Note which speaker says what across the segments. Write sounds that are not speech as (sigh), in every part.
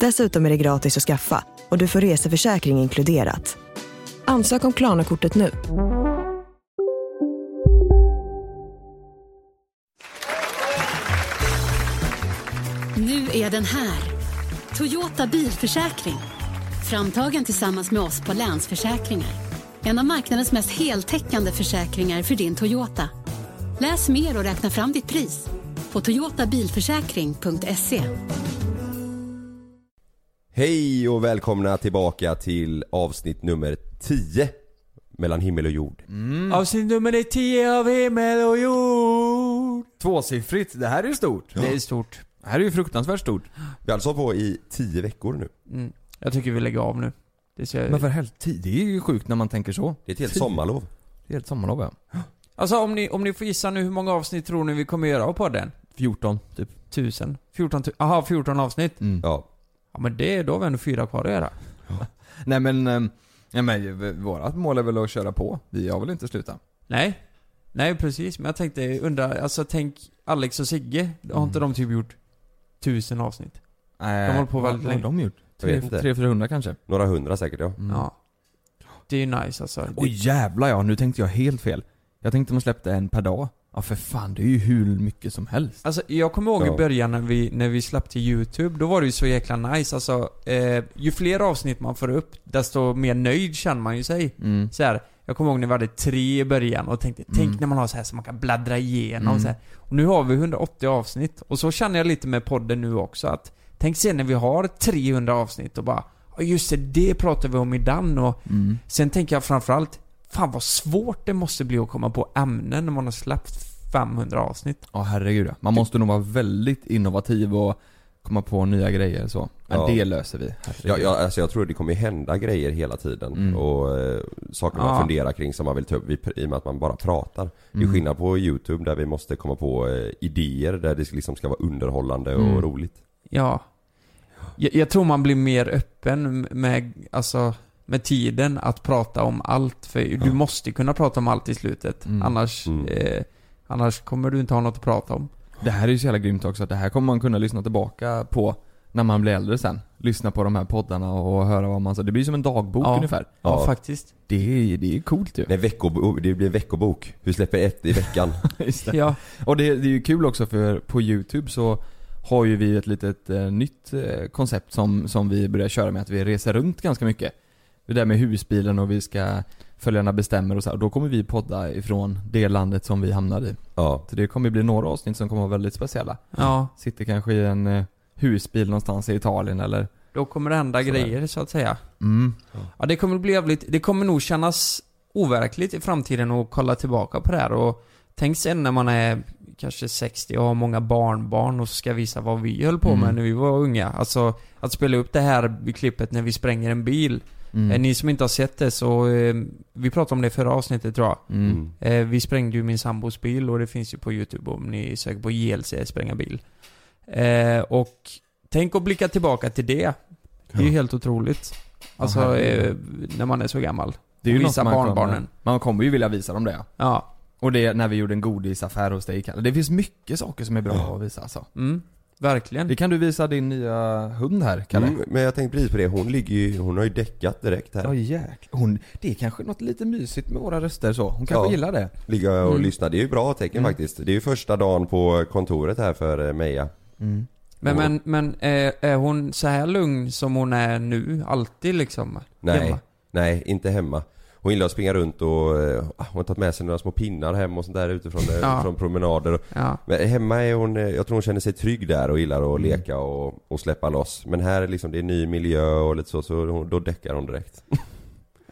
Speaker 1: Dessutom är det gratis att skaffa och du får reseförsäkring inkluderat. Ansök om Klarna-kortet nu.
Speaker 2: Nu är den här. Toyota bilförsäkring. Framtagen tillsammans med oss på Länsförsäkringar. En av marknadens mest heltäckande försäkringar för din Toyota. Läs mer och räkna fram ditt pris på toyotabilförsäkring.se.
Speaker 3: Hej och välkomna tillbaka till avsnitt nummer 10 Mellan himmel och jord
Speaker 4: Mm.
Speaker 5: Avsnitt nummer 10 av himmel och jord.
Speaker 4: Tvåsiffrigt, det här är ju stort.
Speaker 5: Det är stort.
Speaker 4: Det här är ju fruktansvärt stort.
Speaker 3: Vi har alltså hållit på i 10 veckor nu
Speaker 5: Mm. Jag tycker vi lägger av nu. Det ser
Speaker 4: Men för helvete, det är ju sjukt när man tänker så.
Speaker 3: Det är ett helt sommarlov
Speaker 4: Det är helt sommarlov ja.
Speaker 5: Alltså om ni, om ni får gissa nu hur många avsnitt tror ni vi kommer göra av podden?
Speaker 4: 14 typ. Mm.
Speaker 5: Tusen? 14 tu- Aha, 14 avsnitt?
Speaker 3: Ja,
Speaker 5: Ja men det, då har vi ändå fyra kvar att göra.
Speaker 4: Nej men, eh, nej, men v- vårat mål är väl att köra på. Vi har väl inte slutat?
Speaker 5: Nej. Nej precis, men jag tänkte undra, alltså tänk Alex och Sigge, har inte
Speaker 4: Mm.
Speaker 5: de typ gjort tusen avsnitt?
Speaker 4: Nej.
Speaker 5: De har hållit på
Speaker 4: vad-
Speaker 5: väldigt
Speaker 4: vad har de gjort?
Speaker 3: jag vet inte
Speaker 4: 300-400 kanske?
Speaker 3: Några hundra säkert ja
Speaker 5: Mm. Ja. Det är ju nice alltså.
Speaker 4: Oj jävlar ja, nu tänkte jag helt fel. Jag tänkte man släppte en per dag. Ja för fan, det är ju hur mycket som helst.
Speaker 5: Alltså jag kommer ihåg
Speaker 3: Ja.
Speaker 5: i början när vi, när vi släppte YouTube, då var det ju så jäkla nice alltså. Eh, ju fler avsnitt man får upp, desto mer nöjd känner man ju sig.
Speaker 4: Mm.
Speaker 5: Så här, jag kommer ihåg när vi hade tre i början och tänkte, tänk när man har så här som man kan bladdra igenom
Speaker 4: Mm.
Speaker 5: så här. Och nu har vi 180 avsnitt. Och så känner jag lite med podden nu också att, tänk sen när vi har 300 avsnitt och bara, ja just det, det pratar vi om i Dan och
Speaker 4: Mm.
Speaker 5: sen tänker jag framförallt, fan vad svårt det måste bli att komma på ämnen när man har släppt 500 avsnitt.
Speaker 4: Ja herregud ja. Man måste nog vara väldigt innovativ och komma på nya grejer så. Men
Speaker 3: Ja.
Speaker 4: det löser vi.
Speaker 3: Ja, ja, alltså jag tror det kommer hända grejer hela tiden
Speaker 4: Mm.
Speaker 3: och eh, saker man
Speaker 5: Ja.
Speaker 3: funderar kring som man vill ta upp Vi pr- i och med att man bara pratar. Det är skillnad på youtube där vi måste komma på eh, idéer där det liksom ska vara underhållande och
Speaker 4: Mm.
Speaker 3: roligt.
Speaker 5: Ja. Jag, jag tror man blir mer öppen med, alltså, med tiden att prata om allt. För du måste kunna prata om allt i slutet.
Speaker 4: Mm.
Speaker 5: Annars,
Speaker 3: Mm.
Speaker 5: eh, annars kommer du inte ha något att prata om.
Speaker 4: Det här är ju så jävla grymt också att det här kommer man kunna lyssna tillbaka på när man blir äldre sen. Lyssna på de här poddarna och höra vad man sa. Det blir som en dagbok
Speaker 5: Ja.
Speaker 4: ungefär.
Speaker 5: Ja,
Speaker 3: Ja.
Speaker 5: faktiskt.
Speaker 4: Det är, det är coolt ju.
Speaker 3: Nej, veckobo- det blir en veckobok. Du släpper ett i veckan.
Speaker 4: (laughs) Just det.
Speaker 5: Ja.
Speaker 4: Och det, det är ju kul också för på youtube så har ju vi ett litet eh, nytt eh, koncept som, som vi börjar köra med att vi reser runt ganska mycket. Det där med husbilen och vi ska Följarna bestämmer och så här. Och då kommer vi podda ifrån det landet som vi hamnar i.
Speaker 3: ja.
Speaker 4: Så det kommer bli några avsnitt som kommer vara väldigt speciella.
Speaker 5: ja.
Speaker 4: Sitter kanske i en eh, husbil någonstans i Italien eller
Speaker 5: Då kommer det hända
Speaker 4: Sådär.
Speaker 5: grejer så att säga.
Speaker 4: Mm.
Speaker 5: Ja, det kommer bli jävligt, det kommer nog kännas overkligt i framtiden att kolla tillbaka på det här och tänk sen när man är kanske 60 och har många barnbarn och ska visa vad vi höll på med
Speaker 4: Mm.
Speaker 5: när vi var unga. Alltså, att spela upp det här klippet när vi spränger en bil.
Speaker 4: Mm.
Speaker 5: Eh, Ni som inte har sett det så, eh, vi pratade om det i förra avsnittet tror jag.
Speaker 4: Mm.
Speaker 3: Mm.
Speaker 5: Eh, vi sprängde ju min sambos bil och det finns ju på YouTube om ni söker på JLC spränga bil. Eh, och tänk att blicka tillbaka till det. Det är ju helt otroligt. Alltså,
Speaker 4: herregud.
Speaker 5: eh, när man är så gammal.
Speaker 4: Det är ju
Speaker 5: Och
Speaker 4: något
Speaker 5: visa
Speaker 4: man
Speaker 5: barnbarnen.
Speaker 4: Kommer, man kommer ju vilja visa dem det ja.
Speaker 5: Ja.
Speaker 4: Och det när vi gjorde en godisaffär hos dig Kalle. Det finns mycket saker som är bra att visa alltså.
Speaker 5: Mm. Verkligen.
Speaker 4: Det kan du visa din nya hund här Kalle.
Speaker 3: Mm, men jag tänkte precis på det, hon ligger ju, hon har ju däckat direkt här.
Speaker 4: Ja jäklar. Hon, det är kanske något lite mysigt med våra röster så. Hon kanske
Speaker 3: Ja.
Speaker 4: gillar Mm. det.
Speaker 3: Ligga och lyssna, det är ju bra tecken faktiskt. Det är ju första dagen på kontoret här för eh, Meja.
Speaker 5: Men, men, men är, är hon så här lugn som hon är nu? Alltid liksom?
Speaker 3: Nej,
Speaker 5: Hemma?
Speaker 3: nej inte hemma. Hon gillar att springa runt och eh, hon har tagit med sig några små pinnar hem och sånt där utifrån, eh,
Speaker 5: Ja.
Speaker 3: från promenader.
Speaker 5: Ja.
Speaker 3: Men hemma är hon, eh, jag tror hon känner sig trygg där och
Speaker 4: Mm.
Speaker 3: gillar att leka och, och släppa loss. Men här är liksom, det är ny miljö och lite så, så hon, då däckar hon direkt.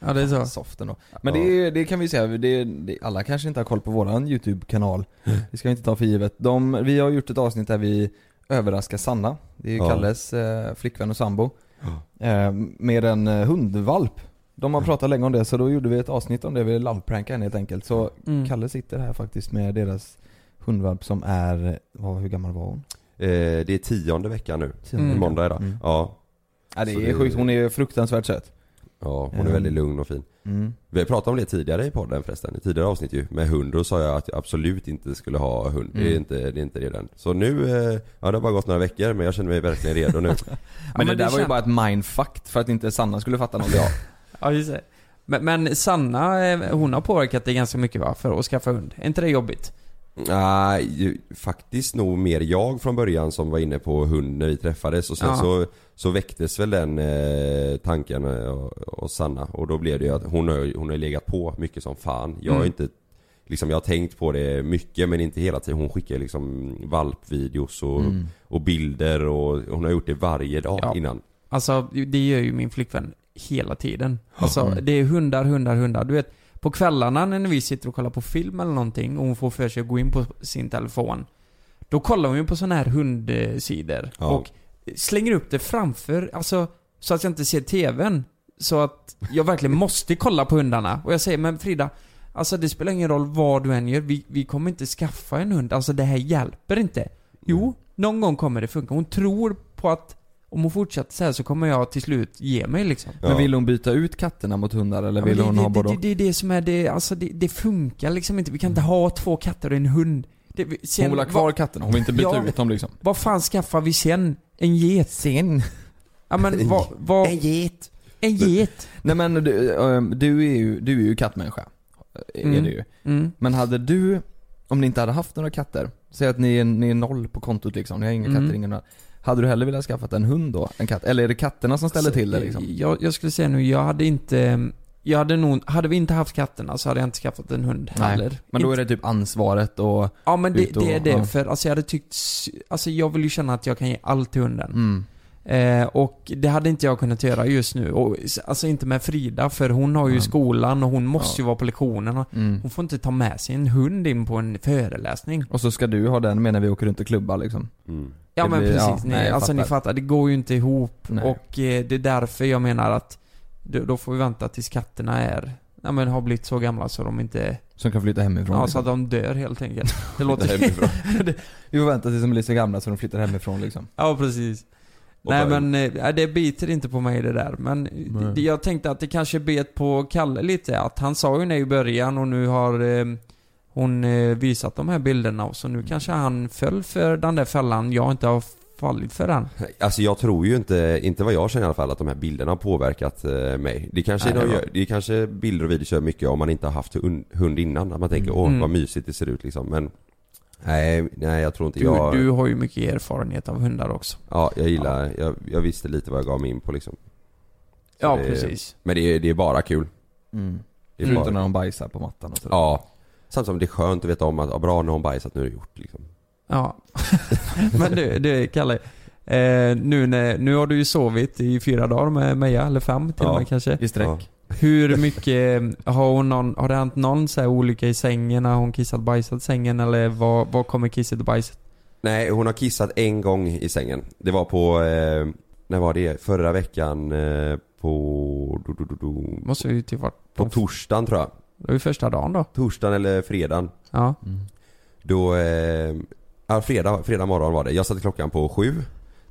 Speaker 5: ja, det är så.
Speaker 4: Soft ändå. Men det, är- det kan vi säga, det, det, alla kanske inte har koll på våran YouTube-kanal. Det ska vi inte ta för givet. De, vi har gjort ett avsnitt där vi överraskar Sanna, det är ju
Speaker 3: Ja.
Speaker 4: Kalles eh, flickvän och sambo, eh, med en eh, hundvalp. De har pratat länge om det så då gjorde vi ett avsnitt om det, vi lovepranka henne helt enkelt. Så
Speaker 5: Mm.
Speaker 4: Kalle sitter här faktiskt med deras hundvalp som är, vad, hur gammal var hon?
Speaker 3: Eh, det är tionde veckan nu,
Speaker 5: Mm.
Speaker 3: måndag idag.
Speaker 4: Mm.
Speaker 3: Ja,
Speaker 4: Ja, det
Speaker 3: Så
Speaker 4: är
Speaker 3: det-
Speaker 4: sjukt, hon är fruktansvärt söt.
Speaker 3: ja, hon
Speaker 4: Mm.
Speaker 3: är väldigt lugn och fin.
Speaker 4: Mm.
Speaker 3: Vi har pratat om det tidigare i podden förresten, i tidigare avsnitt ju. Med hund, då sa jag att jag absolut inte skulle ha hund. Det, är
Speaker 4: Mm.
Speaker 3: inte, det är inte redan. Så nu, eh, ja det har bara gått några veckor men jag känner mig verkligen
Speaker 4: (laughs)
Speaker 3: redo nu.
Speaker 4: Men det
Speaker 5: men
Speaker 4: där
Speaker 5: det
Speaker 4: var ju
Speaker 5: kän-
Speaker 4: bara ett mindfuck för att inte Sanna skulle fatta något. Ja.
Speaker 5: (laughs) Ja, just det. Men, men Sanna, eh, hon har påverkat dig ganska mycket va? För att skaffa hund. Är inte det jobbigt?
Speaker 3: Nej, ju- faktiskt nog mer jag från början som var inne på hund när vi träffades och sen
Speaker 5: Ja.
Speaker 3: så, så väcktes väl den eh, tanken eh, och, och Sanna och då blev det ju att hon har, ju- hon har legat på mycket som fan. Jag har
Speaker 5: Mm.
Speaker 3: inte Liksom jag har tänkt på det mycket men inte hela tiden. Hon skickar liksom valpvideos och, och bilder och hon har gjort det varje dag
Speaker 5: Mm. Ja.
Speaker 3: innan.
Speaker 5: Alltså, det gör ju min flickvän hela tiden. Alltså,
Speaker 4: Mm.
Speaker 5: det är hundar, hundar, hundar. Du vet, på kvällarna när vi sitter och kollar på film eller någonting och hon får för sig att gå in på sin telefon. Då kollar hon ju på sådana här hundsidor.
Speaker 3: Ja.
Speaker 5: Och slänger upp det framför, alltså, så att jag inte ser TVn. Så att jag verkligen måste kolla på hundarna. Och jag säger, men Frida, alltså det spelar ingen roll vad du än gör. Vi, vi kommer inte skaffa en hund. Alltså det här hjälper inte. Jo, någon gång kommer det funka. Hon tror på att om hon fortsätter så här så kommer jag till slut ge mig liksom.
Speaker 4: Men
Speaker 3: Ja.
Speaker 4: vill hon byta ut katterna mot hundar eller
Speaker 5: Ja,
Speaker 4: vill
Speaker 5: men
Speaker 4: hon
Speaker 5: det,
Speaker 4: ha
Speaker 5: det,
Speaker 4: både
Speaker 5: det, det är det som är det, alltså det, det funkar liksom inte. Vi kan inte ha två katter och en hund. Det, vi- sen,
Speaker 4: Mm. Hon vill ha
Speaker 5: vad,
Speaker 4: kvar katterna, hon vill inte byta
Speaker 5: Ja.
Speaker 4: ut dem liksom.
Speaker 5: vad fan skaffar vi sen? En get?
Speaker 4: Sen? (laughs)
Speaker 5: Ja men vad, vad, en,
Speaker 3: get!
Speaker 5: get?
Speaker 4: Nej men du, ehm, du, är, ju, du är ju kattmänniska. Eh, Är
Speaker 5: Mm.
Speaker 4: du ju.
Speaker 5: Mm.
Speaker 4: Men hade du, om ni inte hade haft några katter, säg att ni är, ni är noll på kontot liksom, ni har inga
Speaker 5: Mm.
Speaker 4: katter, ingen Hade du hellre velat skaffa en hund då? En katt? Eller är det katterna som ställer till det liksom?
Speaker 5: Alltså, eh, Jag, jag skulle säga nu, jag hade inte... Jag hade nog, hade vi inte haft katterna så hade jag inte skaffat en hund
Speaker 4: Nej,
Speaker 5: heller.
Speaker 4: Men då är
Speaker 5: Inte-
Speaker 4: det typ ansvaret och,
Speaker 5: ja men det,
Speaker 4: ut och-
Speaker 5: det är det,
Speaker 4: ja.
Speaker 5: för alltså jag hade tyckt... s- Alltså jag vill ju känna att jag kan ge allt till hunden.
Speaker 4: mm,
Speaker 5: Eh, och det hade inte jag kunnat göra just nu. Och, s- alltså inte med Frida, för hon har ju
Speaker 4: Nej.
Speaker 5: skolan och hon måste
Speaker 4: Mm. Ja.
Speaker 5: ju vara på lektionerna.
Speaker 4: mm.
Speaker 5: Hon får inte ta med sig en hund in på en föreläsning.
Speaker 4: Och så ska du ha den med när vi åker runt och klubbar liksom.
Speaker 5: (laughs)
Speaker 3: Mm.
Speaker 5: Ja
Speaker 4: Det
Speaker 5: men
Speaker 4: blir-
Speaker 5: precis,
Speaker 4: ja,
Speaker 5: ni,
Speaker 4: nej, jag
Speaker 5: alltså ni
Speaker 4: fattar.
Speaker 5: fattar, det går ju inte ihop
Speaker 4: Nej.
Speaker 5: och eh, det är därför jag menar att då, då får vi vänta tills katterna är, ja men har blivit så gamla så de inte,
Speaker 4: Som kan flytta hemifrån.
Speaker 5: ja så
Speaker 4: liksom.
Speaker 5: att de dör helt enkelt.
Speaker 4: (laughs)
Speaker 5: Det låter...
Speaker 3: Hemifrån.
Speaker 4: Vi får vänta tills de blir så gamla så de flyttar hemifrån liksom.
Speaker 5: ja precis.
Speaker 3: Och
Speaker 5: Nej
Speaker 3: bara-
Speaker 5: men eh, det biter inte på mig det där men
Speaker 4: Nej.
Speaker 5: det, jag tänkte att det kanske bet på Kalle lite att han sa ju nej i början och nu har eh, hon eh, visat de här bilderna och så nu kanske han föll för den där fällan jag inte har fallit för den.
Speaker 3: Alltså jag tror ju inte, inte vad jag känner i alla fall, att de här bilderna har påverkat eh, mig. Det kanske,
Speaker 5: Nej, det
Speaker 3: de
Speaker 5: var-
Speaker 3: gör, det kanske bilder och videos gör mycket om man inte har haft hund- hund innan. Att man tänker åh
Speaker 5: Mm.
Speaker 3: vad mysigt det ser ut liksom. Men nej, nej jag tror inte
Speaker 5: Du,
Speaker 3: jag...
Speaker 5: du har ju mycket erfarenhet av hundar också.
Speaker 3: Ja, jag gillar, Jag, jag visste lite vad jag gav mig in på liksom. Så
Speaker 5: ja,
Speaker 3: det,
Speaker 5: precis.
Speaker 3: Men det är, det är bara kul.
Speaker 4: Mm.
Speaker 3: Det är
Speaker 4: Förutom
Speaker 3: bara,
Speaker 4: när de bajsar på mattan och sådär.
Speaker 3: ja. Samtidigt som det är skönt att veta om att ja, bra nu har hon bajsat, nu är det gjort liksom.
Speaker 5: Ja. (laughs) Men du, du Kalle. Eh, nu, när, nu har du ju sovit i fyra dagar med Meja, eller fem till och
Speaker 3: Ja.
Speaker 5: med kanske.
Speaker 4: I sträck.
Speaker 3: Ja.
Speaker 5: Hur mycket, eh, har, hon någon, har det hänt någon så här olycka i sängen? Har hon kissat bajsat i sängen eller vad, vad kommer kisset och bajset?
Speaker 3: Nej, hon har kissat en gång i sängen. Det var på, eh, när var det? Förra veckan eh, på... Du, du, du, du,
Speaker 5: Måste ju typ varit
Speaker 3: På torsdagen tror jag.
Speaker 5: Det var ju första dagen då.
Speaker 3: Torsdagen eller fredagen.
Speaker 5: Ja.
Speaker 3: Mm. Då, eh, ja, fredag, fredag morgon var det. Jag satte klockan på sju.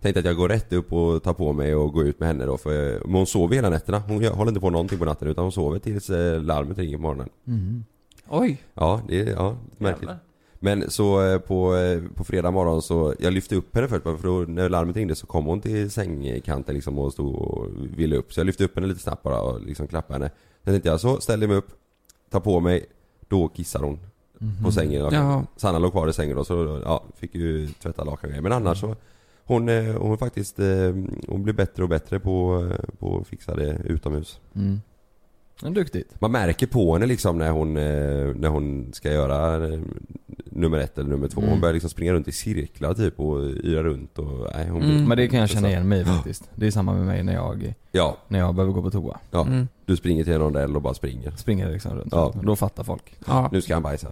Speaker 3: Tänkte att jag går rätt upp och tar på mig och går ut med henne då för eh, men hon sover hela nätterna. Hon gör- håller inte på någonting på natten utan hon sover tills eh, larmet ringer på morgonen.
Speaker 5: Oj.
Speaker 3: Ja, det är ja, märkligt. Men så eh, på, eh, på fredag morgon så, jag lyfte upp henne först bara, för då när larmet ringde så kom hon till sängkanten liksom och stod och ville upp. Så jag lyfte upp henne lite snabbt bara och liksom klappade henne. Sen tänkte jag så, ställde jag mig upp, tar på mig, då kissar hon. På sängen.
Speaker 5: Jaha.
Speaker 3: Sanna låg kvar i sängen då så ja, fick ju tvätta lakan och grejer. Men annars
Speaker 4: Mm.
Speaker 3: så, hon, eh, hon faktiskt, eh, hon blir bättre och bättre på, eh, på att fixa det utomhus.
Speaker 4: Mm. Men duktigt.
Speaker 3: Man märker på henne liksom när hon, eh, när hon ska göra eh, nummer ett eller nummer två.
Speaker 4: Mm.
Speaker 3: Hon börjar liksom springa runt i cirklar typ och yra runt och nej, hon blir-
Speaker 5: Mm.
Speaker 4: Men det kan jag känna igen mig i faktiskt. Det är samma med mig när jag,
Speaker 3: Ja,
Speaker 4: när jag behöver gå på toa.
Speaker 3: ja.
Speaker 5: Mm.
Speaker 3: Du springer till en rondell och bara springer.
Speaker 4: Springer liksom runt.
Speaker 3: Ja.
Speaker 4: Då fattar folk.
Speaker 5: Ja.
Speaker 3: Nu ska han bajsa.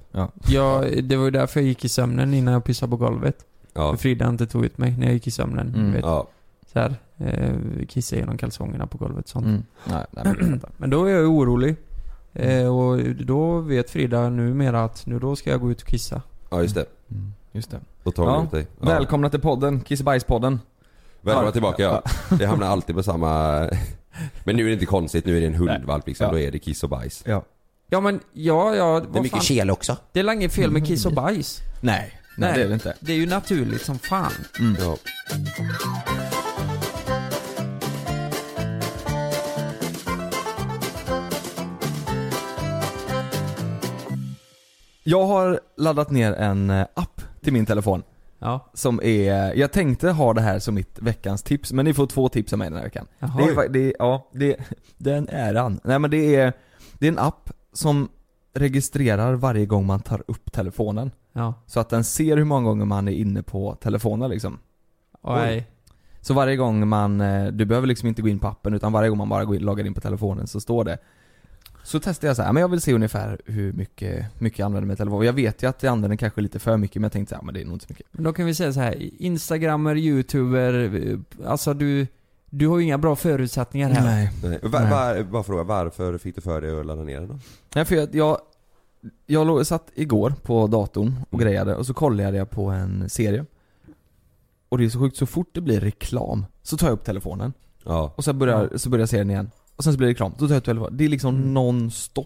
Speaker 5: ja, det var ju därför jag gick i sömnen innan jag pissade på golvet.
Speaker 3: Ja.
Speaker 5: För Frida inte tog ut mig när jag gick i sömnen.
Speaker 4: Mm.
Speaker 5: du Vet.
Speaker 3: Ja.
Speaker 5: Så här, eh, kissa genom kalsongerna på golvet sånt.
Speaker 4: Mm. Nej, nej, men
Speaker 5: (clears throat)
Speaker 4: jag fattar.
Speaker 5: Men då är jag ju orolig. Eh, och då vet Frida numera att nu då ska jag gå ut och kissa.
Speaker 3: ja, just det.
Speaker 4: Mm. Just det.
Speaker 3: Då tar
Speaker 4: Ja.
Speaker 3: hon ut dig. Ja.
Speaker 4: Välkomna till podden, Kissebajspodden.
Speaker 3: Välkomna tillbaka ja. Det hamnar alltid på samma... Men nu är det inte konstigt, nu är det en hundvalp liksom.
Speaker 4: Ja.
Speaker 3: Då är det kiss och bajs.
Speaker 4: Ja.
Speaker 5: Ja men, ja, ja, vad fan.
Speaker 3: kel också.
Speaker 5: Det är inget fel med kiss och bajs.
Speaker 4: Nej, Mm. nej,
Speaker 5: Nej.
Speaker 4: det är det inte. Mm.
Speaker 5: Det är ju naturligt som fan.
Speaker 3: Ja.
Speaker 4: Jag har laddat ner en eh, app till min telefon.
Speaker 5: Ja.
Speaker 4: Som är, jag tänkte ha det här som mitt veckans tips, men ni får två tips av mig den här veckan.
Speaker 5: Jaha.
Speaker 4: Det är, fa- det är, ja, det, den äran. Nej men det är, det är en app som registrerar varje gång man tar upp telefonen.
Speaker 5: Ja.
Speaker 4: Så att den ser hur många gånger man är inne på telefonen liksom.
Speaker 5: Och nej.
Speaker 4: Så varje gång man, eh, du behöver liksom inte gå in på appen utan varje gång man bara går in, loggar in på telefonen så står det Så testade jag så här, men jag vill se ungefär hur mycket, mycket jag använder min telefon. Och Jag vet ju att jag använder den kanske lite för mycket men jag tänkte så här, men det är nog inte så mycket.
Speaker 5: Men då kan vi säga så här, instagrammer, youtuber, eh, alltså du, du har ju inga bra förutsättningar här.
Speaker 4: Nej.
Speaker 3: Nej. Var,
Speaker 4: Nej.
Speaker 3: var, bara fråga, varför fick du för dig att ladda ner den då?
Speaker 4: Nej för jag, jag, jag låg, satt igår på datorn
Speaker 3: Mm.
Speaker 4: och grejade och så kollade jag på en serie. Och det är så sjukt, så fort det blir reklam så tar jag upp telefonen.
Speaker 3: Ja. Mm.
Speaker 4: Och så börjar, så börjar serien igen. Och sen så blir det reklam, då tar jag upp telefonen. Det är liksom non-stop.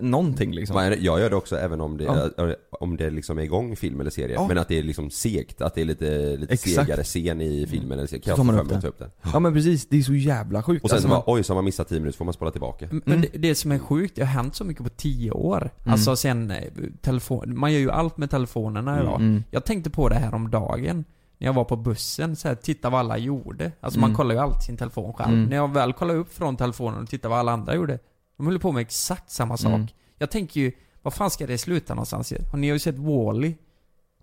Speaker 4: Någonting liksom.
Speaker 3: Man, jag gör det också även om det,
Speaker 4: Ja.
Speaker 3: om det liksom är igång film eller serie.
Speaker 4: Ja.
Speaker 3: Men att det är liksom segt, att det är lite, lite
Speaker 4: Exakt.
Speaker 3: segare scen i filmen eller serie.
Speaker 4: Så tar
Speaker 3: Kan jag få
Speaker 4: man
Speaker 3: för
Speaker 4: upp
Speaker 3: mig att ta
Speaker 4: den.
Speaker 3: upp den.
Speaker 4: Ja men precis, det är så jävla sjukt. Alltså,
Speaker 3: Och sen så
Speaker 4: man- Mm.
Speaker 3: bara, oj så har man missat 10 minuter får man spola tillbaka.
Speaker 5: Men det, det som är sjukt, det har hänt så mycket på tio år. Alltså sen eh, telefon, man gör ju allt med telefonerna idag.
Speaker 4: Mm.
Speaker 5: Jag tänkte på det här om dagen när jag var på bussen, så här, titta vad alla gjorde. Alltså
Speaker 4: Mm.
Speaker 5: man kollar ju alltid sin telefon själv.
Speaker 4: Mm.
Speaker 5: När jag väl kollar upp från telefonen och tittar vad alla andra gjorde. De höll på med exakt samma sak.
Speaker 4: Mm.
Speaker 5: Jag tänker ju, vad fan ska det sluta någonstans? Har Ni har ju sett Wall-E.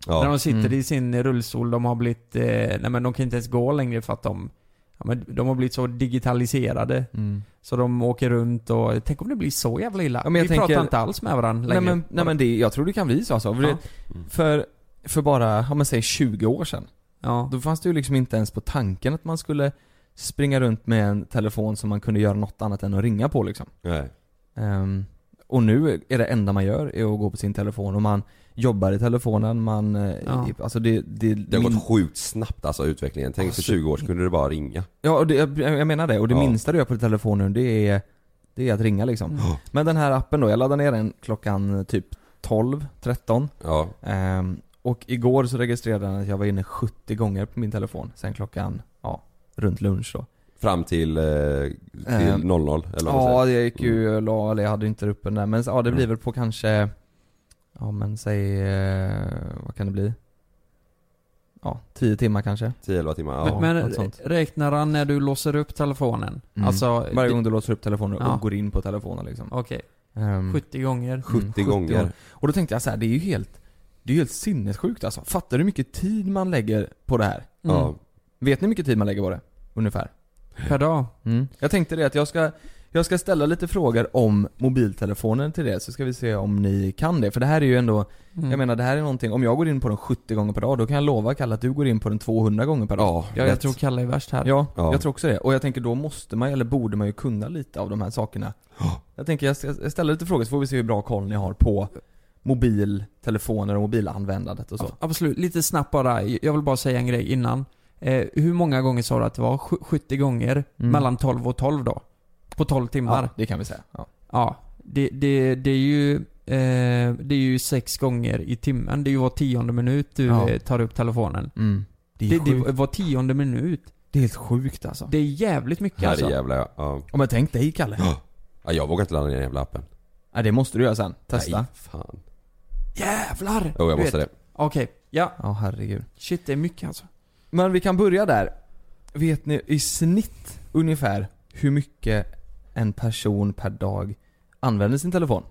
Speaker 5: När
Speaker 3: Ja.
Speaker 5: de sitter
Speaker 4: Mm.
Speaker 5: i sin rullstol, de har blivit, eh, nej men de kan inte ens gå längre för att de, ja, men de har blivit så digitaliserade.
Speaker 4: Mm.
Speaker 5: Så de åker runt och, tänk om det blir så jävla illa.
Speaker 4: Ja, men jag
Speaker 5: Vi
Speaker 4: tänker-
Speaker 5: pratar inte alls med varandra
Speaker 4: Nej
Speaker 5: längre.
Speaker 4: men, nej, men det, jag tror det kan bli så alltså. För,
Speaker 5: Ja.
Speaker 4: det- för, för bara, om man säger 20 år sedan.
Speaker 5: ja.
Speaker 4: Då fanns det ju liksom inte ens på tanken att man skulle springa runt med en telefon som man kunde göra något annat än att ringa på liksom.
Speaker 3: Nej.
Speaker 4: Ehm, och nu är det enda man gör är att gå på sin telefon och man jobbar i telefonen, man... eh,
Speaker 5: Ja.
Speaker 4: Alltså det... Det,
Speaker 3: Det har
Speaker 4: min-
Speaker 3: gått sjukt snabbt alltså utvecklingen. Tänk för 20 år så kunde du bara ringa.
Speaker 4: Ja, och det, jag, jag menar det. Och det
Speaker 3: Ja.
Speaker 4: minsta du gör på telefonen det är, det är att ringa liksom. Men den här appen då, jag laddade ner den klockan typ 12, 13.
Speaker 3: Ja.
Speaker 4: Ehm, och igår så registrerade den att jag var inne 70 gånger på min telefon sen klockan, ja, runt lunch då.
Speaker 3: Fram till, eh,
Speaker 4: Ehm,
Speaker 3: till 00 eller vad man säger.
Speaker 4: Ja, jag gick ju och la, eller jag hade inte upp den där. Men ja, det blir väl på kanske, ja men säg, eh, vad kan det bli? Ja, 10 timmar kanske.
Speaker 3: 10-11 timmar. Ja.
Speaker 4: Men-
Speaker 5: men
Speaker 4: något sånt.
Speaker 5: räknar han när du låser upp telefonen?
Speaker 4: Mm.
Speaker 5: Alltså,
Speaker 4: Varje
Speaker 5: det-
Speaker 4: gång du låser upp telefonen och
Speaker 5: Ja.
Speaker 4: går in på telefonen liksom.
Speaker 5: Okej,
Speaker 4: Ehm,
Speaker 5: 70 gånger.
Speaker 3: 70, gånger.
Speaker 4: Och då tänkte jag så här, det är ju helt, det är ju helt sinnessjukt alltså. Fattar du hur mycket tid man lägger på det här?
Speaker 5: Mm.
Speaker 3: Ja.
Speaker 4: Vet ni hur mycket tid man lägger på det? Ungefär.
Speaker 5: Per dag.
Speaker 4: Jag tänkte det att jag ska, jag ska ställa lite frågor om mobiltelefonen till det, så ska vi se om ni kan det. För det här är ju ändå,
Speaker 5: Mm.
Speaker 4: jag menar det här är någonting, om jag går in på den 70 gånger per dag, då kan jag lova Kalle att du går in på den 200 gånger per dag.
Speaker 3: Ja,
Speaker 5: ja, jag
Speaker 3: rätt.
Speaker 5: tror Kalle är värst här.
Speaker 4: Ja,
Speaker 3: Ja.
Speaker 4: jag tror också det. Och jag tänker då måste man, eller borde man ju kunna lite av de här sakerna. Jag tänker jag, jag ställer lite frågor så får vi se hur bra koll ni har på mobiltelefoner och mobilanvändandet och så.
Speaker 5: Ja, Absolut. Lite snabbt bara. Jag vill bara säga en grej innan. Eh, hur många gånger sa du att det var? Sju- 70 gånger? Mellan 12 och 12 då? På 12 timmar?
Speaker 4: Mm. Ja,
Speaker 5: Ja.
Speaker 4: det kan vi säga. Ja.
Speaker 5: Det, det, det är ju... Eh, det är ju sex gånger i timmen. Det är ju var tionde minut du
Speaker 4: Ja.
Speaker 5: eh, tar upp telefonen.
Speaker 4: Det, är
Speaker 5: Det,
Speaker 4: sjukt.
Speaker 5: det var tionde minut.
Speaker 4: det är helt sjukt alltså.
Speaker 5: Det är jävligt mycket alltså.
Speaker 3: Herrejävlar ja. ja.
Speaker 4: Om jag tänk dig Kalle.
Speaker 3: Ja, jag vågar inte ladda ner den jävla appen.
Speaker 4: Ja, det måste du göra sen. Testa.
Speaker 3: Nej, fan.
Speaker 5: Jävlar!
Speaker 3: Jo, jag
Speaker 5: Du
Speaker 3: måste
Speaker 5: vet.
Speaker 3: det.
Speaker 5: Okej, ja.
Speaker 4: Ja, herregud.
Speaker 5: Shit, det är mycket alltså.
Speaker 4: Men vi kan börja där. Vet ni i snitt ungefär hur mycket en person per dag använder sin telefon.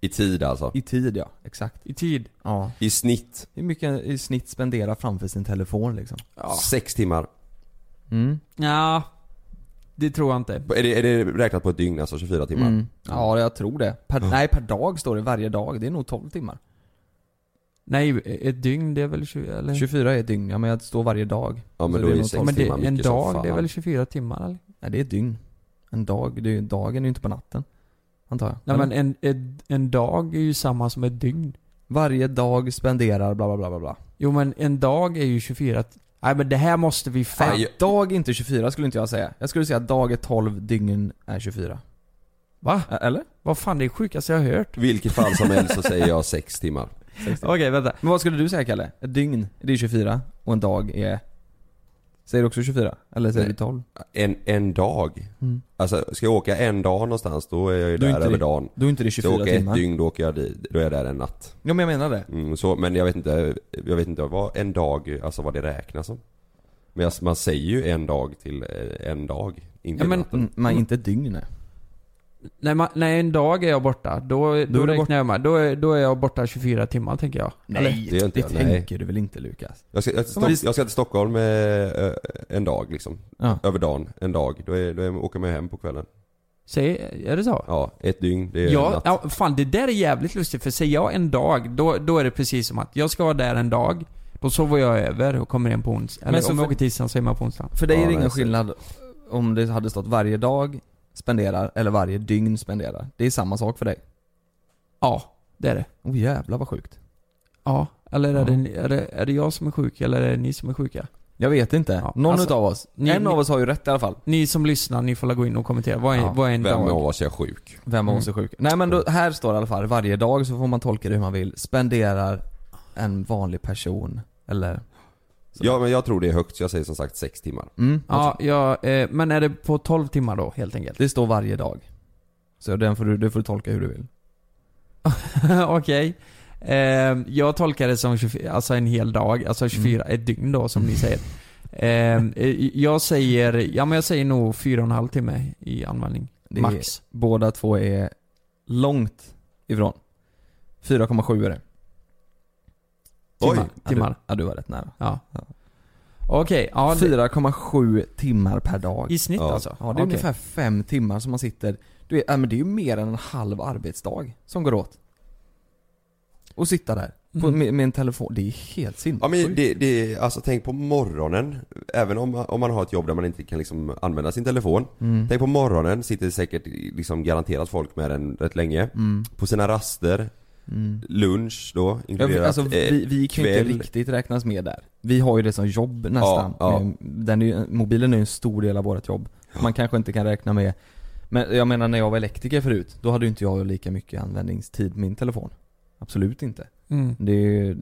Speaker 3: I tid alltså.
Speaker 4: I tid ja, exakt.
Speaker 5: I tid.
Speaker 4: Ja.
Speaker 3: I snitt.
Speaker 4: Hur mycket i snitt spenderar framför sin telefon liksom?
Speaker 5: Ja.
Speaker 3: Sex timmar.
Speaker 4: Mm.
Speaker 5: ja det tror jag inte.
Speaker 3: Är det, är det räknat på ett dygn alltså, 24 timmar?
Speaker 4: Mm. Ja, Mm. jag tror det. Per, Nej, per dag står det varje dag. Det är nog 12 timmar.
Speaker 5: Nej, ett dygn det är väl 20, eller?
Speaker 4: 24 är ett dygn, ja men jag står varje dag.
Speaker 3: Ja men
Speaker 4: Så
Speaker 3: då är
Speaker 4: det är
Speaker 3: ju
Speaker 4: nog
Speaker 3: 6
Speaker 5: Ja, men det,
Speaker 3: timmar
Speaker 5: en
Speaker 3: mycket som
Speaker 5: dag
Speaker 3: fan.
Speaker 5: det är väl 24 timmar eller?
Speaker 4: Nej, det är ett dygn. En dag, det är ju, dagen är ju inte på natten. Antar jag.
Speaker 5: Nej men
Speaker 4: Eller?
Speaker 5: en, en, en dag är ju samma som ett dygn.
Speaker 4: Varje dag spenderar bla bla bla bla bla.
Speaker 5: Jo men en dag är ju 24... t- Nej men det här måste vi fan...
Speaker 3: Nej, jag-
Speaker 4: Dag är inte 24 skulle inte jag säga. Jag skulle säga att dag är 12, dygn är 24.
Speaker 5: Va?
Speaker 4: Ä- Eller?
Speaker 5: Vad fan det är sjukaste jag har hört.
Speaker 3: Vilket fall som helst så säger jag 6 timmar.
Speaker 5: Okej vänta.
Speaker 4: Men vad skulle du säga Kalle? Ett dygn, det är 24 och en dag är... Säger du också 24? Eller säger
Speaker 3: Nej.
Speaker 4: du 12?
Speaker 3: En, en dag. Alltså ska jag åka en dag någonstans då är jag ju
Speaker 4: Då är
Speaker 3: där
Speaker 4: inte
Speaker 3: över
Speaker 4: det-
Speaker 3: dagen.
Speaker 4: Då är inte det
Speaker 3: Ska jag
Speaker 4: 24
Speaker 3: åka
Speaker 4: timmar.
Speaker 3: ett dygn då åker jag dit, då är jag där en natt.
Speaker 4: Ja men jag menar det.
Speaker 3: Mm, så, men jag vet inte, jag vet inte vad en dag, alltså vad det räknas som. Men alltså, man säger ju en dag till eh, en dag. Inte
Speaker 5: Ja, men-
Speaker 3: natten.
Speaker 4: Mm, Men inte ett dygn nej.
Speaker 5: Nej, man, nej en dag är jag borta. Då, då,
Speaker 4: Då är du
Speaker 5: räknar
Speaker 4: borta.
Speaker 5: jag med. Då är, då är jag borta 24 timmar tänker jag.
Speaker 4: Nej,
Speaker 3: det
Speaker 4: det,
Speaker 3: gör inte jag, nej.
Speaker 4: tänker du väl inte Lukas?
Speaker 3: Jag ska, jag, ska,
Speaker 4: visst.
Speaker 3: jag ska till Stockholm eh, ö- en dag liksom.
Speaker 4: Ja.
Speaker 3: Över dagen, en dag. Då, är, då är, åker man hem på kvällen.
Speaker 5: Säg, är det så?
Speaker 3: Ja, ett dygn, det är en
Speaker 5: Ja,
Speaker 3: natt.
Speaker 5: ja, fan det där är jävligt lustigt för säger jag en dag, då, då är det precis som att jag ska vara där en dag, då sover jag över och kommer hem på onsdag. Eller
Speaker 4: Men så
Speaker 5: om jag
Speaker 4: för-
Speaker 5: åker tisdag så är man på onsdag.
Speaker 4: För dig
Speaker 3: Ja,
Speaker 4: är det
Speaker 3: men
Speaker 4: ingen
Speaker 3: jag ser-
Speaker 4: skillnad om det hade stått varje dag spenderar eller varje dygn spenderar. Det är samma sak för dig.
Speaker 5: Ja, det är det.
Speaker 4: Oh jävlar vad sjukt.
Speaker 5: Ja, eller är,
Speaker 4: Ja.
Speaker 5: det, är, det, är det jag som är sjuk eller är det ni som är sjuka?
Speaker 4: Jag vet inte.
Speaker 5: Ja,
Speaker 4: Någon
Speaker 5: alltså,
Speaker 4: utav oss.
Speaker 5: ni-
Speaker 4: en
Speaker 5: ni-
Speaker 4: av oss har ju rätt i alla fall.
Speaker 5: Ni som lyssnar, ni får la gå in och kommentera. Vad är,
Speaker 4: Ja,
Speaker 5: vad är en
Speaker 3: Vem
Speaker 5: dag?
Speaker 3: av oss är sjuk?
Speaker 4: Vem
Speaker 5: Mm.
Speaker 4: av oss är sjuk? Nej men då, här står det i alla fall varje dag så får man tolka det hur man vill. Spenderar en vanlig person. Eller?
Speaker 3: Ja men jag tror det är högt, så jag säger som sagt sex timmar.
Speaker 4: Mm,
Speaker 5: Ja, ja, eh, men är det på 12 timmar då helt enkelt? (laughs)
Speaker 4: Det står varje dag. Så den får du, det får du tolka hur du vill.
Speaker 5: Okej. Ehm, jag tolkar det som 24, alltså en hel dag,
Speaker 4: Mm.
Speaker 5: alltså 24, ett dygn då som ni säger. Ehm, eh, jag säger, ja men jag säger nog fyra och en halv timme i användning.
Speaker 4: Det är-
Speaker 5: Max.
Speaker 4: Båda två är långt ifrån. 4,7 är det.
Speaker 3: Oj.
Speaker 5: Timmar. timmar.
Speaker 4: Ja du var rätt nära.
Speaker 5: Ja.
Speaker 4: Ja.
Speaker 5: Okej, ja, det-
Speaker 4: 4,7 timmar per dag.
Speaker 5: i snitt
Speaker 3: Ja.
Speaker 5: alltså?
Speaker 4: Ja, det är
Speaker 5: Okej.
Speaker 4: ungefär fem timmar som man sitter. Du vet, ja, men det är ju mer än en halv arbetsdag som går åt. Och sitta där på,
Speaker 5: Mm.
Speaker 4: med, med en telefon. Det är helt sinnessjukt.
Speaker 3: Ja men det, det, alltså tänk på morgonen. Även om, om man har ett jobb där man inte kan liksom använda sin telefon. Tänk på morgonen, sitter säkert liksom garanterat folk med den rätt länge.
Speaker 4: Mm.
Speaker 3: På sina raster, lunch då
Speaker 4: Ja, vi-
Speaker 3: inkluderat.
Speaker 4: Mm.
Speaker 3: eh,
Speaker 4: alltså, vi, vi kan ju inte
Speaker 3: kväll.
Speaker 4: riktigt räknas med där. Vi har ju det som jobb nästan.
Speaker 3: Ja, ja.
Speaker 4: Den är ju, mobilen är ju en stor del av vårt jobb. Man kanske inte kan räkna med Men jag menar när jag var elektriker förut, då hade ju inte jag lika mycket användningstid på min telefon. Absolut inte.
Speaker 5: Mm.
Speaker 4: Det är ju,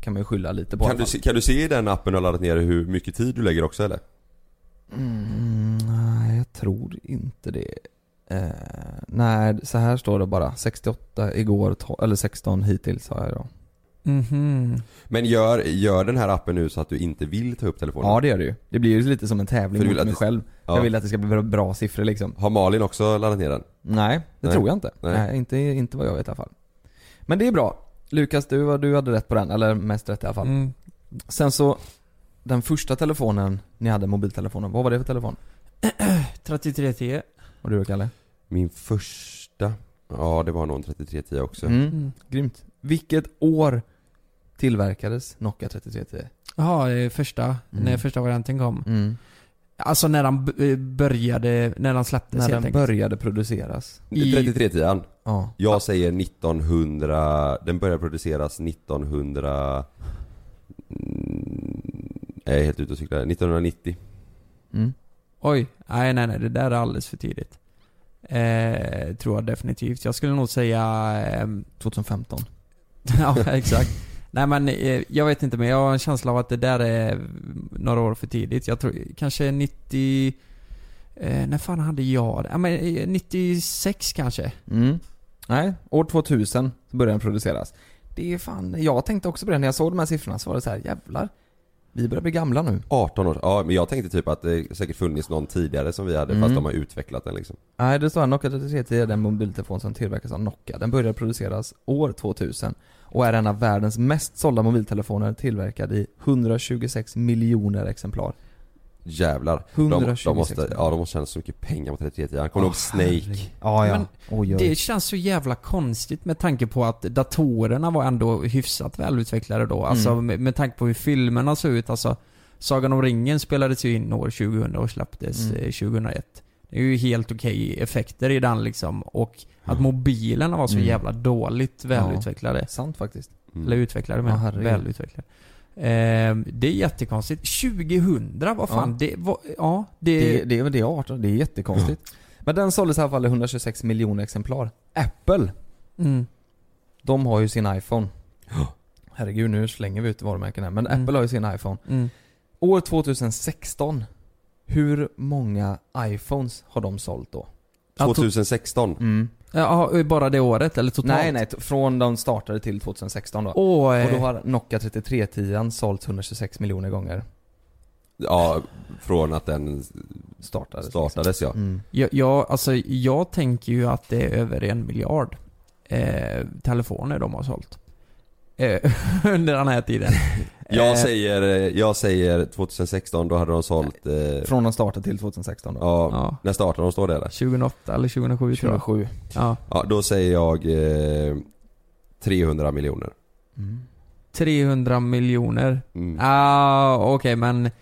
Speaker 4: kan man ju skylla lite på i
Speaker 3: kan,
Speaker 4: alla
Speaker 3: du,
Speaker 4: fall.
Speaker 3: se- kan du se i den appen du har laddat ner hur mycket tid du lägger också eller?
Speaker 4: Mm, nej, jag tror inte det. Eh, nej, så här står det bara. 68 igår, to- eller 16 hittills har jag då.
Speaker 5: Mhm.
Speaker 3: Men gör, gör den här appen nu så att du inte vill ta upp telefonen.
Speaker 4: Ja det gör det ju. Det blir ju lite som en tävling
Speaker 3: För
Speaker 4: mot
Speaker 3: du vill
Speaker 4: mig
Speaker 3: att det-
Speaker 4: själv.
Speaker 3: Ja.
Speaker 4: Jag vill att det ska bli bra, bra siffror liksom.
Speaker 3: Har Malin också laddat ner den?
Speaker 4: Nej, det
Speaker 3: Nej.
Speaker 4: tror jag inte.
Speaker 3: Nej.
Speaker 4: Nej, inte, inte vad jag vet i alla fall. Men det är bra. Lukas, du, var- du hade rätt på den. Eller mest rätt i alla fall.
Speaker 5: Mm.
Speaker 4: Sen så, den första telefonen ni hade, mobiltelefonen, vad var det för telefon?
Speaker 5: 3310.
Speaker 4: Och du då Kalle?
Speaker 3: Min första? Ja det var nog en 3310 också.
Speaker 4: Mm. Grymt. Vilket år tillverkades Nokia 3310?
Speaker 5: Jaha, det är första, när
Speaker 4: Mm.
Speaker 5: första varianten kom.
Speaker 4: Mm.
Speaker 5: Alltså när den b- eh, började, när den släpptes
Speaker 4: När
Speaker 5: helt
Speaker 4: den
Speaker 5: enkelt.
Speaker 4: började produceras?
Speaker 5: I-
Speaker 3: 3310
Speaker 4: Ja.
Speaker 3: Jag säger 1900, den började produceras 1900 Mm, Jag är helt ute och cyklar, 1990
Speaker 4: Mm.
Speaker 5: Oj, nej nej nej, det där är alldeles för tidigt. Eh, tror jag definitivt. Jag skulle nog säga... ehm, (laughs)
Speaker 4: 2015.
Speaker 5: ja, exakt. Nej men eh, jag vet inte men jag har en känsla av att det där är några år för tidigt. Jag tror kanske 90... Eh, när fan hade jag det? Ja men eh, 96 kanske?
Speaker 4: Mm. Nej, år 2000 så började den produceras. Det är fan, jag tänkte också på det när jag såg de här siffrorna så var det så här, jävlar. Vi börjar bli gamla nu.
Speaker 3: 18 år, ja men jag tänkte typ att det säkert funnits någon tidigare som vi hade
Speaker 4: Mm.
Speaker 3: fast de har utvecklat den liksom.
Speaker 4: Nej, det står här, Nokia 3310 är den mobiltelefon som tillverkas av Nokia. Den började produceras år 2000 och är en av världens mest sålda mobiltelefoner tillverkad i 126 miljoner exemplar.
Speaker 3: Jävlar. De,
Speaker 4: 126
Speaker 3: de, måste, ja, de måste tjäna så mycket pengar på 3310. Han kommer ihåg Snake.
Speaker 4: Ja, ja.
Speaker 5: Men
Speaker 4: Oj, oj.
Speaker 5: Det känns så jävla konstigt med tanke på att datorerna var ändå hyfsat välutvecklade då. Alltså
Speaker 4: Mm.
Speaker 5: med, med tanke på hur filmerna såg ut. Alltså, Sagan om ringen spelades ju in år 2000 och släpptes
Speaker 4: Mm.
Speaker 5: eh, 2001. Det är ju helt okej effekter i den liksom. Och att mobilerna var så
Speaker 4: Mm.
Speaker 5: jävla dåligt välutvecklade.
Speaker 4: Sant faktiskt.
Speaker 3: Mm.
Speaker 5: Eller utvecklade
Speaker 4: Ja,
Speaker 5: men
Speaker 4: herregud.
Speaker 5: välutvecklade. Ehm, det är jättekonstigt. 2000, vad fan.
Speaker 4: Ja.
Speaker 5: Det var, ja, det...
Speaker 4: Det, det, är väl det är 18, det är jättekonstigt. Men den såldes i alla fall i 126 miljoner exemplar. Apple,
Speaker 5: Mm.
Speaker 4: de har ju sin iPhone. Herregud, nu slänger vi ut varumärken här. Men
Speaker 5: Mm.
Speaker 4: Apple har ju sin iPhone.
Speaker 5: Mm.
Speaker 4: År 2016, hur många iPhones har de sålt då?
Speaker 5: Ja, to-
Speaker 3: 2016.
Speaker 5: Mm. Ja, bara det året eller totalt?
Speaker 4: Mm. Nej, nej, t- från de startade till 2016 då. Och
Speaker 5: Åh, eh,
Speaker 4: då har Nokia 3310 sålts 126 miljoner gånger.
Speaker 3: Ja, från att den
Speaker 4: Startades.
Speaker 3: startades ja.
Speaker 4: Mm.
Speaker 5: jag, jag, alltså, jag tänker ju att det är över en miljard eh, telefoner de har sålt. Eh, (laughs) under den här tiden.
Speaker 3: Jag
Speaker 5: Eh,
Speaker 3: säger, eh, jag säger 2016, då hade de sålt... Eh,
Speaker 4: Från de startade till 2016 då.
Speaker 3: ja,
Speaker 5: Ja.
Speaker 3: när startade de? Står det där?
Speaker 5: 2008 eller 2007 tror jag.
Speaker 4: 27.
Speaker 5: Ja,
Speaker 3: Ja, då säger jag eh, 300 miljoner.
Speaker 4: Mm.
Speaker 5: 300 miljoner.
Speaker 3: Mm.
Speaker 5: Ah, okej men... eh,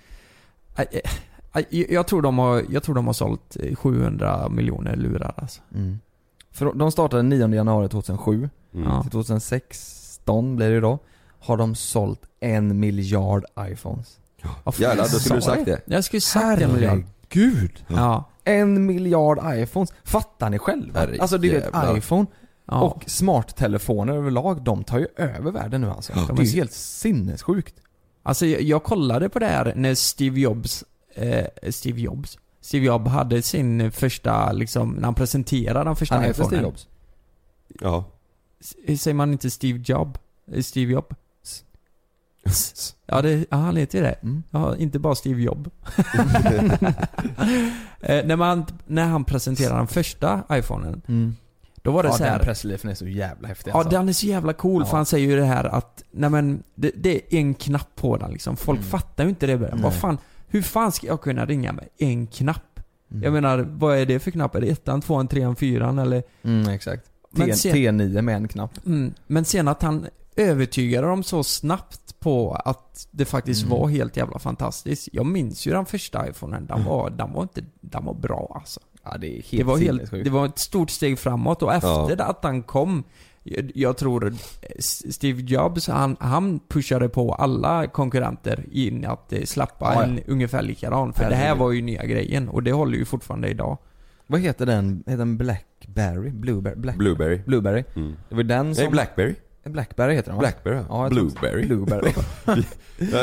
Speaker 5: eh, eh, Jag tror, de har, jag tror de har sålt eh, 700 miljoner lurar alltså.
Speaker 4: Mm. För de startade 9 januari 2007.
Speaker 3: Mm.
Speaker 5: Ja.
Speaker 4: Till 2016 blir det ju då. Har de sålt en miljard iPhones.
Speaker 5: Vad fan
Speaker 3: Jävlar, då
Speaker 5: sa
Speaker 3: skulle du
Speaker 5: jag?
Speaker 3: sagt det.
Speaker 5: Jag skulle sagt en miljard.
Speaker 4: Gud!
Speaker 5: Ja.
Speaker 4: En miljard iPhones. Fattar ni själva?
Speaker 3: Herre
Speaker 4: alltså det är ju
Speaker 3: jävlar.
Speaker 4: ett iPhone
Speaker 5: ja.
Speaker 4: och smarttelefoner överlag. De tar ju över världen nu alltså.
Speaker 5: de
Speaker 4: Det är
Speaker 5: är-
Speaker 4: ju helt sinnessjukt.
Speaker 5: Alltså jag, jag kollade på det här när Steve Jobs, eh, Steve Jobs? Steve Jobs hade sin första, liksom, när han presenterade den första
Speaker 4: Han heter
Speaker 5: iPhonen.
Speaker 4: Steve Jobs.
Speaker 5: (laughs)
Speaker 3: Ja.
Speaker 5: S- Säger man inte Steve Job? Eh, Steve Job? S- S- Ja, det, ja, han heter ju det.
Speaker 4: Mm.
Speaker 5: Ja, inte bara
Speaker 4: (laughs)
Speaker 5: Steve Jobb. eh, när, man, när han presenterade den första iPhonen,
Speaker 4: Mm.
Speaker 5: då var det
Speaker 4: Ja,
Speaker 5: så
Speaker 4: den
Speaker 5: här.
Speaker 4: pressliefen är så jävla häftig
Speaker 5: Ja,
Speaker 4: alltså.
Speaker 5: den är så jävla cool
Speaker 4: Ja.
Speaker 5: för han säger ju det här att, nej men, det, det är en knapp på den liksom. Folk
Speaker 4: Mm.
Speaker 5: fattar ju inte det i början. Vad
Speaker 4: Nej.
Speaker 5: fan, hur fan ska jag kunna ringa med en knapp?
Speaker 4: Mm.
Speaker 5: Jag menar, vad är det för knapp? Är det ettan, tvåan, trean, fyran eller?
Speaker 4: Mm, exakt.
Speaker 5: Men
Speaker 4: T-
Speaker 5: sen-
Speaker 4: T9 med en knapp.
Speaker 5: Mm. Men sen att han övertygade dem så snabbt på att det faktiskt
Speaker 4: Mm.
Speaker 5: var helt jävla fantastiskt. Jag minns ju den första iPhonen, den var, den var inte, den var bra alltså.
Speaker 4: Ja, det är Mm. helt
Speaker 5: Det var, helt,
Speaker 4: sinnessjukt.
Speaker 5: det var ett stort steg framåt och efter att han kom jag- Jag tror eh, S- Steve Jobs, han, han pushade på alla konkurrenter in att eh, släppa
Speaker 4: Ja, ja.
Speaker 5: en ungefär likadan. För det här
Speaker 4: Herregud.
Speaker 5: var ju nya grejen och det håller ju fortfarande idag.
Speaker 4: Vad heter den? Heter den Blackberry? Blueberry? Black...
Speaker 3: Blueberry.
Speaker 4: Blueberry.
Speaker 3: Mm.
Speaker 4: Det var den
Speaker 3: Nej,
Speaker 4: som...
Speaker 3: Blackberry.
Speaker 4: Blackberry heter den va?
Speaker 3: Blackberry ja.
Speaker 4: Ja, jag tror-
Speaker 3: Blueberry.
Speaker 4: Blueberry.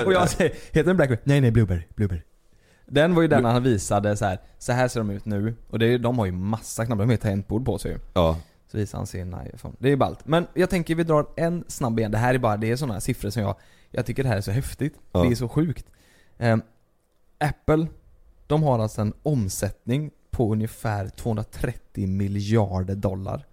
Speaker 4: Och jag säger, heter den Blackberry? Nej nej, Blueberry. Blueberry. Den var ju den han visade så här. så här ser de ut nu. Och det är, de har ju massa knappar, de har ju tangentbord på sig ju.
Speaker 3: Ja.
Speaker 4: Så visar han sin iPhone. Det är ballt. Men jag tänker vi drar en snabb igen. Det här är bara, det är sådana siffror som jag, jag tycker det här är så häftigt.
Speaker 3: Ja.
Speaker 4: Det är så sjukt. Ehm, Apple, de har alltså en omsättning på ungefär 230 miljarder dollar.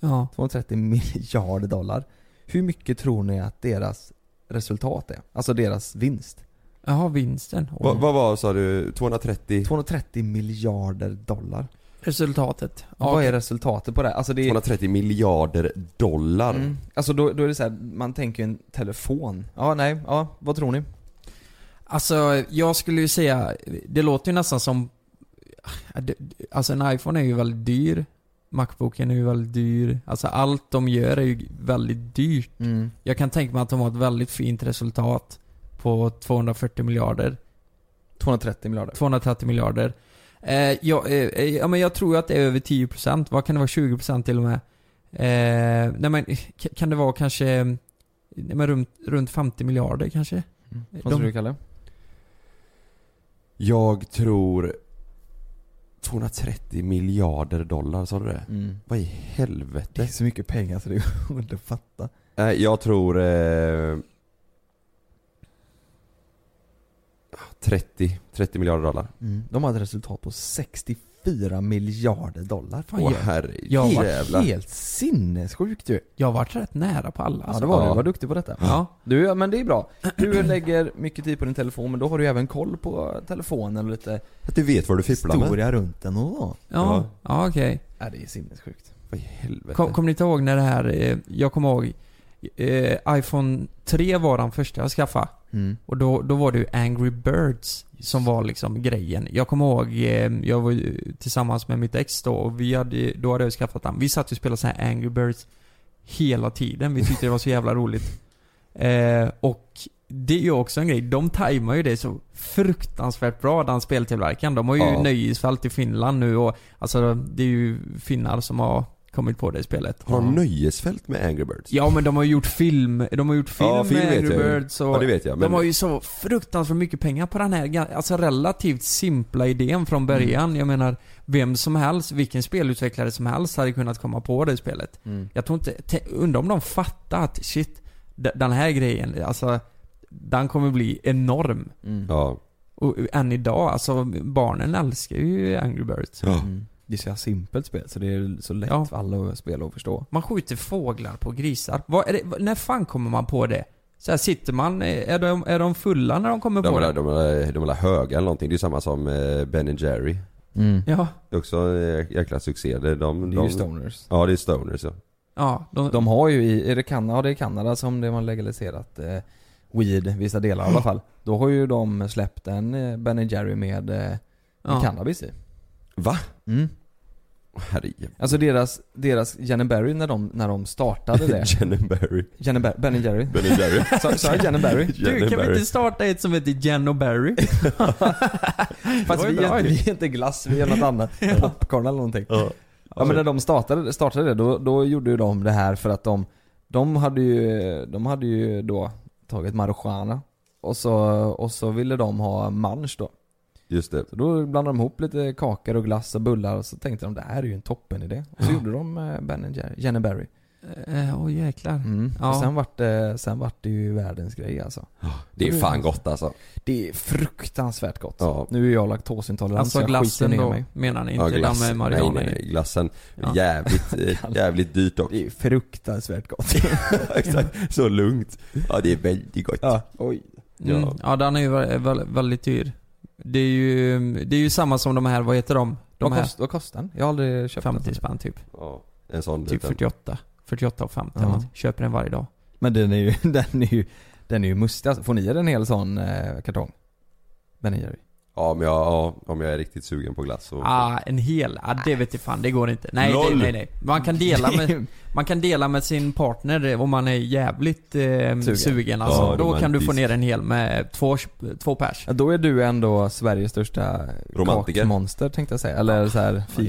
Speaker 5: Ja.
Speaker 4: 230 (laughs) miljarder dollar. Hur mycket tror ni att deras resultat är? Alltså deras vinst?
Speaker 5: Jaha, vinsten. Och
Speaker 3: Vad, vad var sa du? 230?
Speaker 4: 230 miljarder dollar.
Speaker 5: Resultatet.
Speaker 4: Vad är resultatet på det här? Alltså det är,
Speaker 3: 230 miljarder dollar.
Speaker 4: Mm. Alltså då, då är det så här, man tänker ju en telefon. Ja, nej, ja, vad tror ni?
Speaker 5: Alltså, jag skulle ju säga, det låter ju nästan som... Alltså en iPhone är ju väldigt dyr. Macbooken är ju väldigt dyr. Alltså allt de gör är ju väldigt dyrt.
Speaker 4: Mm.
Speaker 5: Jag kan tänka mig att de har ett väldigt fint resultat på 240 miljarder.
Speaker 4: 230 miljarder.
Speaker 5: 230 miljarder. Eh, jag, eh, eh, ja, men jag tror ju att det är över 10%. Vad kan det vara? 20% till och med? Eh, nej men, k- kan det vara kanske... eh, Nej, men runt, runt 50 miljarder kanske?
Speaker 4: Vad
Speaker 5: De-
Speaker 4: tror du Kalle?
Speaker 3: Jag tror 230 miljarder dollar, sa du det?
Speaker 4: Mm.
Speaker 3: Vad i
Speaker 4: Det är
Speaker 3: helvete?
Speaker 4: så mycket pengar så det går (laughs) inte att fatta.
Speaker 3: Nej, jag tror... Eh, 30, 30 miljarder dollar.
Speaker 4: Mm. De har ett resultat på 64 miljarder dollar. Fan,
Speaker 3: Åh
Speaker 4: jä-
Speaker 5: Jag
Speaker 4: helt,
Speaker 5: var-
Speaker 3: herrejävlar.
Speaker 4: helt sinnessjukt ju.
Speaker 5: Jag har varit rätt nära på alla
Speaker 4: Ja
Speaker 5: alltså.
Speaker 4: det var du,
Speaker 3: Ja.
Speaker 4: du var duktig på detta.
Speaker 5: Ja.
Speaker 4: Du, ja, men det är bra. Du lägger mycket tid på din telefon men då har du ju även koll på telefonen och lite
Speaker 3: Att du vet vad du fipplar med.
Speaker 4: historia runt den och så.
Speaker 5: Ja, ja okej.
Speaker 4: Ja det är sinnessjukt.
Speaker 3: Vad i helvete.
Speaker 5: Kom- Kommer ni inte ihåg när det här, eh, jag kommer ihåg, eh, iPhone 3 var den första jag skaffade.
Speaker 4: Mm.
Speaker 5: Och då, då var det ju Angry Birds som var liksom grejen. Jag kommer ihåg, eh, jag var ju tillsammans med mitt ex då och vi hade, då hade jag skaffat den. Vi satt ju och spelade så här Angry Birds hela tiden. Vi tyckte det var så
Speaker 3: (laughs)
Speaker 5: jävla roligt. Eh, och det är ju också en grej, de tajmar ju det så fruktansvärt bra den speltillverkaren. De har ju
Speaker 3: Ja.
Speaker 5: nöjesfält i Finland nu och alltså det är ju finnar som har kommit på det spelet.
Speaker 3: Har de nöjesfält med Angry Birds?
Speaker 5: Ja men de har ju gjort film, de har gjort film,
Speaker 3: Ja, film
Speaker 5: med
Speaker 3: vet
Speaker 5: Angry
Speaker 3: jag ju.
Speaker 5: Birds och
Speaker 3: Ja, det vet jag, men-
Speaker 5: De har ju så fruktansvärt mycket pengar på den här ga- alltså relativt simpla idén
Speaker 3: Mm.
Speaker 5: från början. Jag menar, vem som helst, vilken spelutvecklare som helst hade kunnat komma på det spelet. Jag tror inte, te- undrar om de fattar att shit, d- den här grejen, alltså den kommer bli enorm.
Speaker 3: Ja.
Speaker 5: Och än idag, alltså barnen älskar ju Angry Birds.
Speaker 3: Ja.
Speaker 4: Det är så jävla simpelt spel så det är så lätt
Speaker 5: mm. Ja.
Speaker 4: för alla att spela och förstå.
Speaker 5: Man skjuter fåglar på grisar. Vad är det, vad- när fan kommer man på det? Så här sitter man, eh, är de, är de fulla när de kommer
Speaker 3: De är
Speaker 5: på det?
Speaker 3: de, de, de är höga eller någonting. Det är samma som eh, Ben Jerry.
Speaker 5: Ja,
Speaker 3: Det är Också en jäkla succé. Det är De,
Speaker 4: Det är ju
Speaker 3: de,
Speaker 4: stoners.
Speaker 3: Ja det är stoners ja.
Speaker 5: ja de,
Speaker 4: De har ju i, är det Kanada, ja, det är Kanada som det man legaliserat eh, weed, vissa delar i alla fall. Då har ju de släppt en eh, Ben Jerry med, eh, med
Speaker 5: ja.
Speaker 4: cannabis i.
Speaker 3: Va?
Speaker 4: Mm.
Speaker 3: Herre
Speaker 4: Alltså deras, deras Jen Berry när de, när de
Speaker 3: (laughs)
Speaker 4: startade det.
Speaker 3: Jen and Barry.
Speaker 4: Jen Ber- Ben Jerry.
Speaker 3: Ben Jerry.
Speaker 5: (laughs)
Speaker 4: Sa
Speaker 3: (laughs)
Speaker 4: sa jag Jen Berry?
Speaker 3: Jen
Speaker 5: Du,
Speaker 3: and
Speaker 5: kan vi
Speaker 3: Barry.
Speaker 5: inte starta ett som heter Jen och Barry?
Speaker 4: Fast
Speaker 5: var ju
Speaker 4: vi är,
Speaker 5: bra
Speaker 4: inte,
Speaker 5: ju.
Speaker 4: vi är (laughs) inte glass, vi är
Speaker 3: (laughs)
Speaker 4: något annat. Popcorn eller någonting.
Speaker 3: Ja.
Speaker 4: Ja men när de startade, startade det, då, då gjorde ju de det här för att de, de hade ju, de hade ju då tagit marijuana och så, och så ville de ha mansch då.
Speaker 3: Just det.
Speaker 4: Så då blandade de ihop lite kakor och glass och bullar och så tänkte de det här är ju en toppen idé. Och så gjorde de eh, Ben Jerry, Jenny Berry.
Speaker 5: Eh, Åh jäklar.
Speaker 4: Mm.
Speaker 5: Ja.
Speaker 4: Och sen vart, det, sen vart det ju världens grej alltså.
Speaker 3: Det är fan gott alltså.
Speaker 4: Det är fruktansvärt gott.
Speaker 3: Ja.
Speaker 4: Nu är jag laktosintolerant
Speaker 5: Alltså
Speaker 4: så jag skiter
Speaker 5: glassen
Speaker 4: ner
Speaker 5: då,
Speaker 4: mig.
Speaker 5: menar ni?
Speaker 3: Ja,
Speaker 5: Inte den med
Speaker 3: nej,
Speaker 5: marijuana
Speaker 3: nej, nej, glassen.
Speaker 5: Ja. (laughs)
Speaker 3: Jävligt, eh, jävligt dyrt dock.
Speaker 4: Det
Speaker 3: (laughs)
Speaker 4: är fruktansvärt gott.
Speaker 3: Exakt. Så lugnt. Ja det är väldigt gott.
Speaker 4: ja. Oj.
Speaker 5: Mm. Ja.
Speaker 3: Ja.
Speaker 5: den är ju vä- vä- väldigt dyr. Det är ju, det är ju samma som de här, vad heter de? De
Speaker 4: Vad,
Speaker 5: här
Speaker 4: kost, vad kostar den? Jag har aldrig köpt
Speaker 5: 50
Speaker 4: den.
Speaker 5: spänn typ.
Speaker 3: Ja, En sån
Speaker 5: Typ
Speaker 3: liten.
Speaker 5: 48. 48 och 50
Speaker 4: Ja.
Speaker 5: ja. Köper den varje dag.
Speaker 4: Men den är ju, (laughs) den är ju, den är ju mustig alltså. Får ni er en hel sån eh, kartong? Ben Jerry.
Speaker 3: Ja men jag, ja, om jag är riktigt sugen på glass så.
Speaker 5: Ah, en hel? Ah, det vet jag fan, det går inte. Nej, det,
Speaker 3: Noll.
Speaker 5: nej, nej. Man
Speaker 4: (laughs)
Speaker 5: kan, dela med, man kan dela med sin partner eh, om man är jävligt eh, sugen. alltså.
Speaker 3: Ja,
Speaker 5: Då kan du få
Speaker 3: romantiskt.
Speaker 5: ner en hel med två, två pers.
Speaker 4: Ja, då är du ändå Sveriges största
Speaker 3: Romantiker.
Speaker 4: kakmonster tänkte jag säga. Eller så här
Speaker 5: just det.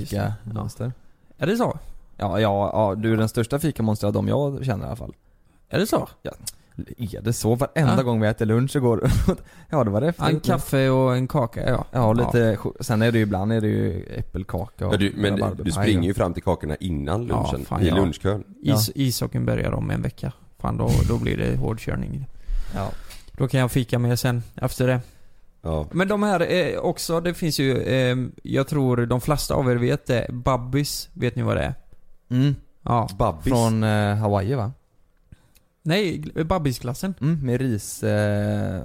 Speaker 4: fikamonster.
Speaker 5: Är det så?
Speaker 4: Ja, ja, ja, du är den största fikamonster av dem jag känner i alla fall.
Speaker 5: Är det så?
Speaker 4: Är det så? Varenda
Speaker 5: Ja.
Speaker 4: gång vi äter lunch så går Ja det (laughs) var det
Speaker 5: En kaffe och en kaka, ja.
Speaker 4: Ja och lite, cho- sen är det ju ibland är det ju äppelkaka och
Speaker 3: Ja, du, men
Speaker 4: rabarberpaj
Speaker 3: du
Speaker 4: och-
Speaker 3: springer ju fram till kakorna innan
Speaker 5: Ja,
Speaker 3: lunchen.
Speaker 5: fan,
Speaker 3: I
Speaker 5: ja.
Speaker 3: lunchkön.
Speaker 4: Ja.
Speaker 5: Is, ishockeyn börjar om en vecka. Fan, då, då blir det hårdkörning.
Speaker 4: Ja.
Speaker 5: Då kan jag fika med sen, efter det.
Speaker 3: Ja.
Speaker 5: Men de här eh, också, det finns ju, eh, jag tror de flesta av er vet det, Babbis, vet ni vad det är?
Speaker 4: Mm,
Speaker 5: Ja.
Speaker 3: Babbis.
Speaker 4: från eh, Hawaii va?
Speaker 5: Nej, gl- Babbisklassen.
Speaker 4: Mm, med ris, eh,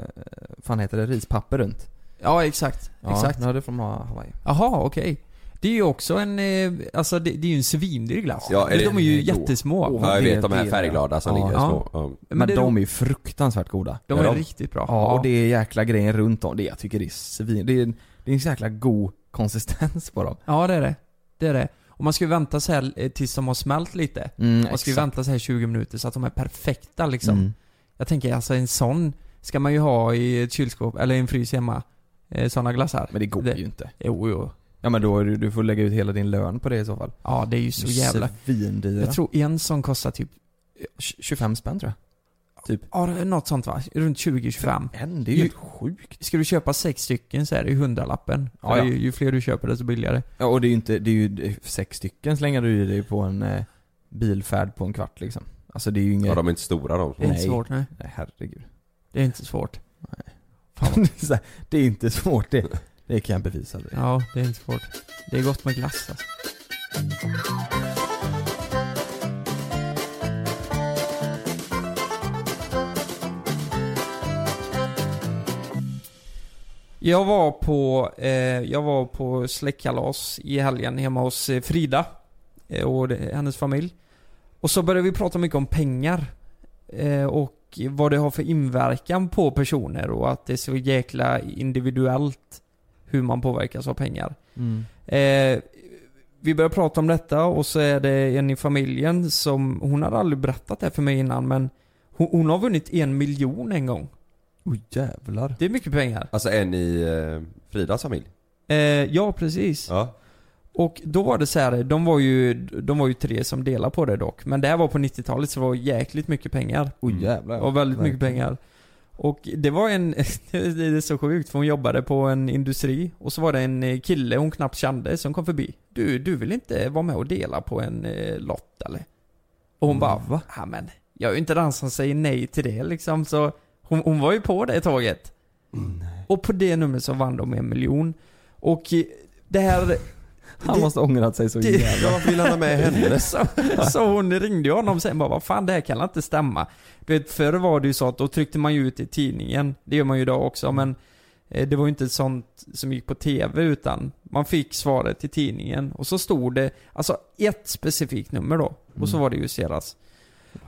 Speaker 4: fan heter det, rispapper runt.
Speaker 5: Ja, exakt.
Speaker 4: Ja,
Speaker 5: exakt.
Speaker 4: Ja, det är från Ha- Hawaii.
Speaker 5: Jaha, okej. Det är ju också en, eh, alltså det, det är ju en svindyr glass.
Speaker 3: Ja, är det-
Speaker 5: de är ju
Speaker 3: det är god.
Speaker 5: jättesmå.
Speaker 4: eh, Åh,
Speaker 3: Ja, jag vet de
Speaker 4: Det är
Speaker 3: här
Speaker 4: det.
Speaker 3: färgglada som
Speaker 4: Ja.
Speaker 3: ligger
Speaker 5: Ja.
Speaker 3: små. Ja.
Speaker 4: Men,
Speaker 5: det
Speaker 4: de är ju fruktansvärt goda.
Speaker 5: de
Speaker 3: Ja,
Speaker 5: är
Speaker 3: de-
Speaker 5: riktigt bra.
Speaker 4: Ja, och det är jäkla grejen runt om. Det jag tycker det är svin, det är, det är en så jäkla god konsistens på dem.
Speaker 5: ja, det är det. Det är det. Och man ska ju vänta så här eh, tills de har smält lite.
Speaker 4: Mm,
Speaker 5: Man ska ju
Speaker 4: exakt.
Speaker 5: vänta så här 20 minuter så att de är perfekta liksom.
Speaker 4: Mm.
Speaker 5: Jag tänker alltså en sån ska man ju ha i ett kylskåp, eller i en frys hemma. Eh, Såna glassar.
Speaker 4: Men det går
Speaker 5: Det-
Speaker 4: ju inte.
Speaker 5: Jo, jo.
Speaker 4: Ja men då är du, du får lägga ut hela din lön på det i så fall.
Speaker 5: Ja, det är ju så jävla...
Speaker 4: Svindyra.
Speaker 5: Jag tror en som kostar typ,
Speaker 4: 25 spänn tror
Speaker 5: ja, något sånt va? Runt 20-25.
Speaker 4: jag. En? Det är Mm. ju
Speaker 5: Ju-
Speaker 4: helt sjukt.
Speaker 5: Ska du köpa sex stycken så är det ju hundralappen.
Speaker 4: Ja,
Speaker 5: För
Speaker 4: ja.
Speaker 5: Ju, ju fler du köper desto billigare.
Speaker 4: Ja och det är ju inte, det är ju det är sex stycken slänger du i dig på en eh, bilfärd på en kvart liksom. Alltså det är ju inget...
Speaker 3: ja de är inte stora de.
Speaker 5: Det är
Speaker 4: Nej.
Speaker 5: inte svårt nej.
Speaker 4: Nej herregud.
Speaker 5: Det är inte svårt.
Speaker 4: Så här, (laughs) det är inte svårt det. Det kan jag bevisa. Det.
Speaker 5: Ja, det är inte svårt. Det är gott med glass alltså. Jag var på, eh, jag var på släktkalas i helgen hemma hos eh, Frida eh, och det, hennes familj. Och så började vi prata mycket om pengar. Eh, och vad det har för inverkan på personer och att det är så jäkla individuellt hur man påverkas av pengar.
Speaker 4: Mm.
Speaker 5: Eh, vi började prata om detta och så är det en i familjen som, hon hade aldrig berättat det här för mig innan men hon, hon har vunnit en miljon en gång.
Speaker 4: Oj jävlar.
Speaker 5: Det är mycket pengar.
Speaker 3: Alltså en i eh, Fridas familj?
Speaker 5: Eh, ja precis.
Speaker 3: Ja.
Speaker 5: Och då var det så här, de var ju, de var ju tre som delade på det dock. Men det här var på 90-talet så det var jäkligt mycket pengar.
Speaker 4: Oj jävlar.
Speaker 5: Och väldigt mycket pengar. Och det var en, (laughs) det är så sjukt för hon jobbade på en industri och så var det en eh, kille hon knappt kände som kom förbi. Du, du vill inte vara med och dela på en eh, lott eller? Och hon bara, va? Ja men, jag är ju inte den som säger nej till det liksom så hon, hon var ju på det tåget. Och på det numret så vann de en miljon. Och eh, det här
Speaker 4: Han måste ha ångrat sig så
Speaker 5: det-
Speaker 4: jävla (laughs)
Speaker 3: Jag vill han ha med henne?
Speaker 5: så, så hon ringde ju honom sen bara, vad fan det här kan inte stämma. Du vet förr var det ju så att då tryckte man ju ut i tidningen, det gör man ju idag också men eh, det var ju inte sånt som gick på tv utan man fick svaret i tidningen och så stod det, alltså ett specifikt nummer då och så var det just deras.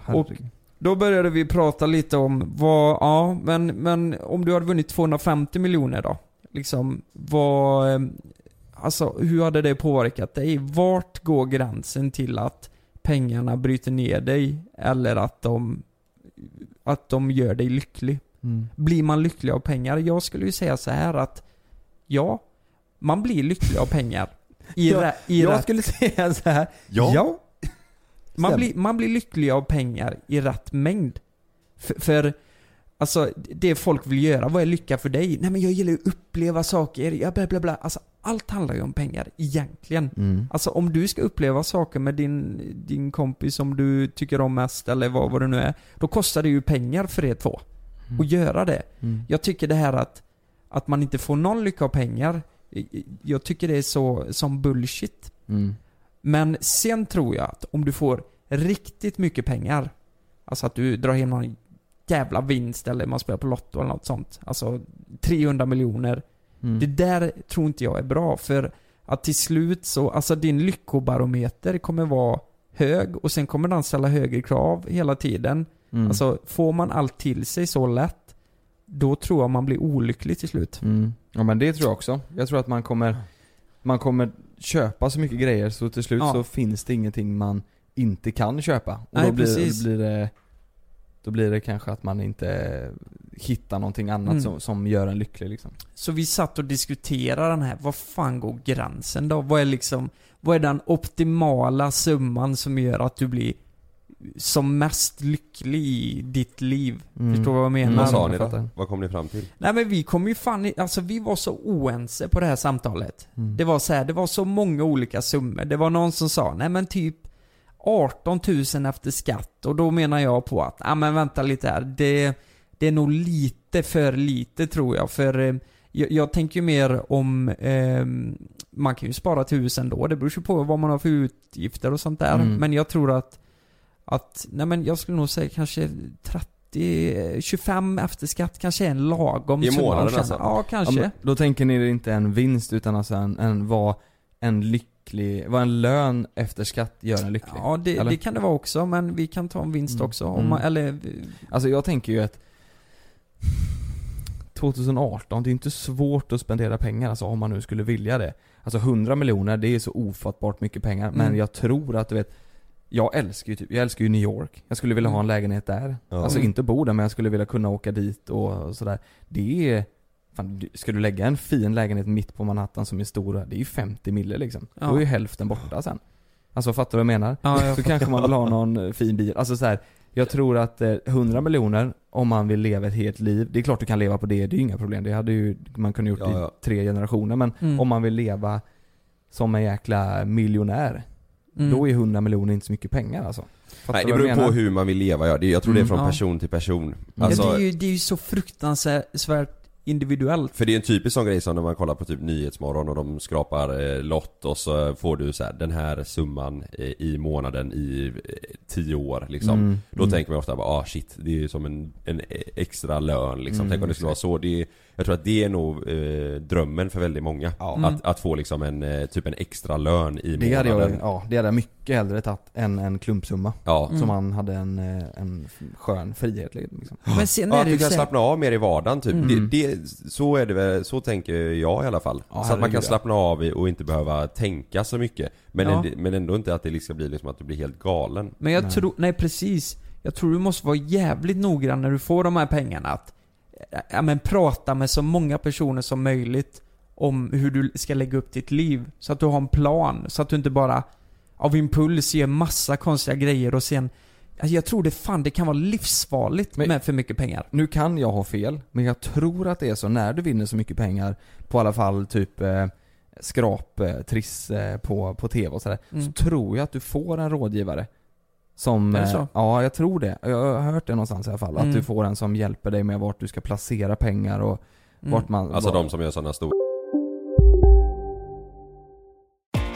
Speaker 5: Och då började vi prata lite om vad, ja men, men om du hade vunnit 250 miljoner då? Liksom vad, eh, alltså hur hade det påverkat dig? Vart går gränsen till att pengarna bryter ner dig eller att de, att de gör dig lycklig?
Speaker 4: Mm.
Speaker 5: Blir man lycklig av pengar? Jag skulle ju säga så här att ja, man blir lycklig av pengar.
Speaker 4: (laughs)
Speaker 5: I,
Speaker 4: Ja,
Speaker 5: rä, i
Speaker 4: Jag
Speaker 5: rätt, (laughs)
Speaker 4: skulle säga så här.
Speaker 3: Ja.
Speaker 5: man,
Speaker 4: stämmer.
Speaker 5: blir, man blir lycklig av pengar i rätt mängd. För, för alltså det folk vill göra, vad är lycka för dig? Nej men jag gillar ju att uppleva saker, ja bla bla bla. Alltså allt handlar ju om pengar egentligen.
Speaker 4: Mm.
Speaker 5: Alltså om du ska uppleva saker med din, din kompis som du tycker om mest eller vad, vad det nu är. Då kostar det ju pengar för er två. Att göra det.
Speaker 4: Mm.
Speaker 5: Jag tycker det här att, att man inte får någon lycka av pengar. eh, Jag tycker det är så, som bullshit.
Speaker 4: Mm.
Speaker 5: Men sen tror jag att om du får riktigt mycket pengar. Alltså att du drar hem någon jävla vinst eller man spelar på Lotto eller något sånt. Alltså 300 miljoner.
Speaker 4: Mm.
Speaker 5: Det där tror inte jag är bra för att till slut så, alltså din lyckobarometer kommer vara hög och sen kommer den ställa högre krav hela tiden.
Speaker 4: Mm.
Speaker 5: Alltså får man allt till sig så lätt, då tror jag man blir olycklig till slut.
Speaker 4: Mm. Ja men det tror jag också. Jag tror att man kommer, man kommer köpa så mycket grejer så till slut
Speaker 5: Ja.
Speaker 4: så finns det ingenting man inte kan köpa. Och
Speaker 5: Nej,
Speaker 4: då, blir,
Speaker 5: precis.
Speaker 4: då blir det då blir det kanske att man inte hittar någonting annat
Speaker 5: Mm.
Speaker 4: som, som gör en lycklig liksom.
Speaker 5: Så vi satt och diskuterade den här, vad fan går gränsen då? Vad är liksom, vad är den optimala summan som gör att du blir som mest lycklig i ditt liv?
Speaker 4: Mm.
Speaker 5: Förstår du vad jag menar?
Speaker 4: Mm.
Speaker 3: Vad sa
Speaker 4: jag
Speaker 3: ni
Speaker 4: fattar.
Speaker 3: då? Vad kom ni fram till?
Speaker 5: Nej men vi kom ju fan i, alltså vi var så oense på det här samtalet.
Speaker 4: Mm.
Speaker 5: Det var så här, det var så många olika summor. Det var någon som sa, nej men typ 18 000 efter skatt och då menar jag på att, ja men vänta lite här, det, det är nog lite för lite tror jag för eh, jag, jag tänker ju mer om, eh, man kan ju spara tusen då, det beror ju på vad man har för utgifter och sånt där.
Speaker 4: Mm.
Speaker 5: Men jag tror att, att, nej men jag skulle nog säga kanske 30, eh, 25 efter skatt kanske är en lagom
Speaker 3: I
Speaker 5: summa att
Speaker 3: månaden
Speaker 5: tjäna.
Speaker 3: alltså?
Speaker 5: Ja, kanske.
Speaker 4: Ja, men då tänker ni er inte en vinst utan alltså en, en vad en lycklig, vad en lön efter skatt gör en lycklig.
Speaker 5: Ja, det,
Speaker 4: Eller?
Speaker 5: det kan det vara också, men vi kan ta en vinst
Speaker 4: Mm.
Speaker 5: också. Om
Speaker 4: Mm.
Speaker 5: man, eller, eh,
Speaker 4: Alltså jag tänker ju att 2018, det är inte svårt att spendera pengar alltså om man nu skulle vilja det. Alltså 100 miljoner, det är så ofattbart mycket pengar. Men
Speaker 5: Mm.
Speaker 4: jag tror att du vet, jag älskar ju typ, jag älskar ju New York. Jag skulle vilja ha en lägenhet där.
Speaker 3: Ja.
Speaker 4: Alltså
Speaker 5: Mm.
Speaker 4: inte bo där men jag skulle vilja kunna åka dit och sådär. Det är, fan du- ska du lägga en fin lägenhet mitt på Manhattan som är stor, det är ju 50 mille liksom.
Speaker 5: Ja.
Speaker 4: Då är ju hälften borta sen. Alltså fattar du vad jag menar?
Speaker 5: ja,
Speaker 4: (laughs)
Speaker 5: jag
Speaker 4: Så kanske man vill ha någon eh, fin bil. Alltså så här, jag tror att eh, 100 miljoner om man vill leva ett helt liv. Det är klart du kan leva på det, det är ju inga problem. Det hade ju man kunnat gjort
Speaker 3: Ja, ja.
Speaker 4: i tre generationer. Men
Speaker 5: Mm.
Speaker 4: om man vill leva som en jäkla miljonär.
Speaker 5: mm.
Speaker 4: Då är 100 miljoner inte så mycket pengar alltså. Fattar
Speaker 3: Nej,
Speaker 4: du
Speaker 3: det
Speaker 4: vad jag
Speaker 3: beror på
Speaker 4: menar?
Speaker 3: hur man vill leva ja. det, Jag tror det är
Speaker 4: Mm,
Speaker 3: från
Speaker 5: ja.
Speaker 3: person till person.
Speaker 4: alltså-
Speaker 5: ja, det, är ju, det är ju så fruktansvärt individuellt.
Speaker 3: För det är en typisk sån grej som när man kollar på typ Nyhetsmorgon och de skrapar eh, lott och så får du så här, den här summan eh, i månaden i eh, tio år liksom.
Speaker 6: Mm,
Speaker 3: Då
Speaker 6: mm.
Speaker 3: tänker man ofta bara ah shit, det är ju som en, en e, extra lön liksom.
Speaker 6: Mm,
Speaker 3: Tänk om det skulle vara så. Det är, jag tror att det är nog eh, drömmen för väldigt många.
Speaker 5: Mm.
Speaker 3: Att, att få liksom en, eh, typ en extra lön i
Speaker 4: Det hade jag,
Speaker 3: månaden.
Speaker 4: ja, det hade jag mycket hellre tagit än en klumpsumma.
Speaker 3: Ja.
Speaker 5: Mm.
Speaker 4: Så man hade en, eh, en skön frihet liksom.
Speaker 5: Men sen
Speaker 3: Ja,
Speaker 5: är
Speaker 3: att
Speaker 5: det ju
Speaker 3: du kan
Speaker 5: så här-
Speaker 3: slappna av mer i vardagen typ.
Speaker 5: Mm.
Speaker 3: Det, det, så är det väl, så tänker jag i alla fall. så att man
Speaker 4: herregud,
Speaker 3: kan
Speaker 4: ja.
Speaker 3: slappna av i- och inte behöva tänka så mycket. Men,
Speaker 5: Ja.
Speaker 3: ändå, men ändå inte att det liksom blir liksom att du blir helt galen.
Speaker 5: Men jag
Speaker 4: Nej.
Speaker 5: tror, nej precis. Jag tror du måste vara jävligt noggrann när du får de här pengarna att eh, ja, men prata med så många personer som möjligt om hur du ska lägga upp ditt liv. Så att du har en plan. Så att du inte bara av impuls gör massa konstiga grejer och sen alltså jag tror det fan det kan vara livsfarligt
Speaker 4: Men-
Speaker 5: med för mycket pengar.
Speaker 4: Nu kan jag ha fel, men jag tror att det är så när du vinner så mycket pengar på alla fall typ eh, skrap, eh, triss eh, på, på tv och sådär.
Speaker 5: Mm.
Speaker 4: Så tror jag att du får en rådgivare. Som,
Speaker 5: Är det
Speaker 4: eh,
Speaker 5: så?
Speaker 4: Ja, jag tror det. Jag har hört det någonstans i alla fall. Att
Speaker 5: Mm.
Speaker 4: du får en som hjälper dig med vart du ska placera pengar och
Speaker 5: Mm.
Speaker 4: vart man...
Speaker 3: Alltså
Speaker 4: var-
Speaker 3: de som gör sådana stora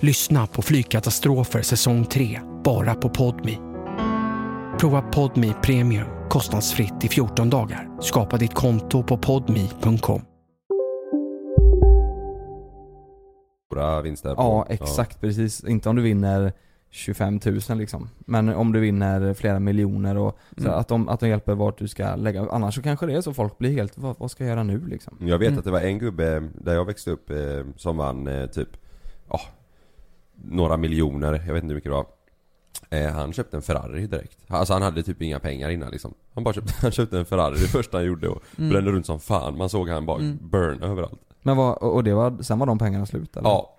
Speaker 1: Lyssna på Flygkatastrofer säsong 3, bara på Podmi. Prova Podmi Premium kostnadsfritt i 14 dagar. Skapa ditt konto på podmi.com.
Speaker 3: vinster. på-
Speaker 4: Ja, exakt precis. Inte om du vinner 25 000 liksom. Men om du vinner flera miljoner och så
Speaker 5: Mm.
Speaker 4: att, de, att de hjälper vart du ska lägga. Annars så kanske det är så folk blir helt, vad, vad ska jag göra nu liksom?
Speaker 3: Jag vet
Speaker 5: Mm.
Speaker 3: att det var en gubbe där jag växte upp eh, som vann eh, typ, ja, några miljoner, jag vet inte hur mycket det var. Eh, han köpte en Ferrari direkt. Alltså han hade typ inga pengar innan liksom. Han bara köpte, (laughs) han köpte en Ferrari det första han gjorde och
Speaker 4: Mm.
Speaker 3: brände runt som fan. Man såg han bara
Speaker 5: Mm.
Speaker 3: burn överallt.
Speaker 4: Men vad, och och det var, sen var de pengarna slut eller?
Speaker 3: Ja,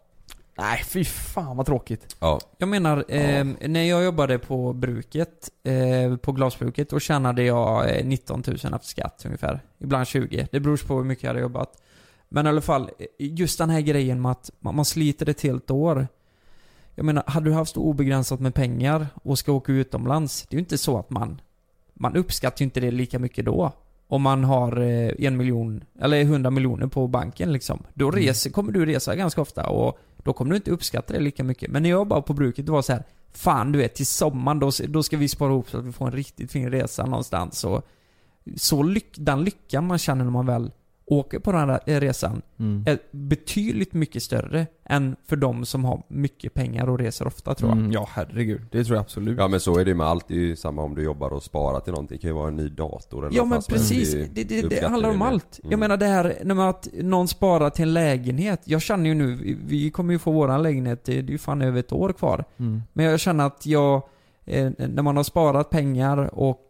Speaker 4: Nej fy fan vad tråkigt.
Speaker 3: ja.
Speaker 5: Jag menar, eh, när jag jobbade på bruket, eh, på glasbruket, då tjänade jag eh, 19 000 efter skatt ungefär. Ibland 20. Det beror på hur mycket jag hade jobbat. Men i alla fall, eh, just den här grejen med att man, man sliter ett helt år. Jag menar, hade du haft obegränsat med pengar och ska åka utomlands, det är ju inte så att man... Man uppskattar ju inte det lika mycket då. Om man har eh, en miljon, eller 100 miljoner på banken liksom.
Speaker 3: Mm.
Speaker 5: Då reser, kommer du resa ganska ofta och då kommer du inte uppskatta det lika mycket. Men när jag var på bruket, det var så här. Fan du vet, till sommaren då, då ska vi spara ihop så att vi får en riktigt fin resa någonstans. Och så lyck, den lyckan man känner när man väl åker på den här eh, resan är betydligt mycket större än för de som har mycket pengar och reser ofta tror jag.
Speaker 4: Mm, ja herregud, det tror jag absolut.
Speaker 3: Ja men så är det ju med allt, det är ju samma om du jobbar och sparar till någonting. Det kan ju vara en ny dator eller
Speaker 5: Ja
Speaker 3: vad
Speaker 5: men
Speaker 3: fan som helst.
Speaker 5: precis,
Speaker 3: är ju-
Speaker 5: det, det, det
Speaker 3: uppskattar
Speaker 5: handlar om
Speaker 3: mer.
Speaker 5: allt. Jag
Speaker 3: Mm.
Speaker 5: menar det här när man, att någon sparar till en lägenhet. Jag känner ju nu, vi- vi kommer ju få våran lägenhet, det det är ju fan över ett år kvar.
Speaker 4: Mm.
Speaker 5: Men jag känner att jag, eh, när man har sparat pengar och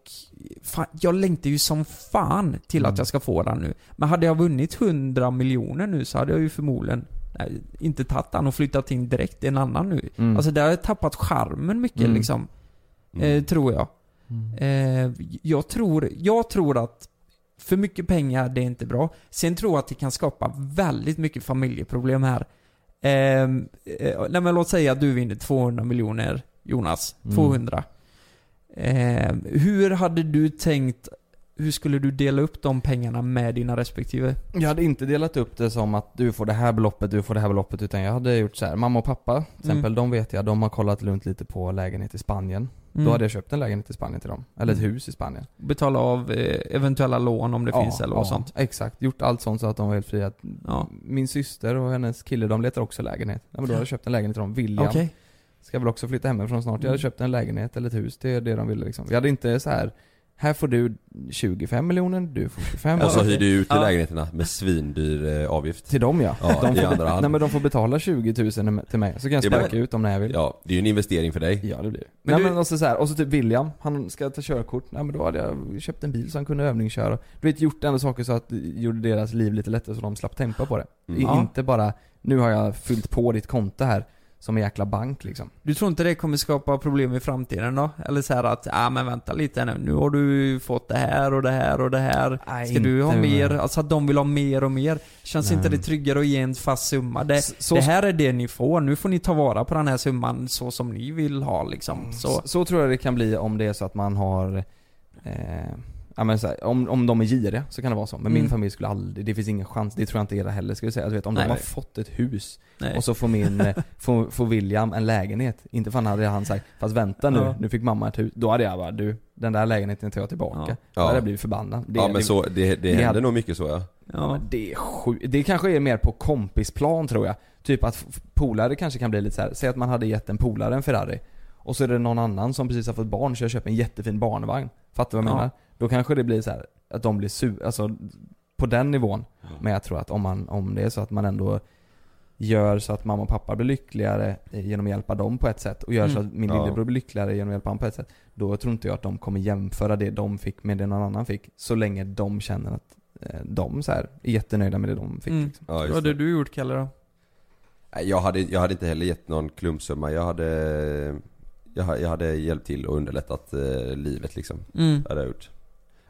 Speaker 5: fan, jag längtar ju som fan till
Speaker 4: Mm.
Speaker 5: att jag ska få den nu. Men hade jag vunnit 100 miljoner nu så hade jag ju förmodligen nej, inte tagit den och flyttat in direkt till en annan nu.
Speaker 4: Mm.
Speaker 5: Alltså det har jag tappat charmen mycket
Speaker 4: Mm.
Speaker 5: liksom, eh,
Speaker 3: Mm.
Speaker 5: tror jag. Eh, jag, tror, jag tror att för mycket pengar, det är inte bra. Sen tror jag att det kan skapa väldigt mycket familjeproblem här. Ehm, eh, nej men låt säga att du vinner 200 miljoner Jonas.
Speaker 4: Mm.
Speaker 5: 200. Ehm, hur hade du tänkt, hur skulle du dela upp de pengarna med dina respektive?
Speaker 4: Jag hade inte delat upp det som att du får det här beloppet, du får det här beloppet. Utan jag hade gjort så här. mamma och pappa till exempel,
Speaker 5: Mm.
Speaker 4: de vet jag, de har kollat runt lite på lägenhet i Spanien.
Speaker 5: Mm.
Speaker 4: Då hade jag köpt en lägenhet i Spanien till dem. Eller ett
Speaker 5: Mm.
Speaker 4: hus i Spanien.
Speaker 5: Betala av eh, eventuella lån om det
Speaker 4: Ja,
Speaker 5: finns eller
Speaker 4: ja,
Speaker 5: vad sånt.
Speaker 4: Exakt, gjort allt sånt så att de var helt fria. Min syster och hennes kille de letar också lägenhet. Ja, men då har jag köpt en lägenhet till dem. William
Speaker 5: Okej.
Speaker 4: ska väl också flytta hemifrån snart. Jag
Speaker 5: Mm.
Speaker 4: hade köpt en lägenhet eller ett hus, det är det de ville liksom. Jag hade inte så här. här får du 25 miljoner, du får 25
Speaker 3: Och så
Speaker 4: miljoner."
Speaker 3: Alltså, hyr du ut
Speaker 4: Ja.
Speaker 3: lägenheterna med svindyr eh, avgift.
Speaker 4: Till dem ja.
Speaker 3: Ja,
Speaker 4: de,
Speaker 3: i
Speaker 4: får
Speaker 3: andra hand.
Speaker 4: nej, men de får betala 20 000 till mig, så kan jag
Speaker 3: Det är bara-
Speaker 4: sparka ut dem när jag vill.
Speaker 3: Ja, det är ju en investering för dig.
Speaker 4: Ja, det blir
Speaker 3: Men
Speaker 4: Men nej,
Speaker 3: du-
Speaker 4: men också så här, och så typ William, han ska ta körkort. Nej men då hade jag köpt en bil så han kunde övningsköra. Du vet, gjort ändå saker så att det gjorde deras liv lite lättare så de slapp tempa på det.
Speaker 5: Mm.
Speaker 4: I,
Speaker 5: Ja.
Speaker 4: Inte bara, nu har jag fyllt på ditt konto här som en jäkla bank liksom.
Speaker 5: Du tror inte det kommer skapa problem i framtiden då? Eller så här att, ja ah, men vänta lite nu, nu har du fått det här och det här och det här.
Speaker 4: Nej,
Speaker 5: Ska du ha
Speaker 4: inte
Speaker 5: mer?
Speaker 4: med.
Speaker 5: Alltså att de vill ha mer och mer. Känns
Speaker 4: Nej.
Speaker 5: inte det tryggare att ge en fast summa? Det,
Speaker 4: så-
Speaker 5: det här är det ni får, nu får ni ta vara på den här summan så som ni vill ha liksom. Så,
Speaker 4: Mm, Så, så tror jag det kan bli om det är så att man har eh, Ja, men så här, om, om de är giriga så kan det vara så. Men min
Speaker 5: Mm.
Speaker 4: familj skulle aldrig, det finns ingen chans. Det tror jag inte era heller skulle säga. Alltså, vet, om
Speaker 5: Nej.
Speaker 4: de har fått ett hus
Speaker 5: Nej.
Speaker 4: och så får, min,
Speaker 5: (laughs)
Speaker 4: eh, får, får William en lägenhet. Inte fan hade han sagt, fast vänta nu,
Speaker 3: Ja.
Speaker 4: nu fick mamma ett hus. Då hade jag bara, du den där lägenheten tar jag tillbaka. Då hade jag blivit förbannad.
Speaker 3: ja men så, det, det händer
Speaker 4: hade-
Speaker 3: nog mycket så ja.
Speaker 4: Ja. Men det är sjukt. Det kanske är mer på kompisplan tror jag. Typ att f- polare kanske kan bli lite så här. säg att man hade gett en polare en Ferrari. Och så är det någon annan som precis har fått barn så jag köper en jättefin barnvagn. Fattar du vad jag
Speaker 5: Ja.
Speaker 4: menar? Då kanske det blir så här att de blir sur, alltså på den nivån. Men jag tror att om, man, om det är så att man ändå gör så att mamma och pappa blir lyckligare eh, genom att hjälpa dem på ett sätt och gör så
Speaker 5: Mm.
Speaker 4: att min
Speaker 5: Ja.
Speaker 4: lillebror blir lyckligare genom att hjälpa honom på ett sätt. Då tror inte jag att de kommer jämföra det de fick med det någon annan fick. Så länge de känner att eh, de så här är jättenöjda med det de fick.
Speaker 5: Mm.
Speaker 4: Liksom.
Speaker 3: Ja,
Speaker 5: vad
Speaker 3: just
Speaker 5: hade du gjort Kalle då?
Speaker 3: Nej, Jag hade, jag hade inte heller gett någon klumpsumma. Jag hade, jag, ha- jag hade hjälpt till och underlättat eh, livet liksom.
Speaker 5: Mm.
Speaker 3: Det hade jag gjort.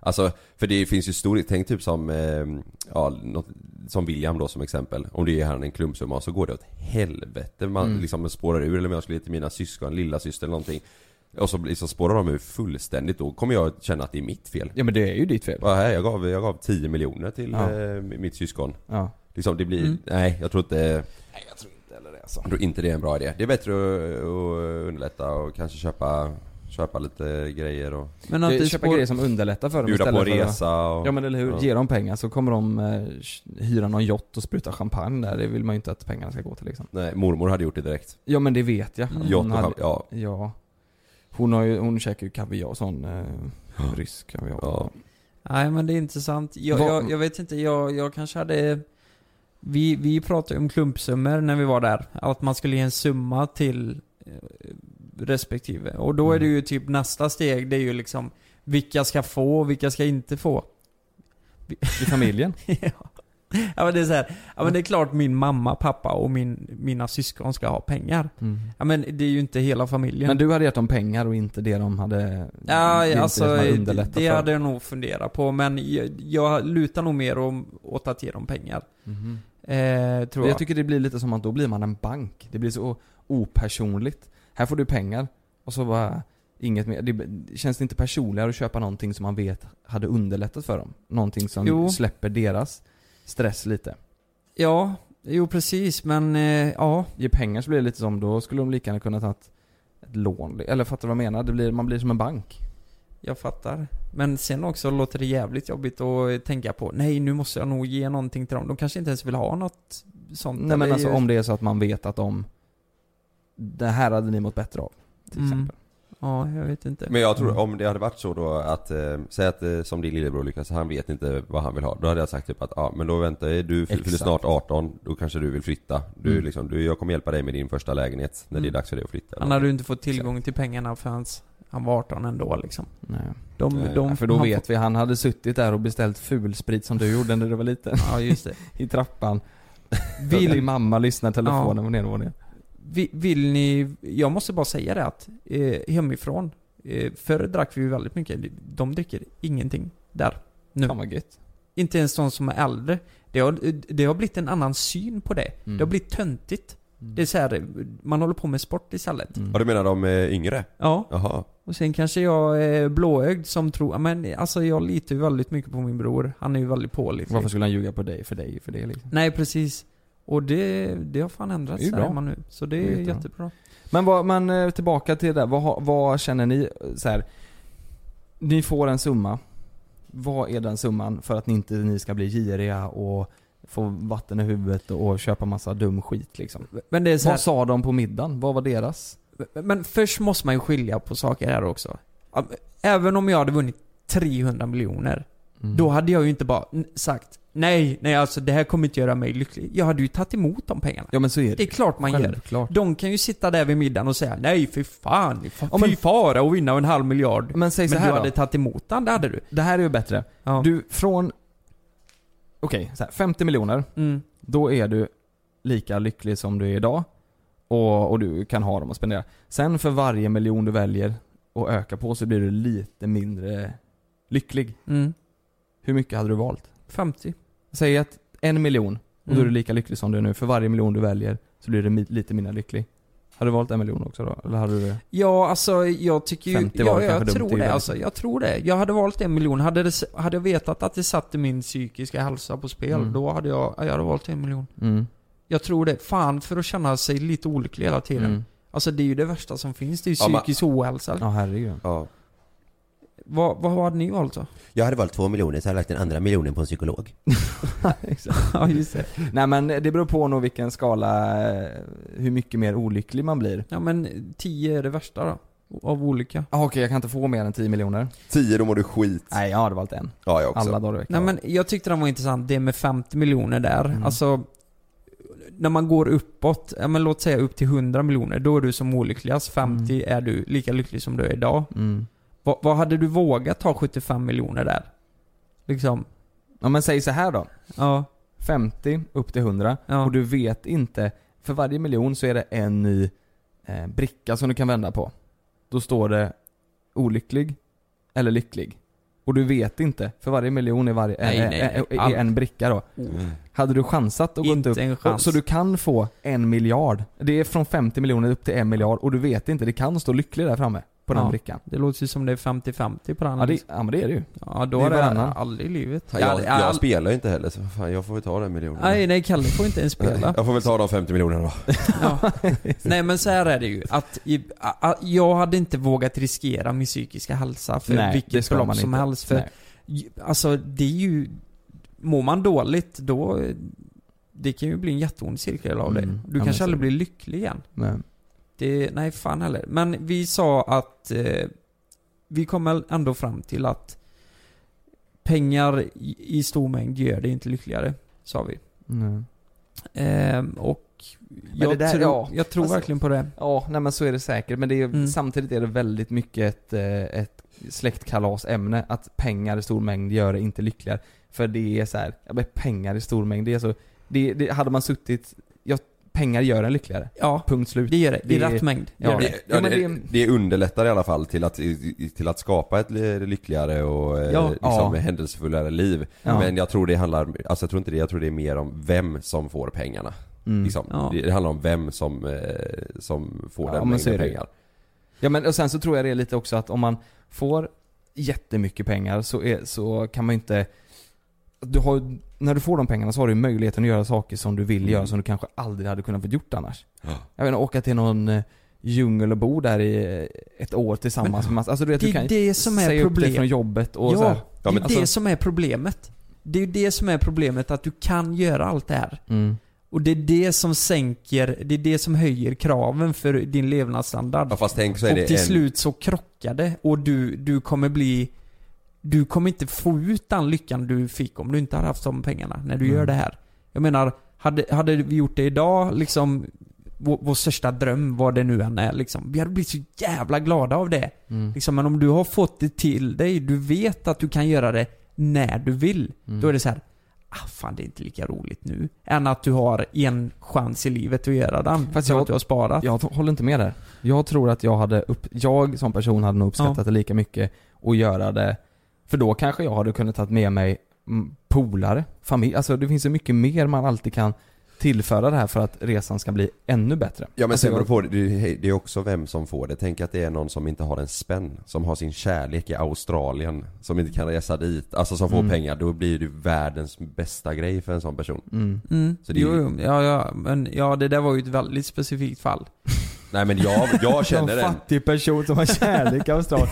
Speaker 3: Alltså, för det finns ju stor, tänk typ som, eh, ja, något, som William då som exempel. Om du ger han en klumpsumma så går det åt helvete. Man
Speaker 4: Mm.
Speaker 3: liksom spårar ur. Eller om jag skulle ge till mina syskon, lilla syster eller någonting. Och så liksom spårar de ur fullständigt. Då kommer jag känna att det är mitt fel.
Speaker 4: Ja men det är ju ditt fel.
Speaker 3: Ja, här, jag, gav, jag gav 10 miljoner till
Speaker 4: Ja.
Speaker 3: eh, mitt syskon.
Speaker 4: Ja.
Speaker 3: Liksom, det blir,
Speaker 4: Mm.
Speaker 3: nej jag tror inte
Speaker 4: Nej jag tror inte heller det alltså.
Speaker 3: jag tror inte det är en bra idé. Det är bättre att, att underlätta och kanske köpa, köpa lite grejer och...
Speaker 4: Men att köpa grejer som underlättar för dem
Speaker 3: Bjuda
Speaker 4: istället
Speaker 3: på
Speaker 4: för att-
Speaker 3: resa och...
Speaker 4: Ja men eller hur, ge dem pengar så kommer de eh, hyra någon yacht och spruta champagne där. Det vill man ju inte att pengarna ska gå till liksom.
Speaker 3: Nej, mormor hade gjort det direkt.
Speaker 4: Ja men det vet jag.
Speaker 3: Mm. Yacht och cham- ja.
Speaker 4: ja. Hon, har ju, hon käkar ju kaviar, sån eh, rysk kaviar.
Speaker 5: Nej men det är intressant. Jag,
Speaker 4: Vad-
Speaker 5: jag, jag vet inte, jag, jag kanske hade... Vi, vi pratade om klumpsummor när vi var där. Att man skulle ge en summa till eh, respektive. Och då är
Speaker 4: Mm.
Speaker 5: det ju typ nästa steg, det är ju liksom vilka ska få och vilka ska inte få. (laughs)
Speaker 4: I familjen?
Speaker 5: Ja men det är så här, ja men det är klart min mamma, pappa och min, mina syskon ska ha pengar.
Speaker 4: Mm.
Speaker 5: Ja men det är ju inte hela familjen.
Speaker 4: Men du hade gett dem pengar och inte det de hade...
Speaker 5: Ja,
Speaker 4: Mm, inte
Speaker 5: alltså
Speaker 4: det som hade
Speaker 5: det,
Speaker 4: underlättat
Speaker 5: det
Speaker 4: för.
Speaker 5: hade jag nog funderat på men jag, jag lutar nog mer om, åt att ge dem pengar.
Speaker 4: Mhm.
Speaker 5: Eh, tror jag.
Speaker 4: Jag tycker det blir lite som att då blir man en bank. Det blir så opersonligt. Här får du pengar och så bara inget mer. Det känns det inte personligare att köpa någonting som man vet hade underlättat för dem? Någonting som
Speaker 5: Jo.
Speaker 4: släpper deras stress lite.
Speaker 5: Ja, jo precis men eh, ja.
Speaker 4: Ge pengar så blir det lite som, då skulle de lika gärna kunna ta ett, ett lån. Eller fattar du vad jag menar? Det blir, man blir som en bank.
Speaker 5: Jag fattar. Men sen också låter det jävligt jobbigt att tänka på, nej nu måste jag nog ge någonting till dem. De kanske inte ens vill ha något sånt.
Speaker 4: Nej men
Speaker 5: Eller
Speaker 4: alltså
Speaker 5: ju-
Speaker 4: om det är så att man vet att de, det här hade ni mått bättre av. Till
Speaker 5: Mm.
Speaker 4: exempel.
Speaker 5: Ja, jag vet inte.
Speaker 3: Men jag tror om det hade varit så då att, eh, säg att eh, som din lillebror Lukas, han vet inte vad han vill ha. Då hade jag sagt typ att, ja men då väntar jag, du fyller
Speaker 4: Exakt.
Speaker 3: snart 18, då kanske du vill flytta. Du,
Speaker 4: Mm.
Speaker 3: liksom, du, jag kommer hjälpa dig med din första lägenhet när
Speaker 5: Mm.
Speaker 3: det är dags för dig att flytta.
Speaker 5: Han hade ju inte fått tillgång till pengarna för hans, han var 18 ändå liksom.
Speaker 4: Nej.
Speaker 5: De,
Speaker 3: Nej.
Speaker 5: de,
Speaker 4: Ja, för då
Speaker 5: han
Speaker 4: vet vi, han hade suttit där och beställt fulsprit som du gjorde när du var liten.
Speaker 5: Får, ja
Speaker 4: (laughs)
Speaker 5: just det.
Speaker 4: I trappan.
Speaker 5: Vill-
Speaker 4: Vill mamma lyssna telefonen
Speaker 5: Ja.
Speaker 4: på nedervåningen.
Speaker 5: Vi- Vill ni, jag måste bara säga det att eh, hemifrån, eh, förr drack vi ju väldigt mycket. De dricker ingenting där. Nu.
Speaker 4: Fan vad gött.
Speaker 5: Inte ens de som är äldre. Det har, det har blivit en annan syn på det.
Speaker 4: Mm.
Speaker 5: Det har blivit töntigt. Det är så här, man håller på med sport istället.
Speaker 4: Mm.
Speaker 3: Ja du menar de eh, yngre?
Speaker 5: Ja.
Speaker 3: Jaha.
Speaker 5: Och sen kanske jag är blåögd som tror, men alltså jag litar ju väldigt mycket på min bror. Han är ju väldigt pålitlig.
Speaker 4: Varför skulle han ljuga på dig för dig för det liksom?
Speaker 5: Nej precis. Och det, det har fan
Speaker 4: Det är
Speaker 5: ändrats
Speaker 4: ju
Speaker 5: här
Speaker 4: bra.
Speaker 5: hemma nu. Så det är
Speaker 4: Det är jättebra.
Speaker 5: jättebra.
Speaker 4: Men, vad, men eh, tillbaka till det där. Vad, har- vad känner ni eh, så här? Ni får en summa. Vad är den summan för att ni inte ni ska bli giriga och få vatten i huvudet och, och köpa massa dum skit liksom?
Speaker 5: Men det är så här-
Speaker 4: vad sa de på middagen? Vad var deras?
Speaker 5: Men först måste man ju skilja på saker här också. Även om jag hade vunnit 300 miljoner.
Speaker 4: Mm.
Speaker 5: Då hade jag ju inte bara n- sagt Nej, nej alltså det här kommer inte göra mig lycklig. Jag hade ju tagit emot de pengarna.
Speaker 4: Ja men så är det
Speaker 5: Det är klart man
Speaker 4: Självklart.
Speaker 5: gör. De kan ju sitta där vid middagen och säga Nej för fan, fy
Speaker 4: Ja, men-
Speaker 5: fara att vinna en halv miljard.
Speaker 4: Men säg så här
Speaker 5: du
Speaker 4: då.
Speaker 5: hade tagit emot den, det hade du.
Speaker 4: Det här är ju bättre.
Speaker 5: Ja.
Speaker 4: Du, från... Okej, så här, 50 miljoner.
Speaker 5: Mm.
Speaker 4: Då är du lika lycklig som du är idag. Och, och du kan ha dem att spendera. Sen för varje miljon du väljer att öka på så blir du lite mindre lycklig.
Speaker 5: Mm.
Speaker 4: Hur mycket hade du valt?
Speaker 5: 50.
Speaker 4: Säg att en miljon, och då
Speaker 5: Mm.
Speaker 4: är du lika lycklig som du är nu. För varje miljon du väljer så blir du mi- lite mindre lycklig. Hade du valt en miljon också då? Eller hade du...
Speaker 5: Ja, alltså jag tycker ju...
Speaker 4: 50 var
Speaker 5: ja,
Speaker 4: det
Speaker 5: jag
Speaker 4: kanske dumt, det
Speaker 5: tror
Speaker 4: är
Speaker 5: det.
Speaker 4: ju
Speaker 5: Alltså,
Speaker 4: väldigt-
Speaker 5: jag tror det. Jag hade valt en miljon. Hade, det, hade jag vetat att det satte min psykiska hälsa på spel,
Speaker 4: Mm.
Speaker 5: då hade jag, jag hade valt en miljon.
Speaker 4: Mm.
Speaker 5: Jag tror det. Fan, för att känna sig lite olycklig hela tiden.
Speaker 4: Mm.
Speaker 5: Alltså det är ju det värsta som finns. Det är ju
Speaker 3: Ja, men-
Speaker 5: psykisk ohälsa.
Speaker 4: Ja herregud.
Speaker 3: Ja.
Speaker 5: Vad, vad hade ni
Speaker 4: (laughs)
Speaker 5: valt då?
Speaker 7: Jag hade valt två miljoner så hade jag lagt den andra miljonen på en psykolog.
Speaker 5: ja, just det.
Speaker 4: Nej men det beror på nog vilken skala, eh, hur mycket mer olycklig man blir.
Speaker 5: Ja men 10 är det värsta då. Av olika.
Speaker 4: Ah, Okej, jag kan inte få mer än 10 miljoner.
Speaker 3: 10 då mår du skit.
Speaker 4: Nej, jag hade valt en.
Speaker 3: Ja jag också.
Speaker 4: Alla dagar i veckan.
Speaker 5: Nej men jag tyckte den var intressant, det med 50 miljoner där.
Speaker 4: Mm.
Speaker 5: Alltså, när man går uppåt, ja, men låt säga upp till 100 miljoner, då är du som olyckligast. 50 är du lika lycklig som du är idag.
Speaker 4: Mm.
Speaker 5: Vad- vad hade du vågat ta 75 miljoner där? Liksom,
Speaker 4: Ja men säg så här då.
Speaker 5: ja.
Speaker 4: 50 upp till 100
Speaker 5: Ja.
Speaker 4: och du vet inte. För varje miljon så är det en ny eh, bricka som du kan vända på. Då står det olycklig eller lycklig. Och du vet inte. För varje miljon är, varje,
Speaker 5: Nej,
Speaker 4: är,
Speaker 5: nej,
Speaker 4: är, är,
Speaker 5: allt. Mm.
Speaker 4: en bricka då. Hade du chansat och gått
Speaker 5: Inte
Speaker 4: upp.
Speaker 5: en chans.
Speaker 4: Så du kan få en miljard. Det är från 50 miljoner upp till en miljard och du vet inte. Det kan stå lycklig där framme. På den
Speaker 5: Ja.
Speaker 4: brickan.
Speaker 5: Det låter ju som det är 50-50 på den. liksom.
Speaker 4: Ja, det, ja men det är det ju.
Speaker 5: ja då
Speaker 4: det är
Speaker 5: har det
Speaker 4: varannan.
Speaker 5: aldrig i livet.
Speaker 3: Ja, Jag,
Speaker 5: Ja,
Speaker 3: jag spelar ju inte heller så fan, jag får väl ta den miljonen.
Speaker 5: Nej, nej Kalle får inte
Speaker 4: (laughs)
Speaker 5: ens spela.
Speaker 3: Jag får väl ta de 50 miljonerna då.
Speaker 5: Ja. (laughs) Nej men så här är det ju. Att i, a, a, jag hade inte vågat riskera min psykiska hälsa för
Speaker 4: Nej, det
Speaker 5: vilket
Speaker 4: ska man
Speaker 5: belopp som
Speaker 4: inte.
Speaker 5: helst. För
Speaker 4: Nej.
Speaker 5: ju- alltså det är ju... Mår man dåligt då... eh, Det kan ju bli en jätteond cirkel av
Speaker 4: Mm,
Speaker 5: det. Du
Speaker 4: ja, men så
Speaker 5: kanske aldrig
Speaker 4: är det.
Speaker 5: blir lycklig igen.
Speaker 4: Men,
Speaker 5: Det, nej fan heller. Men vi sa att... Eh, vi kom väl ändå fram till att pengar i, i stor mängd gör det inte lyckligare. Sa vi.
Speaker 4: nej.
Speaker 5: Ehm, och jag,
Speaker 4: det där-
Speaker 5: tror,
Speaker 4: ja,
Speaker 5: jag tror
Speaker 4: alltså-
Speaker 5: verkligen på det.
Speaker 4: Ja, nej men så är det säkert. Men det är, ju-
Speaker 5: Mm.
Speaker 4: samtidigt är det väldigt mycket ett, eh, ett släktkalasämne. Att pengar i stor mängd gör det inte lyckligare. För det är så här, ja, men pengar i stor mängd, det är så... Det, det, hade man suttit... Ja, pengar gör en lyckligare.
Speaker 5: Ja,
Speaker 4: Punkt slut.
Speaker 5: det gör det. I
Speaker 4: Det-
Speaker 5: rätt mängd.
Speaker 4: ja,
Speaker 5: gör det.
Speaker 4: det-
Speaker 3: Det,
Speaker 4: Ja, men
Speaker 3: det,
Speaker 4: det-
Speaker 3: det underlättar i alla fall till att, till att skapa ett lyckligare och eh,
Speaker 4: Ja.
Speaker 3: liksom
Speaker 4: Ja.
Speaker 3: händelsefullare liv.
Speaker 4: Ja.
Speaker 3: Men jag tror det handlar, alltså jag tror inte det, jag tror det är mer om vem som får pengarna.
Speaker 4: Mm.
Speaker 3: Liksom.
Speaker 5: Ja.
Speaker 3: Det, det handlar om vem som, eh, som får
Speaker 4: Ja,
Speaker 3: den
Speaker 4: men så är det
Speaker 3: mängden
Speaker 4: ju.
Speaker 3: pengar.
Speaker 4: Ja men och sen så tror jag det är lite också att om man får jättemycket pengar så, är, så kan man ju inte... Du har, när du får de pengarna så har du ju möjligheten att göra saker som du
Speaker 5: Mm.
Speaker 4: vill göra som du kanske aldrig hade kunnat få gjort annars.
Speaker 3: Ja.
Speaker 4: Jag menar åka till någon eh, djungel och bo där i eh, ett år tillsammans med massa... Alltså du vet,
Speaker 5: det
Speaker 4: du
Speaker 5: är
Speaker 4: kan ju
Speaker 5: det som är
Speaker 4: säga upp dig
Speaker 5: problem.
Speaker 4: från jobbet och
Speaker 5: Ja,
Speaker 4: så här.
Speaker 5: det är
Speaker 3: men
Speaker 5: det
Speaker 4: alltså-
Speaker 5: som är problemet. Det är ju det som är problemet, att du kan göra allt det här.
Speaker 4: Mm.
Speaker 5: Och det är det som sänker, det är det som höjer kraven för din levnadsstandard.
Speaker 3: Ja, fast tänk så är
Speaker 5: och
Speaker 3: det
Speaker 5: till
Speaker 3: en...
Speaker 5: slut så krockar det och du, du kommer bli... Du kommer inte få ut den lyckan du fick om du inte hade haft de pengarna när du
Speaker 4: Mm.
Speaker 5: gör det här. Jag menar, hade, hade vi gjort det idag, liksom vår, vår största dröm, vad det nu än är, liksom. Vi hade blivit så jävla glada av det.
Speaker 4: Mm.
Speaker 5: Liksom, men om du har fått det till dig, du vet att du kan göra det när du vill.
Speaker 3: Mm.
Speaker 5: Då är det så här, ah fan det är inte lika roligt nu. Än att du har en chans i livet att göra den.
Speaker 4: Fast
Speaker 5: Fast jag,
Speaker 4: jag-
Speaker 5: att du har sparat.
Speaker 4: Jag t- håller inte med där. Jag tror att jag hade upp, jag som person hade nog uppskattat
Speaker 5: Ja.
Speaker 4: det lika mycket och göra det, för då kanske jag hade kunnat tagit med mig mm, polare, familj, alltså det finns så mycket mer man alltid kan tillföra det här för att resan ska bli ännu bättre?
Speaker 3: Ja men
Speaker 4: Alltså,
Speaker 3: sen beror
Speaker 4: jag-
Speaker 3: det på, det det är också vem som får det. Tänk att det är någon som inte har en spänn, som har sin kärlek i Australien, som inte kan resa dit, alltså som får
Speaker 5: Mm.
Speaker 3: pengar. Då blir det världens bästa grej för en sån person.
Speaker 5: Mm.
Speaker 3: Så det är,
Speaker 5: jo, jo. Ja, ja, men ja, det där var ju ett väldigt specifikt fall.
Speaker 3: Nej men jag,
Speaker 4: (laughs)
Speaker 3: jag känner
Speaker 4: Någon
Speaker 3: en.
Speaker 4: fattig person som har kärlek i Australien.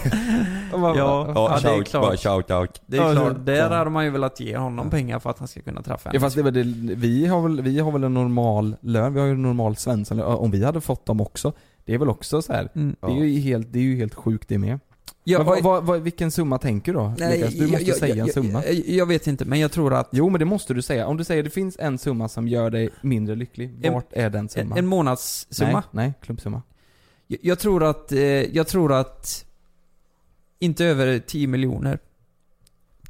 Speaker 4: Och bara-
Speaker 5: Ja, ja, det är klart.
Speaker 3: Bara shout out.
Speaker 5: Det är
Speaker 4: Ja,
Speaker 5: klart,
Speaker 4: det-
Speaker 5: där hade man ju velat ge honom pengar för att han ska kunna träffa
Speaker 4: (laughs) Ja
Speaker 5: henne.
Speaker 4: fast det, är väl det, vi, har väl, vi har väl en normal lön, vi har ju en normal svensson, om vi hade fått dem också. Det är väl också så här.
Speaker 5: Mm.
Speaker 4: Det, är ju helt, det är ju helt sjukt det med.
Speaker 5: Ja,
Speaker 4: men vad,
Speaker 5: och-
Speaker 4: vad, vad, vilken summa tänker du då? Lukas? Du måste säga en summa.
Speaker 5: Jag, jag vet inte, men jag tror att
Speaker 4: Jo men det måste du säga. Om du säger det finns en summa som gör dig mindre lycklig,
Speaker 5: En-
Speaker 4: vart är den
Speaker 5: en,
Speaker 4: summan?
Speaker 5: en månadssumma.
Speaker 4: Nej, nej, klumpsumma.
Speaker 5: Jag, jag tror att, eh, jag tror att inte över 10 miljoner.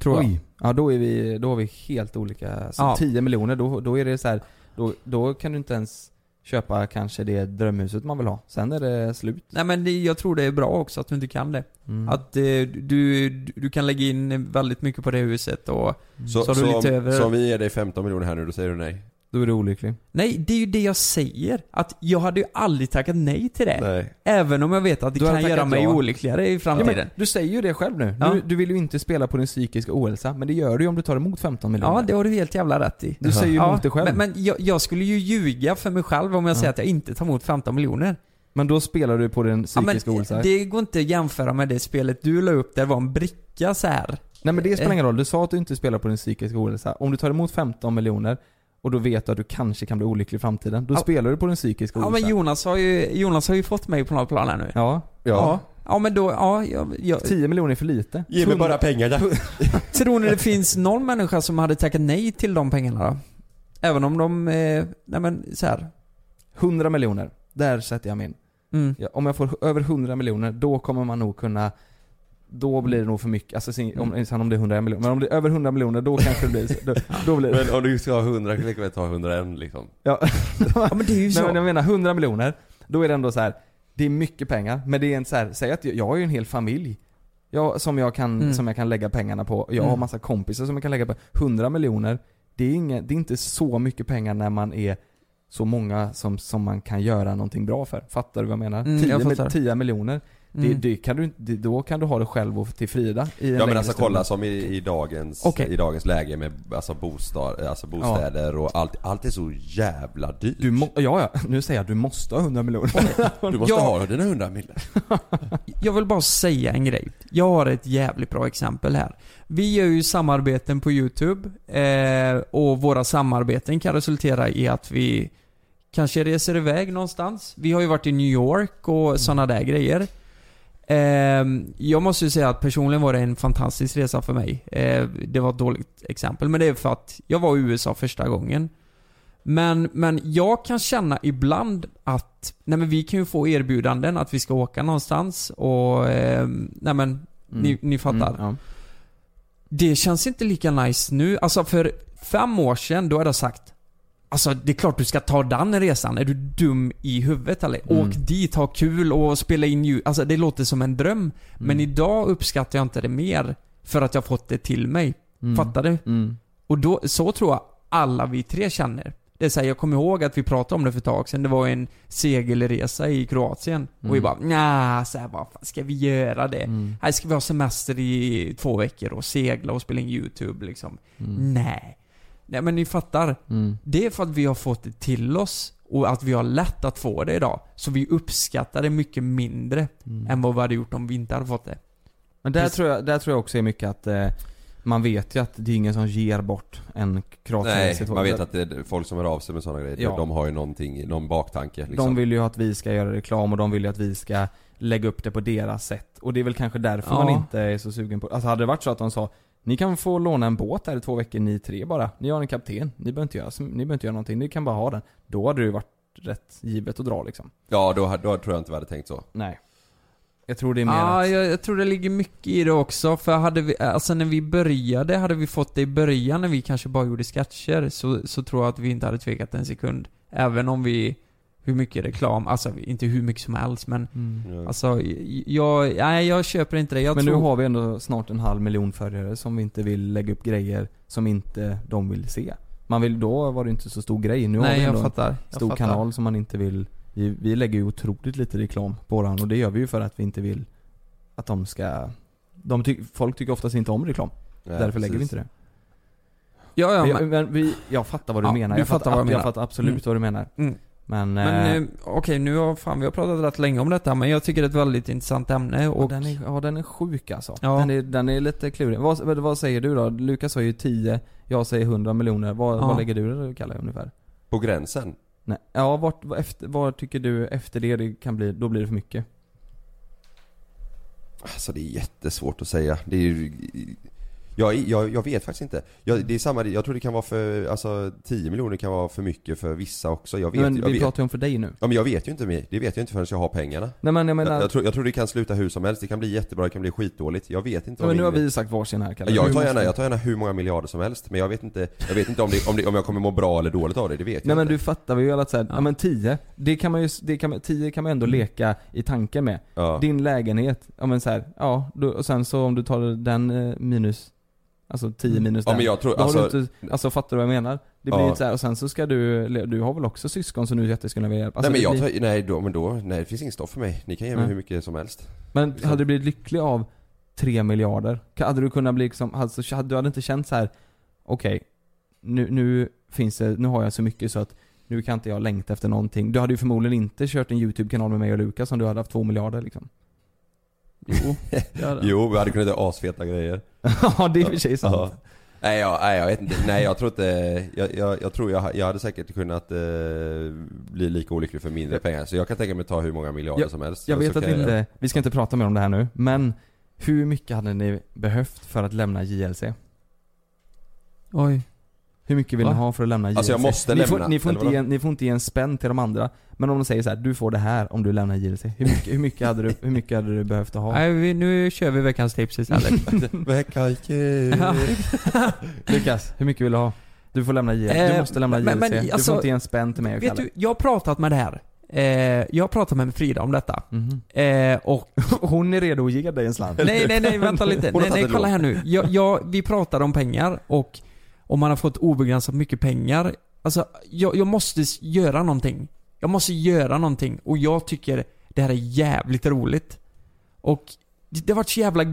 Speaker 5: Tror jag.
Speaker 4: Oj. Ja då är vi, då har vi helt olika. Så
Speaker 5: Ja.
Speaker 4: 10 miljoner, då, då är det så här, då, då kan du inte ens köpa kanske det drömhuset man vill ha. Sen är det slut.
Speaker 5: Nej men det, jag tror det är bra också att du inte kan det.
Speaker 4: Mm.
Speaker 5: Att eh, du, du du kan lägga in väldigt mycket på det huset och
Speaker 3: Så, så,
Speaker 5: så, har du lite
Speaker 3: om,
Speaker 5: över.
Speaker 3: så om vi ger dig 15 miljoner här nu, då säger du nej?
Speaker 4: Då är du olycklig.
Speaker 5: Nej, det är ju det jag säger. Att jag hade ju aldrig tackat nej till det.
Speaker 3: Nej.
Speaker 5: Även om jag vet att det
Speaker 4: Du hade
Speaker 5: kan göra
Speaker 4: tackat
Speaker 5: mig
Speaker 4: ja.
Speaker 5: olyckligare i
Speaker 4: Ja,
Speaker 5: framtiden.
Speaker 4: men, du säger ju det själv nu.
Speaker 5: Ja.
Speaker 4: Du, du vill ju inte spela på din psykiska ohälsa, men det gör du ju om du tar emot 15 miljoner.
Speaker 5: Ja, det har du helt jävla rätt i.
Speaker 4: Du säger ju
Speaker 5: ja,
Speaker 4: emot dig själv.
Speaker 5: Men, men jag, jag skulle ju ljuga för mig själv om jag säger att jag inte tar emot 15 miljoner.
Speaker 4: Men då spelar du på din
Speaker 5: Ja, men
Speaker 4: psykiska ohälsa.
Speaker 5: det går inte att jämföra med det spelet du la upp där det var en bricka så här.
Speaker 4: Nej men det
Speaker 5: Eh.
Speaker 4: spelar ingen roll. Du sa att du inte spelar på din psykiska ohälsa. Om du tar emot 15 miljoner och då vet du att du kanske kan bli olycklig i framtiden, då
Speaker 5: Ja.
Speaker 4: spelar du på din psykiska
Speaker 5: Ja
Speaker 4: ohälsa.
Speaker 5: men Jonas har ju, Jonas har ju fått mig på någon plan här nu.
Speaker 4: Ja.
Speaker 5: Ja, Ja, men då, ja, jag, jag,
Speaker 4: 10 miljoner är för lite.
Speaker 3: Ge mig bara pengarna.
Speaker 5: tror ni det finns någon människa som hade tackat nej till de pengarna då? Även om de, eh, nej men så här.
Speaker 4: 100 miljoner. Där sätter jag min.
Speaker 5: Mm.
Speaker 4: Ja, om jag får över 100 miljoner, då kommer man nog kunna då blir det nog för mycket, alltså sin-
Speaker 5: Mm.
Speaker 4: om, sen om det är 100 miljoner, men om det är över 100 miljoner då kanske det blir, så- då, då blir det.
Speaker 3: Men om du ska ha 100, kan vi ta 101 liksom?
Speaker 4: Ja.
Speaker 5: Ja men det är ju
Speaker 4: Nej, men
Speaker 5: så.
Speaker 4: jag menar 100 miljoner, då är det ändå så här. det är mycket pengar, men det är en så här, säg att jag, jag har ju en hel familj jag, som, jag kan,
Speaker 5: Mm.
Speaker 4: som jag kan lägga pengarna på, jag har
Speaker 5: Mm.
Speaker 4: massa kompisar som jag kan lägga på. 100 miljoner, det är, inget, det är inte så mycket pengar när man är så många som, som man kan göra någonting bra för. Fattar du vad jag menar?
Speaker 5: Mm,
Speaker 4: 10,
Speaker 5: jag
Speaker 4: mil-
Speaker 5: fattar.
Speaker 4: 10 miljoner, det,
Speaker 5: Mm.
Speaker 4: det kan du, inte- det, då kan du ha det själv och till Frida i en
Speaker 3: Ja men
Speaker 4: längre
Speaker 3: alltså
Speaker 4: stund.
Speaker 3: kolla som i, i, dagens,
Speaker 5: Okej.
Speaker 3: i dagens läge med alltså, bostad, alltså bostäder och allt, allt är så jävla dyrt.
Speaker 4: Du må, ja, ja, nu säger jag du måste ha 100 miljoner.
Speaker 3: Du måste
Speaker 5: Ja.
Speaker 3: ha dina 100 miljoner.
Speaker 5: Jag vill bara säga en grej. Jag har ett jävligt bra exempel här. Vi gör ju samarbeten på YouTube eh, och våra samarbeten kan resultera i att vi kanske reser iväg någonstans. Vi har ju varit i New York och sådana där grejer. Ehm, jag måste ju säga att personligen var det en fantastisk resa för mig. Eh, det var ett dåligt exempel, men det är för att jag var i USA första gången. Men, men jag kan känna ibland att, nej men vi kan ju få erbjudanden att vi ska åka någonstans och, eh, nej men, ni, ni fattar.
Speaker 4: Mm, ja.
Speaker 5: Det känns inte lika nice nu. Alltså för fem år sedan, då hade jag sagt Alltså det är klart du ska ta den resan. Är du dum i huvudet eller?
Speaker 4: Mm.
Speaker 5: Åk dit, ha kul och spela in ljud. Alltså det låter som en dröm.
Speaker 4: Mm.
Speaker 5: Men idag uppskattar jag inte det mer. För att jag fått det till mig.
Speaker 4: Mm.
Speaker 5: Fattar du?
Speaker 4: Mm.
Speaker 5: Och då, så tror jag alla vi tre känner. Det är så här, jag kommer ihåg att vi pratade om det för ett tag sedan. Det var en segelresa i Kroatien. Och vi
Speaker 4: Mm.
Speaker 5: bara, nja, så här, vad fan ska vi göra det?
Speaker 4: Mm.
Speaker 5: Här ska vi ha semester i två veckor och segla och spela in YouTube liksom.
Speaker 4: Mm.
Speaker 5: Nej. Nej men ni fattar.
Speaker 4: Mm.
Speaker 5: Det är för att vi har fått det till oss och att vi har lätt att få det idag. Så vi uppskattar det mycket mindre
Speaker 4: Mm.
Speaker 5: än vad vi hade gjort om vi inte hade fått det.
Speaker 4: Men där
Speaker 5: Precis.
Speaker 4: tror, jag, där tror jag också är mycket att eh, man vet ju att det är ingen som ger bort en
Speaker 3: Nej,
Speaker 4: kroatisk
Speaker 3: man vet att det är folk som hör av sig med sådana grejer,
Speaker 4: Ja.
Speaker 3: de har ju någonting, någon baktanke liksom.
Speaker 4: De vill ju att vi ska göra reklam och de vill ju att vi ska lägga upp det på deras sätt. Och det är väl kanske därför
Speaker 5: Ja.
Speaker 4: man inte är så sugen på Alltså hade det varit så att de sa Ni kan få låna en båt här i två veckor, ni tre bara. Ni har en kapten, ni behöver inte göra, så- ni behöver inte göra någonting, ni kan bara ha den. Då hade det ju varit rätt givet att dra liksom.
Speaker 3: Ja, då, då tror jag inte vi hade tänkt så.
Speaker 4: Nej. Jag tror det är mer
Speaker 5: Ja,
Speaker 3: Ah,
Speaker 4: att...
Speaker 5: jag, jag tror det ligger mycket i det också. För hade vi, alltså när vi började, hade vi fått det i början när vi kanske bara gjorde sketcher, så, så tror jag att vi inte hade tvekat en sekund. Även om vi, hur mycket reklam, alltså inte hur mycket som helst men
Speaker 4: Mm.
Speaker 5: alltså jag, nej jag köper inte det. Jag
Speaker 4: Men
Speaker 5: tror,
Speaker 4: nu har vi ändå snart en halv miljon följare som vi inte vill lägga upp grejer som inte de vill se. man vill, då var det inte så stor grej. Nu
Speaker 5: Nej,
Speaker 4: har vi
Speaker 5: jag
Speaker 4: ändå
Speaker 5: fattar.
Speaker 4: en
Speaker 5: Jag
Speaker 4: stor
Speaker 5: fattar.
Speaker 4: kanal som man inte vill... Vi, vi lägger ju otroligt lite reklam på våran och det gör vi ju för att vi inte vill att de ska... De ty, folk tycker oftast inte om reklam.
Speaker 8: Nej,
Speaker 4: Därför lägger vi
Speaker 8: precis.
Speaker 4: inte det.
Speaker 5: Ja, ja,
Speaker 4: men, jag-
Speaker 5: men-
Speaker 4: men vi, jag fattar vad du
Speaker 5: Ja,
Speaker 4: menar.
Speaker 5: du
Speaker 4: Jag fattar,
Speaker 5: fattar vad
Speaker 4: jag
Speaker 5: jag menar.
Speaker 4: fattar absolut
Speaker 5: Mm.
Speaker 4: vad du menar.
Speaker 5: Mm.
Speaker 4: Men... eh,
Speaker 5: Men eh, okej, nu har fan vi har pratat rätt länge om detta men jag tycker det är ett väldigt intressant ämne och...
Speaker 4: den är, ja, den är sjuk alltså.
Speaker 5: Ja.
Speaker 4: Den, är, den är lite klurig. Vad, vad- vad säger du då? Lukas sa ju 10, jag säger 100 miljoner. Vad,
Speaker 5: Ja.
Speaker 4: vad lägger du det Kalle ungefär?
Speaker 3: På gränsen?
Speaker 4: Nej. Ja, vart, vad, efter, vad tycker du efter det, det kan bli, då blir det för mycket?
Speaker 3: Alltså det är jättesvårt att säga. Det är ju... Jag, jag, jag vet faktiskt inte. Jag, det är samma, jag tror det kan vara för, alltså 10 miljoner kan vara för mycket för vissa också. Jag vet,
Speaker 4: Men
Speaker 3: jag
Speaker 4: vi
Speaker 3: vet.
Speaker 4: pratar ju om för dig nu.
Speaker 3: Ja men jag vet ju inte, mer. det vet jag inte förrän jag har pengarna.
Speaker 4: Nej, men äh- jag menar-
Speaker 3: jag, tror, jag tror det kan sluta hur som helst, det kan bli jättebra, det kan bli skitdåligt. Jag vet inte
Speaker 4: Nej, men
Speaker 3: om
Speaker 4: nu har
Speaker 3: min-
Speaker 4: vi sagt varsin här Kalle.
Speaker 3: Jag
Speaker 4: Nu
Speaker 3: tar, gärna,
Speaker 4: måste-
Speaker 3: jag tar gärna hur många miljarder som helst, men jag vet inte, jag vet inte om, det, om, det, om jag kommer må bra eller dåligt av det, det vet jag
Speaker 4: Nej men
Speaker 3: inte.
Speaker 4: du fattar vi ju att såhär, ja. men 10, det kan man ju, det kan, man- 10 kan man ändå
Speaker 5: Mm.
Speaker 4: leka i tanken med.
Speaker 3: Ja.
Speaker 4: Din lägenhet, ja men såhär, ja, du, och sen så om du tar den eh, minus, alltså 10 minus
Speaker 3: Ja,
Speaker 4: den,
Speaker 3: men jag tror-
Speaker 4: då har
Speaker 3: alltså-
Speaker 4: du inte, alltså fattar du vad jag menar? Det blir
Speaker 3: Ja.
Speaker 4: inte såhär, och sen så ska du, le- du har väl också syskon som du jätteskulle vilja hjälpa? Alltså,
Speaker 3: nej men
Speaker 4: det
Speaker 3: jag
Speaker 4: blir,
Speaker 3: tar, nej då, men då, nej det finns inget stoff för mig. Ni kan ge mig
Speaker 4: Nej.
Speaker 3: hur mycket som helst. Liksom.
Speaker 4: Men hade du blivit lycklig av 3 miljarder? Ka- Hade du kunnat bli liksom, alltså, hade- du hade inte känt så här. okej, nu, nu finns det, nu har jag så mycket så att nu kan inte jag längta efter någonting. Du hade ju förmodligen inte kört en YouTube-kanal med mig och Lukas om du hade haft 2 miljarder liksom.
Speaker 5: Jo,
Speaker 4: (laughs)
Speaker 3: Jo, vi hade kunnat göra asfeta grejer.
Speaker 4: Ja, det är i och för sig sant.
Speaker 3: Ja. Nej, jag, nej jag vet inte, nej jag tror inte, jag, jag, jag tror jag, jag hade säkert kunnat eh, bli lika olycklig för mindre pengar. Så jag kan tänka mig att ta hur många miljarder
Speaker 4: Jag,
Speaker 3: som helst.
Speaker 4: jag
Speaker 3: Så-
Speaker 4: vet
Speaker 3: så
Speaker 4: att
Speaker 3: kan
Speaker 4: inte, vi ska inte prata mer om det här nu, men hur mycket hade ni behövt för att lämna JLC?
Speaker 5: Oj.
Speaker 4: Hur mycket vill
Speaker 5: Va?
Speaker 4: ni ha för att lämna JLC?
Speaker 3: Alltså, jag måste
Speaker 4: ni får,
Speaker 3: lämna,
Speaker 4: Ni får,
Speaker 3: eller
Speaker 4: inte ge, en- ni får inte ge en spänn till de andra, men om de säger så här: du får det här om du lämnar JLC. Hur mycket, hur mycket, hade, du, hur mycket hade du behövt att ha?
Speaker 5: Nej, vi, nu kör vi veckans tips istället.
Speaker 3: veckans
Speaker 5: Ja.
Speaker 4: (laughs) Lukas, hur mycket vill du ha? Du får lämna JLC,
Speaker 5: Eh,
Speaker 4: du måste lämna JLC.
Speaker 5: men- men
Speaker 4: du
Speaker 5: alltså,
Speaker 4: får inte ge en spänn till mig och
Speaker 5: Vet
Speaker 4: Kalle.
Speaker 5: du, jag har pratat med det här. Eh, jag har pratat med Frida om detta.
Speaker 4: Mhm.
Speaker 5: Eh, och
Speaker 4: (laughs) Hon är redo att ge dig en slant.
Speaker 5: Nej, nej, nej, vänta lite.
Speaker 4: Hon har
Speaker 5: Nej, nej,
Speaker 4: tagit
Speaker 5: kolla
Speaker 4: lån.
Speaker 5: här nu. Jag, jag, vi pratar om pengar och om man har fått obegränsat mycket pengar. Alltså, jag, jag måste s- göra någonting. Jag måste göra någonting och jag tycker det här är jävligt roligt. Och det, det har varit så jävla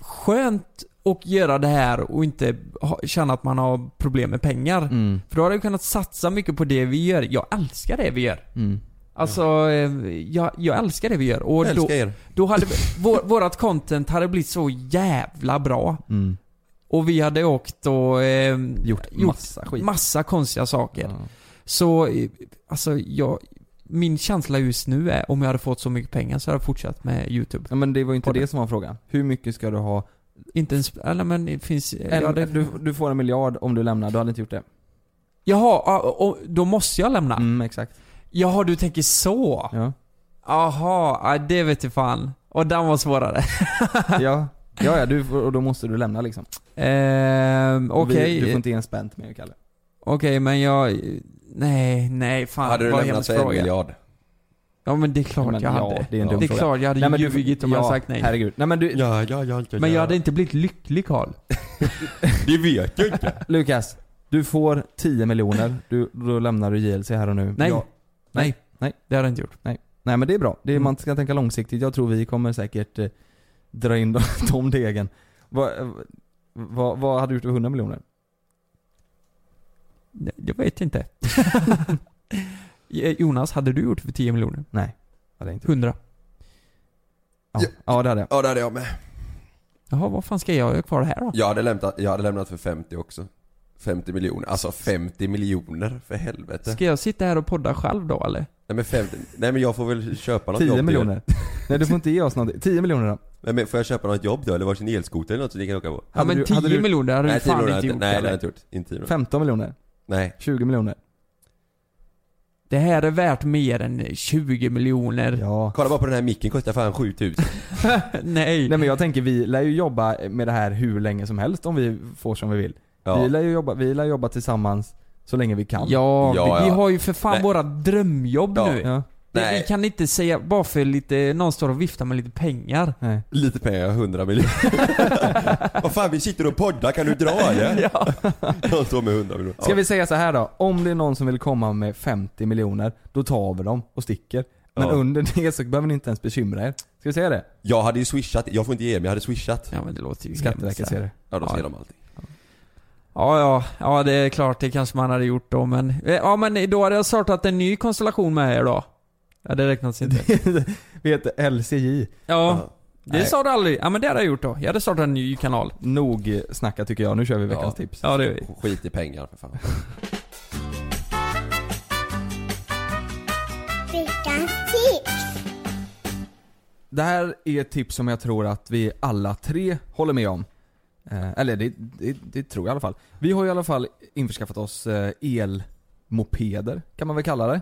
Speaker 5: skönt att göra det här och inte ha, känna att man har problem med pengar.
Speaker 4: Mm.
Speaker 5: För då har jag kunnat satsa mycket på det vi gör. Jag älskar det vi gör.
Speaker 4: Mm.
Speaker 5: Alltså, eh, jag, jag älskar det vi gör. Och
Speaker 4: Jag
Speaker 5: då,
Speaker 4: älskar er.
Speaker 5: då hade vi, vår, vårat content hade blivit så jävla bra.
Speaker 4: Mm.
Speaker 5: Och vi hade åkt och eh,
Speaker 4: gjort, massa skit.
Speaker 5: massa konstiga saker. Så, eh, alltså jag, min känsla just nu är om jag hade fått så mycket pengar så hade jag fortsatt med YouTube.
Speaker 4: Ja, men det var ju inte det som var frågan. Hur mycket ska du ha?
Speaker 5: Inte ens, eller men det finns...
Speaker 4: En,
Speaker 5: ja, det-
Speaker 4: du, du får en miljard om du lämnar, du hade inte gjort det.
Speaker 5: Jaha, ja, och då måste jag lämna?
Speaker 4: Mm, exakt.
Speaker 5: Jaha, du tänker så? (laughs)
Speaker 4: Ja.
Speaker 5: Aha, ja, det vet jag fan. Och den var svårare. (laughs)
Speaker 4: ja. Ja, ja du, får- och då måste du lämna liksom.
Speaker 5: Ehm,
Speaker 4: Och vi-
Speaker 5: okej.
Speaker 4: Du får inte ge en spänn till mig och Kalle.
Speaker 5: Okej, men jag... Nej, nej fan.
Speaker 3: Hade du
Speaker 5: vad
Speaker 3: lämnat
Speaker 5: hemsk
Speaker 3: för en
Speaker 5: fråga.
Speaker 3: miljard?
Speaker 5: Ja men det är klart
Speaker 4: Men
Speaker 5: jag
Speaker 4: ja,
Speaker 5: hade.
Speaker 4: det är en dum
Speaker 5: det är
Speaker 4: fråga.
Speaker 5: klart jag hade
Speaker 4: Nej, men du-
Speaker 5: ljugit om jag
Speaker 4: ja,
Speaker 5: hade sagt nej.
Speaker 4: herregud. Nej, men du-
Speaker 3: Ja, ja, ja, ja,
Speaker 5: Men jag
Speaker 4: ja.
Speaker 5: hade inte blivit lycklig Karl.
Speaker 3: det vet jag inte.
Speaker 4: Lukas, du får 10 miljoner, du, då lämnar du JLC här och nu.
Speaker 5: Nej.
Speaker 4: Jag,
Speaker 5: nej.
Speaker 4: Nej.
Speaker 5: Det har jag inte gjort.
Speaker 4: Nej. Nej men det är bra.
Speaker 5: Mm.
Speaker 4: Det är, Man ska tänka långsiktigt. Jag tror vi kommer säkert eh, dra in (laughs) de, de degen. Vad, eh, vad, vad hade du gjort för 100 miljoner?
Speaker 5: Nej, Jag
Speaker 3: (laughs)
Speaker 5: vet inte. Eh, Jonas, hade du gjort för 10 miljoner?
Speaker 4: Nej. Hade jag inte.
Speaker 5: 100.
Speaker 4: Ja, ja det hade jag.
Speaker 3: Ja det hade jag med.
Speaker 5: Jaha, vad fan ska jag göra kvar här då?
Speaker 3: Jag hade, lämnat, jag hade lämnat för 50 också. 50 miljoner, alltså 50 miljoner för helvete.
Speaker 5: Ska jag sitta här och podda själv då eller?
Speaker 3: Nej men 50, nej men jag får väl köpa något
Speaker 4: 10
Speaker 3: jobb
Speaker 4: miljoner.
Speaker 3: Då.
Speaker 4: Nej du får inte ge oss någonting. 10 miljoner då.
Speaker 3: Nej, men får jag köpa något jobb då? Eller varsin elskoter eller något som ni kan åka på?
Speaker 4: Ja, men 10 miljoner hade du
Speaker 3: nej, 10
Speaker 4: fan
Speaker 3: miljoner
Speaker 4: inte gjort,
Speaker 3: Nej det hade
Speaker 4: eller?
Speaker 3: jag inte gjort. Inte 10 miljoner.
Speaker 4: 15 miljoner.
Speaker 3: Nej.
Speaker 4: 20 miljoner.
Speaker 5: Det här är värt mer än 20 miljoner.
Speaker 4: Ja.
Speaker 3: Kolla bara på den här micken, kostar
Speaker 4: (laughs)
Speaker 3: fan 7000.
Speaker 5: (laughs)
Speaker 4: Nej
Speaker 5: Nej.
Speaker 4: men jag tänker vi lär ju jobba med det här hur länge som helst om vi får som vi vill.
Speaker 3: Ja.
Speaker 4: Vi lär ju jobba, vi lär jobba tillsammans så länge vi kan.
Speaker 5: Ja, vi, vi har ju för fan
Speaker 4: Nej.
Speaker 5: våra drömjobb
Speaker 4: Ja.
Speaker 5: nu.
Speaker 4: Ja.
Speaker 5: Vi kan inte säga, bara för lite, någon står och viftar med lite pengar.
Speaker 3: Lite pengar, 100
Speaker 4: (laughs)
Speaker 3: miljoner. Vad fan vi sitter och poddar, kan du dra eller? Jag står med 100 miljoner.
Speaker 4: Ska vi säga så här då? Om det är någon som vill komma med 50 miljoner, då tar vi dem och sticker. Men
Speaker 3: Ja.
Speaker 4: under det så behöver ni inte ens bekymra er. Ska vi säga
Speaker 5: (laughs)
Speaker 4: det?
Speaker 3: Jag hade ju swishat, jag får inte ge mig, jag hade swishat.
Speaker 5: Ja men det låter ju
Speaker 4: Skatteverket ser det.
Speaker 3: Ja då ser de allting.
Speaker 5: Ja, ja, ja det är klart det kanske man hade gjort då men... eh, Ja men då hade jag startat en ny konstellation med er då. Ja det räknas inte.
Speaker 4: Vi heter LCJ.
Speaker 5: Ja. Det sa du aldrig. Ja men det hade jag gjort då. Jag hade startat en ny kanal.
Speaker 4: Nog snacka tycker jag, nu kör vi veckans tips.
Speaker 5: Ja det gör vi.
Speaker 3: Skit i pengar för fan.
Speaker 9: Veckans tips.
Speaker 4: Det här är ett tips som jag tror att vi alla tre håller med om. Eh, eller det, det, det tror jag i alla fall. Vi har i alla fall införskaffat oss eh, elmopeder, kan man väl kalla det?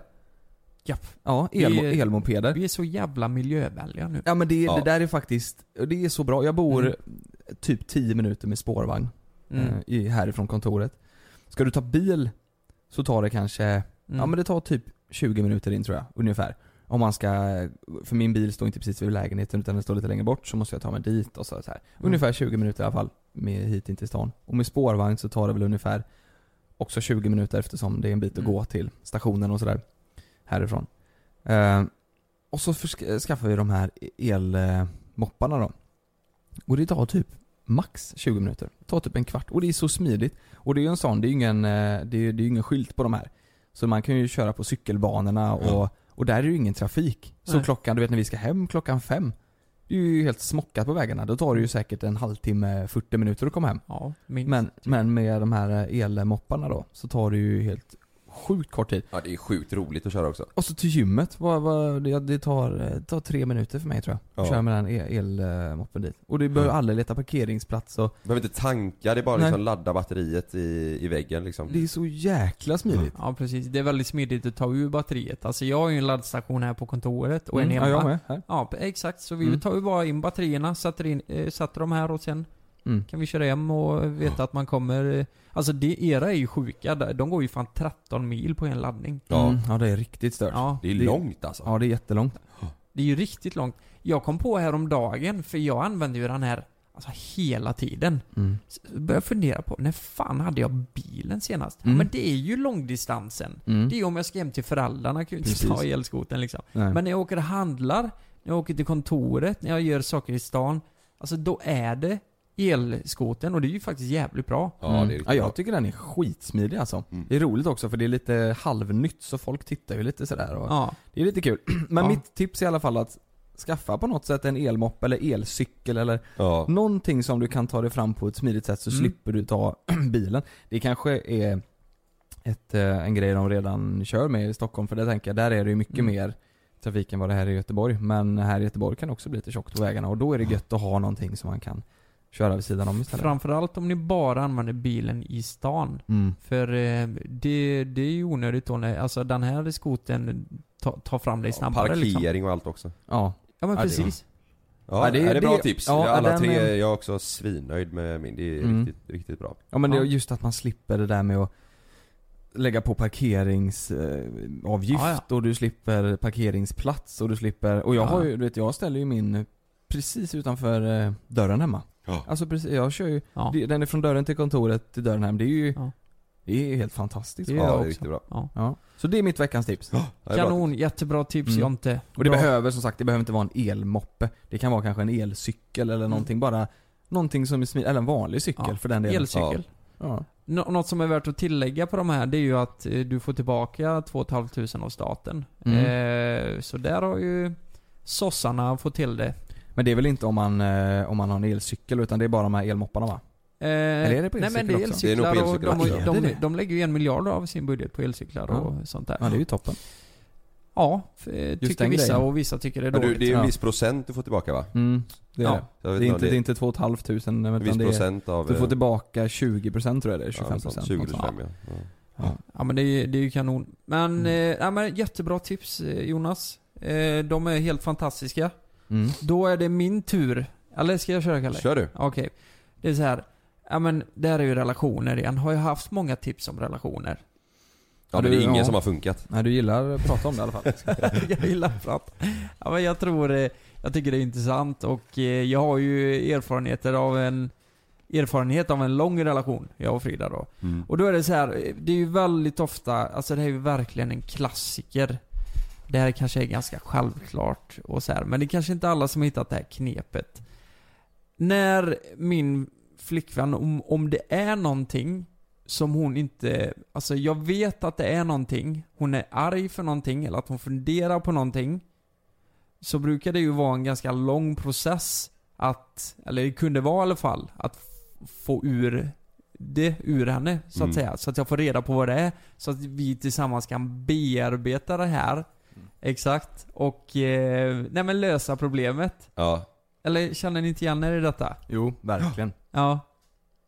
Speaker 5: Ja.
Speaker 4: Ja,
Speaker 5: Vi
Speaker 4: elmo-
Speaker 5: är-
Speaker 4: elmopeder.
Speaker 5: Vi är så jävla miljövänliga nu.
Speaker 4: Ja men det,
Speaker 5: Ja.
Speaker 4: det där är faktiskt, och det är så bra. Jag bor
Speaker 5: Mm.
Speaker 4: typ 10 minuter med spårvagn
Speaker 5: Mm.
Speaker 4: eh, i, härifrån kontoret. Ska du ta bil så tar det kanske,
Speaker 5: Mm.
Speaker 4: ja men det tar typ 20 minuter in tror jag, ungefär. Om man ska, för min bil står inte precis vid lägenheten utan den står lite längre bort så måste jag ta mig dit och så, så här. Ungefär 20 minuter i alla fall med hit in till stan. Och med spårvagn så tar det väl ungefär också 20 minuter eftersom det är en bit att gå till stationen och sådär. Härifrån. Eh, och så försk- skaffar vi de här elmopparna då. Och det tar typ max 20 minuter. Det tar typ en kvart. Och det är så smidigt. Och det är ju en sån, det är ju ingen, eh, det är, det är ju ingen skylt på de här. Så man kan ju köra på cykelbanorna och, och där är ju ingen trafik. Så
Speaker 5: Nej.
Speaker 4: klockan, du vet när vi ska hem klockan fem. Det är ju helt smockat på vägarna. Då tar det ju säkert en halvtimme, 40 minuter att komma hem.
Speaker 5: Ja, minst.
Speaker 4: men, men med de här eh, elmopparna då, så tar det ju helt sjukt kort tid.
Speaker 3: Ja det är sjukt roligt att köra också.
Speaker 4: Och så till gymmet, vad, vad, det, det tar, eh, tar tre minuter för mig tror jag.
Speaker 3: Ja.
Speaker 4: Köra med den elmoppen dit. Och du behöver
Speaker 3: Mm.
Speaker 4: aldrig leta parkeringsplats och
Speaker 3: Behöver inte tanka, det är bara
Speaker 4: Nej.
Speaker 3: liksom ladda batteriet i, i väggen liksom.
Speaker 4: det är så jäkla smidigt.
Speaker 5: Ja precis, det är väldigt smidigt att ta ur batteriet. Alltså jag har ju en laddstation här på kontoret och en
Speaker 4: Mm, ja,
Speaker 5: hemma.
Speaker 4: jag med, här.
Speaker 5: Ja, p- exakt. Så vi
Speaker 4: Mm.
Speaker 5: tar ju bara in batterierna, sätter, in, eh, sätter dem här och sen
Speaker 4: Mm.
Speaker 5: kan vi köra hem och veta att man kommer... eh, Alltså det, era är ju sjuka, Där- de går ju fan 13 mil på en laddning.
Speaker 4: Ja. Mm, ja det är riktigt stört.
Speaker 5: Ja.
Speaker 3: Det är långt alltså.
Speaker 4: Ja det är jättelångt.
Speaker 5: Det är ju riktigt långt. Jag kom på häromdagen, för jag använder ju den här alltså, hela tiden.
Speaker 4: Mm.
Speaker 5: Så började jag fundera på, när fan hade jag bilen senast? Ja,
Speaker 4: Mm.
Speaker 5: Men det är ju långdistansen.
Speaker 4: Mm.
Speaker 5: Det är ju om jag ska hem till föräldrarna, kan jag ju inte
Speaker 4: Precis.
Speaker 5: ta elskoten liksom.
Speaker 4: Nej.
Speaker 5: Men när jag åker och handlar, när jag åker till kontoret, när jag gör saker i stan. Alltså då är det elskoten och det är ju faktiskt jävligt bra.
Speaker 4: Mm. ja, jag tycker den är skitsmidig alltså. Det är roligt också för det är lite halvnytt så folk tittar ju lite sådär och
Speaker 5: Ja.
Speaker 4: det är lite kul. (clears throat) Men
Speaker 5: Ja.
Speaker 4: mitt tips är i alla fall att skaffa på något sätt en elmopp eller elcykel eller
Speaker 3: Ja.
Speaker 4: Mm, någonting som du kan ta dig fram på ett smidigt sätt så
Speaker 5: Mm.
Speaker 4: slipper du ta (clears throat) bilen. Det kanske är ett, eh, en grej de redan kör med i Stockholm för det tänker jag, där är det ju mycket
Speaker 5: Mm.
Speaker 4: mer trafik än vad det här är i Göteborg. Men här i Göteborg kan det också bli lite tjockt på vägarna och då är det gött att ha någonting som man kan köra vid sidan om istället.
Speaker 5: Framförallt om ni bara använder bilen i stan.
Speaker 4: Mm.
Speaker 5: För eh, det, det är ju onödigt då när, alltså den här skoten tar ta fram dig snabbare liksom.
Speaker 3: Parkering och allt också.
Speaker 4: Ja.
Speaker 5: Ja men
Speaker 3: Ja, det-
Speaker 5: precis.
Speaker 3: Ja,
Speaker 4: Ja,
Speaker 3: det,
Speaker 4: det-
Speaker 3: är bra
Speaker 4: det-
Speaker 3: tips.
Speaker 4: ja,
Speaker 3: alla
Speaker 4: den-
Speaker 3: tre, jag är också svinnöjd med min. Det är
Speaker 4: Mm.
Speaker 3: riktigt, riktigt bra.
Speaker 4: Ja men det är
Speaker 5: Ja.
Speaker 4: just att man slipper det där med att lägga på parkeringsavgift
Speaker 5: Ja,
Speaker 4: och du slipper parkeringsplats och du slipper, och jag
Speaker 5: Ja.
Speaker 4: har ju, du vet jag ställer ju min precis utanför eh, dörren hemma.
Speaker 3: Ja.
Speaker 4: Alltså precis, jag kör ju,
Speaker 5: Ja.
Speaker 4: det- den är från dörren till kontoret till dörren hem, det är ju,
Speaker 5: Ja.
Speaker 4: det är ju helt fantastiskt.
Speaker 5: Det är
Speaker 3: Ja,
Speaker 5: jag
Speaker 3: det är
Speaker 5: också.
Speaker 3: riktigt bra.
Speaker 5: Ja.
Speaker 4: Ja. Så det är mitt veckans tips.
Speaker 3: Ja, det är bra.
Speaker 5: Kanon, jättebra tips
Speaker 4: Mm.
Speaker 5: Jonte.
Speaker 4: Och det
Speaker 5: Bra.
Speaker 4: behöver som sagt, det behöver inte vara en elmoppe. Det kan vara kanske en elcykel eller någonting bara, någonting som är smidigt, eller en vanlig cykel
Speaker 5: Mm. Ja,
Speaker 4: för den delen.
Speaker 5: Elcykel.
Speaker 4: Ja.
Speaker 5: Nå- något som är värt att tillägga på de här, det är ju att eh, du får tillbaka 2 500 av staten. Eh, så där har ju sossarna fått till det.
Speaker 4: Men det är väl inte om man, eh, om man har en elcykel utan det är bara de här elmopparna va?
Speaker 5: Eh,
Speaker 4: Eller är det på
Speaker 5: nej men
Speaker 4: elcykel
Speaker 5: det är
Speaker 4: också?
Speaker 5: elcyklar
Speaker 3: Det är nog på
Speaker 5: och
Speaker 3: elcyklar
Speaker 5: de,
Speaker 3: också.
Speaker 5: har-
Speaker 4: Är
Speaker 5: de,
Speaker 4: det
Speaker 5: de,
Speaker 4: det?
Speaker 5: lägger ju en miljard av sin budget på elcyklar och sånt där.
Speaker 4: Ja det är ju toppen.
Speaker 5: Ja, f- eh, tycker
Speaker 4: den
Speaker 5: vissa
Speaker 4: grejen.
Speaker 5: och vissa tycker det är
Speaker 3: Men du,
Speaker 5: dåligt.
Speaker 3: det är ju en
Speaker 4: Ja.
Speaker 3: viss procent du får tillbaka va?
Speaker 4: Mm, det är
Speaker 5: Ja.
Speaker 4: det.
Speaker 3: Jag vet
Speaker 4: Det är,
Speaker 3: inte
Speaker 4: inte,
Speaker 3: om det-
Speaker 4: det är inte 2 500
Speaker 3: En viss
Speaker 4: utan det är,
Speaker 3: procent av...
Speaker 4: du får
Speaker 3: eh,
Speaker 4: tillbaka 20% tror jag det är,
Speaker 3: ja,
Speaker 4: 25%
Speaker 3: sånt,
Speaker 4: procent.
Speaker 3: 20-25 ja. ja.
Speaker 5: Ja men det är, det är ju kanon. Men,
Speaker 4: Mm.
Speaker 5: eh, ja, men jättebra tips eh, Jonas. Eh, de är helt fantastiska.
Speaker 4: Mm.
Speaker 5: Då är det min tur. Eller ska jag köra Kalle?
Speaker 3: Kör du.
Speaker 5: Okej. Det är så här. Ja men, där är ju relationer igen. Har jag haft många tips om relationer?
Speaker 3: Ja, men det är ingen som har funkat.
Speaker 4: Nej, du gillar att prata om det i alla
Speaker 3: (laughs)
Speaker 4: fall.
Speaker 5: jag gillar prat. Ja, men jag tror, eh, jag tycker det är intressant och eh, jag har ju erfarenheter av en erfarenhet av en lång relation, jag och Frida då.
Speaker 10: Mm.
Speaker 5: Och då är det så här, eh, det är ju väldigt ofta, alltså det här är ju verkligen en klassiker. Det här kanske är ganska självklart och så här, men det är kanske inte alla som har hittat det här knepet. När min flickvän, om, om det är någonting som hon inte, alltså jag vet att det är någonting, hon är arg för någonting eller att hon funderar på någonting. Så brukar det ju vara en ganska lång process att, eller det kunde vara i alla fall, att f- få ur det ur henne så att
Speaker 11: Mm.
Speaker 5: säga. Så att jag får reda på vad det är. Så att vi tillsammans kan bearbeta det här.
Speaker 3: Mm.
Speaker 5: Exakt. Och, eh, nej men lösa problemet.
Speaker 3: Ja.
Speaker 5: Eller känner ni inte igen er i detta?
Speaker 4: Jo, verkligen.
Speaker 5: Ja.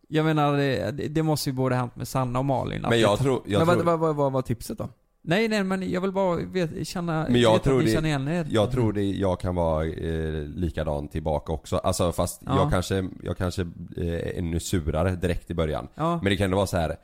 Speaker 5: Jag menar, eh, det, det måste ju både hänt med Sanna och Malin. att
Speaker 3: Men jag
Speaker 5: det-
Speaker 3: tror- jag
Speaker 4: Men vad,
Speaker 3: tror-
Speaker 4: vad, vad, vad var tipset då?
Speaker 5: Nej, nej men jag vill bara vet, känna,
Speaker 3: Men jag
Speaker 5: veta
Speaker 3: tror,
Speaker 5: att ni känner igen
Speaker 3: det,
Speaker 5: er.
Speaker 3: jag tror det, jag kan vara eh, likadan tillbaka också. Alltså fast
Speaker 5: Ja.
Speaker 3: jag kanske, jag kanske eh, är ännu surare direkt i början.
Speaker 5: Ja.
Speaker 3: (laughs) Men det kan ändå vara så här.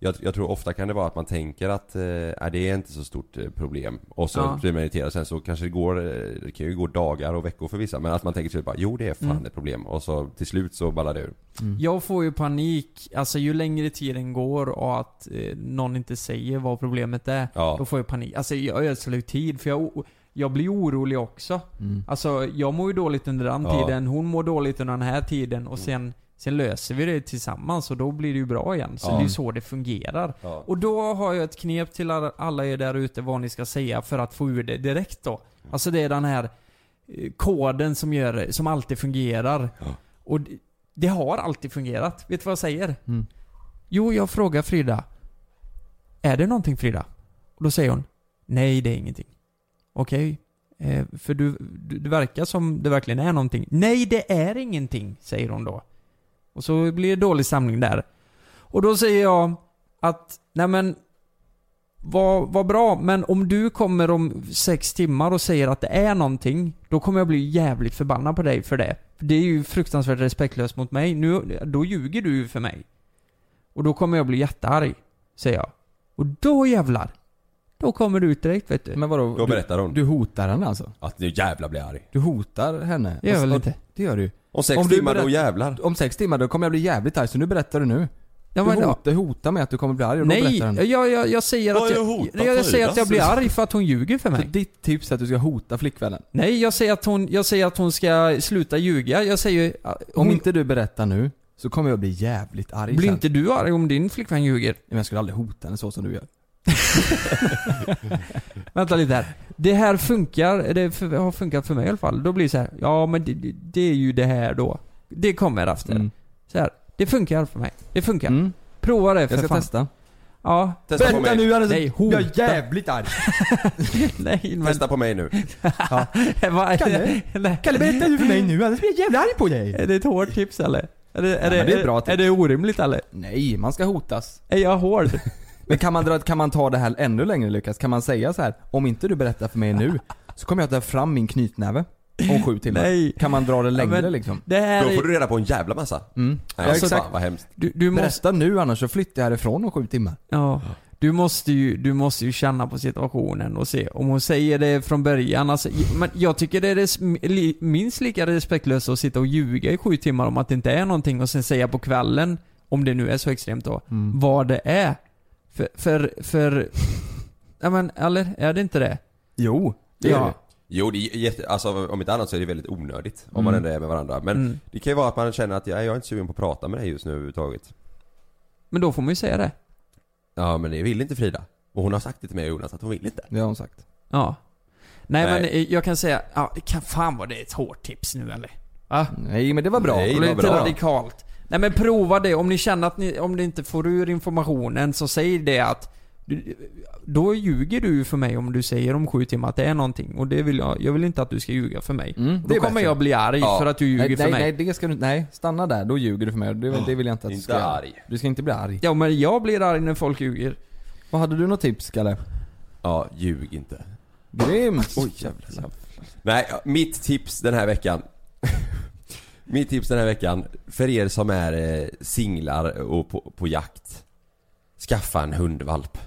Speaker 3: Jag, jag tror ofta kan det vara att man tänker att eh, "Nej, det är inte så stort eh, problem och så
Speaker 5: Ja.
Speaker 3: blir man irriterad sen så kanske det går, eh, det kan ju gå dagar och veckor för vissa men att man tänker typ bara jo det är fan
Speaker 5: Mm.
Speaker 3: ett problem och så till slut så ballar det ur.
Speaker 5: Jag får ju panik, alltså ju längre tiden går och att eh, någon inte säger vad problemet är.
Speaker 3: Ja.
Speaker 5: Då får jag panik. Alltså jag ödslar ju tid för jag, o- jag blir orolig också.
Speaker 4: Mm.
Speaker 5: Alltså jag mår ju dåligt under den
Speaker 4: Ja. Mm.
Speaker 5: tiden, hon mår dåligt under den här tiden och sen, sen löser vi det tillsammans och då blir det ju bra igen. Så
Speaker 4: Ja.
Speaker 5: det är ju så det fungerar.
Speaker 3: Ja.
Speaker 5: Och då har jag ett knep till alla- alla er där ute vad ni ska säga för att få ur det direkt då. Alltså det är den här eh, koden som gör det, som alltid fungerar. Och d- det har alltid fungerat. Vet du vad jag säger?
Speaker 4: Mm.
Speaker 5: Jo, jag frågar Frida. Är det någonting Frida? Och då säger hon. Nej, det är ingenting. Okej. Eh, för du, du, det verkar som det verkligen är någonting. Nej, det är ingenting, säger hon då. Och så blir det dålig samling där. Och då säger jag att, nej men vad, vad bra, men om du kommer om sex timmar och säger att det är någonting, då kommer jag bli jävligt förbannad på dig för det. För Det är ju fruktansvärt respektlöst mot mig. Nu, då ljuger du ju för mig. Och då kommer jag bli jättearg, säger jag. Och då jävlar, då kommer du ut direkt vet du.
Speaker 4: Men vadå?
Speaker 3: Då berättar hon.
Speaker 4: Du hotar henne alltså?
Speaker 3: Att nu jävlar blir jag arg.
Speaker 4: Du hotar henne?
Speaker 3: Det gör jag väl
Speaker 4: Och-
Speaker 3: inte.
Speaker 4: Det gör du
Speaker 3: Om sex
Speaker 4: du
Speaker 3: timmar, då
Speaker 4: berätt-
Speaker 3: jävlar.
Speaker 4: Om sex timmar, då kommer jag bli jävligt arg, så nu berättar du nu.
Speaker 5: Ja,
Speaker 4: du
Speaker 5: men då-
Speaker 4: hotar, hotar mig att du kommer bli arg och då
Speaker 5: Nej,
Speaker 4: berättar den.
Speaker 5: jag, jag, jag säger
Speaker 4: Vad
Speaker 5: att
Speaker 4: är
Speaker 5: jag,
Speaker 4: det hotat
Speaker 5: jag, jag,
Speaker 4: för
Speaker 5: säger
Speaker 4: idag?
Speaker 5: att jag blir arg för att hon ljuger för mig.
Speaker 4: Så ditt tips är att du ska hota flickvännen?
Speaker 5: Nej, jag säger att hon, jag säger att hon ska sluta ljuga. Jag säger äh, ju...
Speaker 4: Om inte du berättar nu, så kommer jag bli jävligt arg
Speaker 5: Blir
Speaker 4: sen.
Speaker 5: inte du arg om din flickvän ljuger?
Speaker 4: Men jag skulle aldrig hota henne så som du gör.
Speaker 5: Vänta lite här. Det här funkar, det f- har funkat för mig i alla fall. Då blir det så här, ja men det, det- det är ju det här då. Det kommer efter.
Speaker 4: Mm.
Speaker 5: Så här, det funkar för mig. Det funkar. Prova det för
Speaker 4: Jag ska
Speaker 5: fan.
Speaker 4: testa.
Speaker 5: Ja.
Speaker 3: Testa på mig.
Speaker 5: Nej, hota.
Speaker 4: jävligt arg.
Speaker 5: (laughs) Nej, men...
Speaker 3: Testa på mig nu.
Speaker 5: Vad-
Speaker 4: Kalle?
Speaker 5: Nej.
Speaker 4: Kalle berätta nu för mig nu, annars blir jag jävligt arg på dig.
Speaker 5: Är det ett hårt tips eller? Är det, är
Speaker 4: Ja, men
Speaker 5: det,
Speaker 4: det är ett bra
Speaker 5: är
Speaker 4: tips.
Speaker 5: det orimligt eller?
Speaker 4: Nej, man ska hotas.
Speaker 5: Är jag (laughs) hård?
Speaker 4: Men kan man, dra, kan man ta det här ännu längre Lukas? Kan man säga så här, om inte du berättar för mig nu så kommer jag ta fram min knytnäve om sju timmar.
Speaker 5: Nej.
Speaker 4: Kan man dra det längre
Speaker 5: men
Speaker 4: liksom?
Speaker 5: det här Då är- får du
Speaker 3: reda på en jävla massa.
Speaker 4: Mm.
Speaker 3: Nej,
Speaker 4: ja,
Speaker 3: alltså,
Speaker 4: exakt.
Speaker 3: fan, vad hemskt.
Speaker 5: Du, du måste-
Speaker 4: Berätta nu annars så flyttar jag härifrån om sju timmar.
Speaker 5: Ja. Du måste, ju, du måste ju känna på situationen och se om hon säger det från början. Alltså, j- men jag tycker det är res- li- minst lika respektlöst att sitta och ljuga i sju timmar om att det inte är någonting och sen säga på kvällen, om det nu är så extremt då,
Speaker 4: Mm.
Speaker 5: vad det är. För, för, för ja men eller är det inte det?
Speaker 4: Jo,
Speaker 3: Det
Speaker 5: ja.
Speaker 3: är det. Jo det är jätte, alltså om inte annat så är det väldigt onödigt om man
Speaker 5: Mm.
Speaker 3: ändå är med varandra. Men
Speaker 5: Mm.
Speaker 3: det kan ju vara att man känner att jag, jag är inte sugen på att prata med dig just nu överhuvudtaget.
Speaker 5: Men då får man ju säga det.
Speaker 3: Ja men det vill inte Frida. Och hon har sagt det till mig och Jonas att hon vill inte.
Speaker 4: Det har hon sagt.
Speaker 5: Ja. Nej,
Speaker 3: Nej.
Speaker 5: men eh, jag kan säga, ja, det kan fan vad det är ett hårt tips nu eller? Va?
Speaker 4: Nej men det var bra.
Speaker 5: Det var lite radikalt. Nej men prova det. Om ni känner att ni, om ni inte får ur informationen så säg det att du, då ljuger du ju för mig om du säger om sju timmar att det är någonting. Och det vill jag, jag vill inte att du ska ljuga för mig.
Speaker 4: Mm,
Speaker 5: då kommer jag bli arg för att du ljuger
Speaker 4: nej,
Speaker 5: för
Speaker 4: nej,
Speaker 5: mig.
Speaker 4: Nej, det ska du Nej, stanna där. Då ljuger du för mig. Det, det vill jag inte att du
Speaker 5: Inte
Speaker 4: ska göra.
Speaker 5: arg.
Speaker 4: Du ska inte bli arg.
Speaker 5: Ja men jag blir arg när folk ljuger.
Speaker 4: Vad hade du något tips Kalle?
Speaker 3: Ja, ljug inte.
Speaker 4: Grymt!
Speaker 3: Oj jävlar. Nej, mitt tips den här veckan. (laughs) mitt tips den här veckan. För er som är eh, singlar och på, på jakt. Skaffa en hundvalp.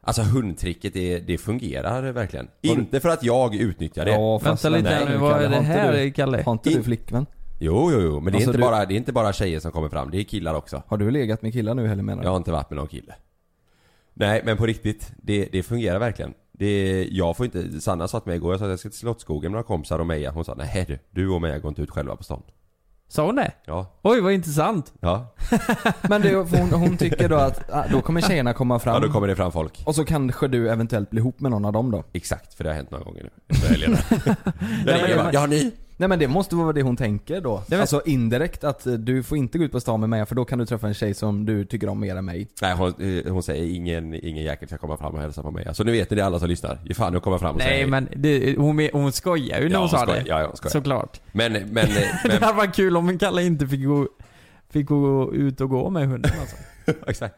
Speaker 3: Alltså hundtricket, det, det fungerar verkligen. Inte för att jag utnyttjar det.
Speaker 4: Ja, fast Vänta lite nej, här nu, vad Kalle, är det har inte här, du- Kalle? har inte du
Speaker 3: In-
Speaker 4: flickvän?
Speaker 3: Jo, jo, jo. Men det är,
Speaker 4: Alltså,
Speaker 3: inte,
Speaker 4: du-
Speaker 3: bara, det är inte bara tjejer som kommer fram. Det är killar också.
Speaker 4: Har du legat med killar nu eller menar
Speaker 3: Jag har inte varit med någon kille. Nej, men på riktigt. Det, det fungerar verkligen. Det, jag får inte, Sanna sa till mig igår, jag sa att jag ska till Slottsskogen med några kompisar och Meja. Hon sa nej du, du och Meja går inte ut själva på stan.
Speaker 5: Sa hon det?
Speaker 3: Ja.
Speaker 5: Oj, vad intressant.
Speaker 3: Ja.
Speaker 4: Men du, hon, hon tycker då att ah, då kommer tjejerna komma fram.
Speaker 3: Ja, då kommer det fram folk.
Speaker 4: Och så kanske du eventuellt blir ihop med någon av dem då?
Speaker 3: Exakt, för det har hänt några gånger nu. Efter helgerna. Jag ringer bara, "Ja, ni?"
Speaker 4: Nej men det måste vara det hon tänker då.
Speaker 3: men-
Speaker 4: Alltså indirekt att eh, du får inte gå ut på stan med mig för då kan du träffa en tjej som du tycker om mer än mig.
Speaker 3: Nej hon, eh, hon säger ingen, ingen jäkel ska komma fram och hälsa på mig. Så nu vet ni det alla som lyssnar. Ge fan nu kommer fram och säger
Speaker 5: Nej men det, hon, hon skojar ju när
Speaker 3: Ja,
Speaker 5: hon sa
Speaker 3: skojar.
Speaker 5: det.
Speaker 3: Ja, ja, hon skojar.
Speaker 5: Såklart. (laughs)
Speaker 3: Men, men, men,
Speaker 5: det hade varit kul om Kalle inte fick gå, fick gå ut och gå med hunden alltså.
Speaker 3: (laughs) Exakt.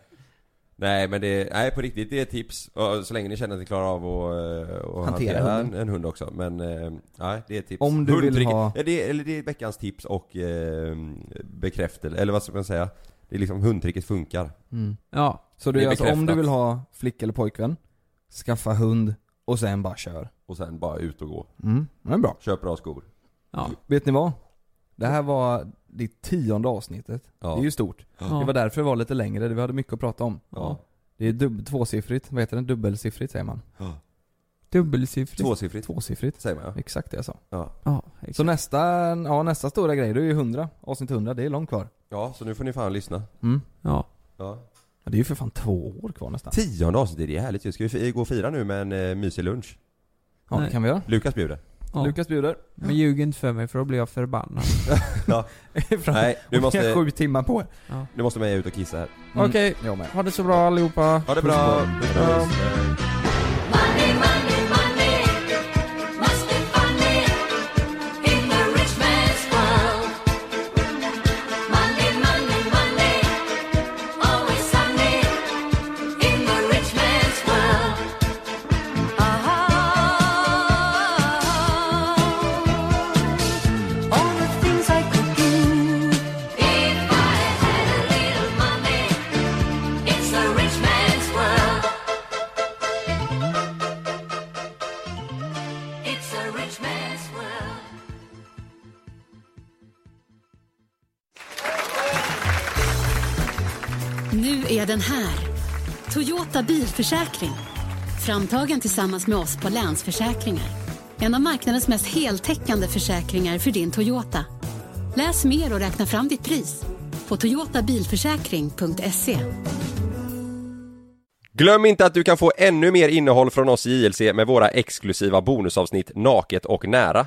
Speaker 3: Nej men det, nej på riktigt det är ett tips. Och så länge ni känner att ni klarar av att, eh, att
Speaker 4: Hantera
Speaker 3: hantera,
Speaker 4: hunden.
Speaker 3: en, en hund också. Men eh, nej det är ett tips.
Speaker 4: Om du vill
Speaker 3: Hundtricket-
Speaker 4: ha-
Speaker 3: Ja, det, är- eller det är veckans tips och eh, bekräftelse, eller vad ska man säga? Det är liksom hundtricket funkar.
Speaker 4: Mm.
Speaker 5: Ja.
Speaker 4: Så du,
Speaker 3: Det är
Speaker 4: alltså, om du
Speaker 3: bekräftat.
Speaker 4: vill ha flick eller pojkvän, skaffa hund och sen bara kör.
Speaker 3: Och sen bara ut och gå.
Speaker 4: Mm, det är bra.
Speaker 3: Köp bra skor.
Speaker 4: Vet ni vad? Det här var det tionde avsnittet.
Speaker 3: Ja.
Speaker 4: Det är ju stort.
Speaker 3: Ja.
Speaker 4: Det var därför det var lite längre, vi hade mycket att prata om.
Speaker 3: Ja.
Speaker 4: Det är dubb- tvåsiffrigt, vad heter det? Dubbelsiffrigt säger man.
Speaker 3: Ja.
Speaker 5: Dubbelsiffrigt.
Speaker 3: Tvåsiffrigt.
Speaker 4: Tvåsiffrigt.
Speaker 3: Säger man ja.
Speaker 4: Exakt det jag sa.
Speaker 3: Ja.
Speaker 5: Ja,
Speaker 4: Så nästa, ja, nästa stora grej, det är ju 100. Avsnitt 100, det är långt kvar.
Speaker 3: Ja, så nu får ni fan lyssna.
Speaker 4: Mm.
Speaker 5: Ja.
Speaker 3: Ja.
Speaker 4: Ja, det är ju för fan två år kvar nästan.
Speaker 3: Tionde avsnittet, det är härligt ju. Ska vi fi- gå och fira nu med en eh, mysig lunch?
Speaker 4: Ja, det kan vi göra. (laughs)
Speaker 3: Lukas bjuder.
Speaker 5: Ja.
Speaker 4: Lukas bjuder.
Speaker 5: Men ljug inte för mig för då blir jag förbannad.
Speaker 3: Ja. Nej,
Speaker 4: Vi
Speaker 3: du
Speaker 4: har
Speaker 3: måste,
Speaker 4: sju timmar på er.
Speaker 3: nu måste Meja ut och kissa här.
Speaker 5: Okej,
Speaker 4: Jag med.
Speaker 5: ha det så bra allihopa.
Speaker 3: Ha det bra!
Speaker 5: Puss på er.
Speaker 12: It's a rich man's world.
Speaker 13: Nu är den här. Toyota bilförsäkring. Framtagen tillsammans med oss på Länsförsäkringar. En av marknadens mest heltäckande försäkringar för din Toyota. Läs mer och räkna fram ditt pris på toyotabilförsäkring.se.
Speaker 3: Glöm inte att du kan få ännu mer innehåll från oss i JLC med våra exklusiva bonusavsnitt Naket och nära.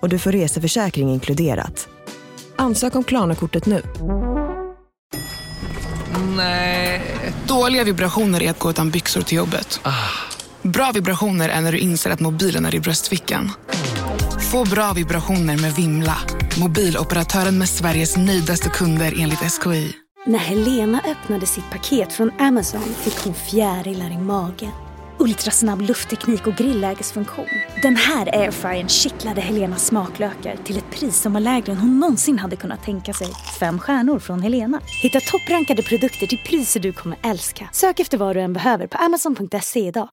Speaker 1: och du får reseförsäkring inkluderat. Ansök om Klarna-kortet nu.
Speaker 14: Nej. Dåliga vibrationer är att gå utan byxor till jobbet. Bra vibrationer är när du inser att mobilen är i bröstfickan. Få bra vibrationer med Vimla. Mobiloperatören med Sveriges nöjdaste kunder enligt SKI.
Speaker 2: När Helena öppnade sitt paket från Amazon fick hon fjärilar i magen. Ultrasnabb luftteknik och grillägesfunktion. Den här airfryern kittlade Helenas smaklökar till ett pris som var lägre än hon någonsin hade kunnat tänka sig. Fem stjärnor från Helena. Hitta topprankade produkter till priser du kommer älska. Sök efter vad du än behöver på amazon.se idag.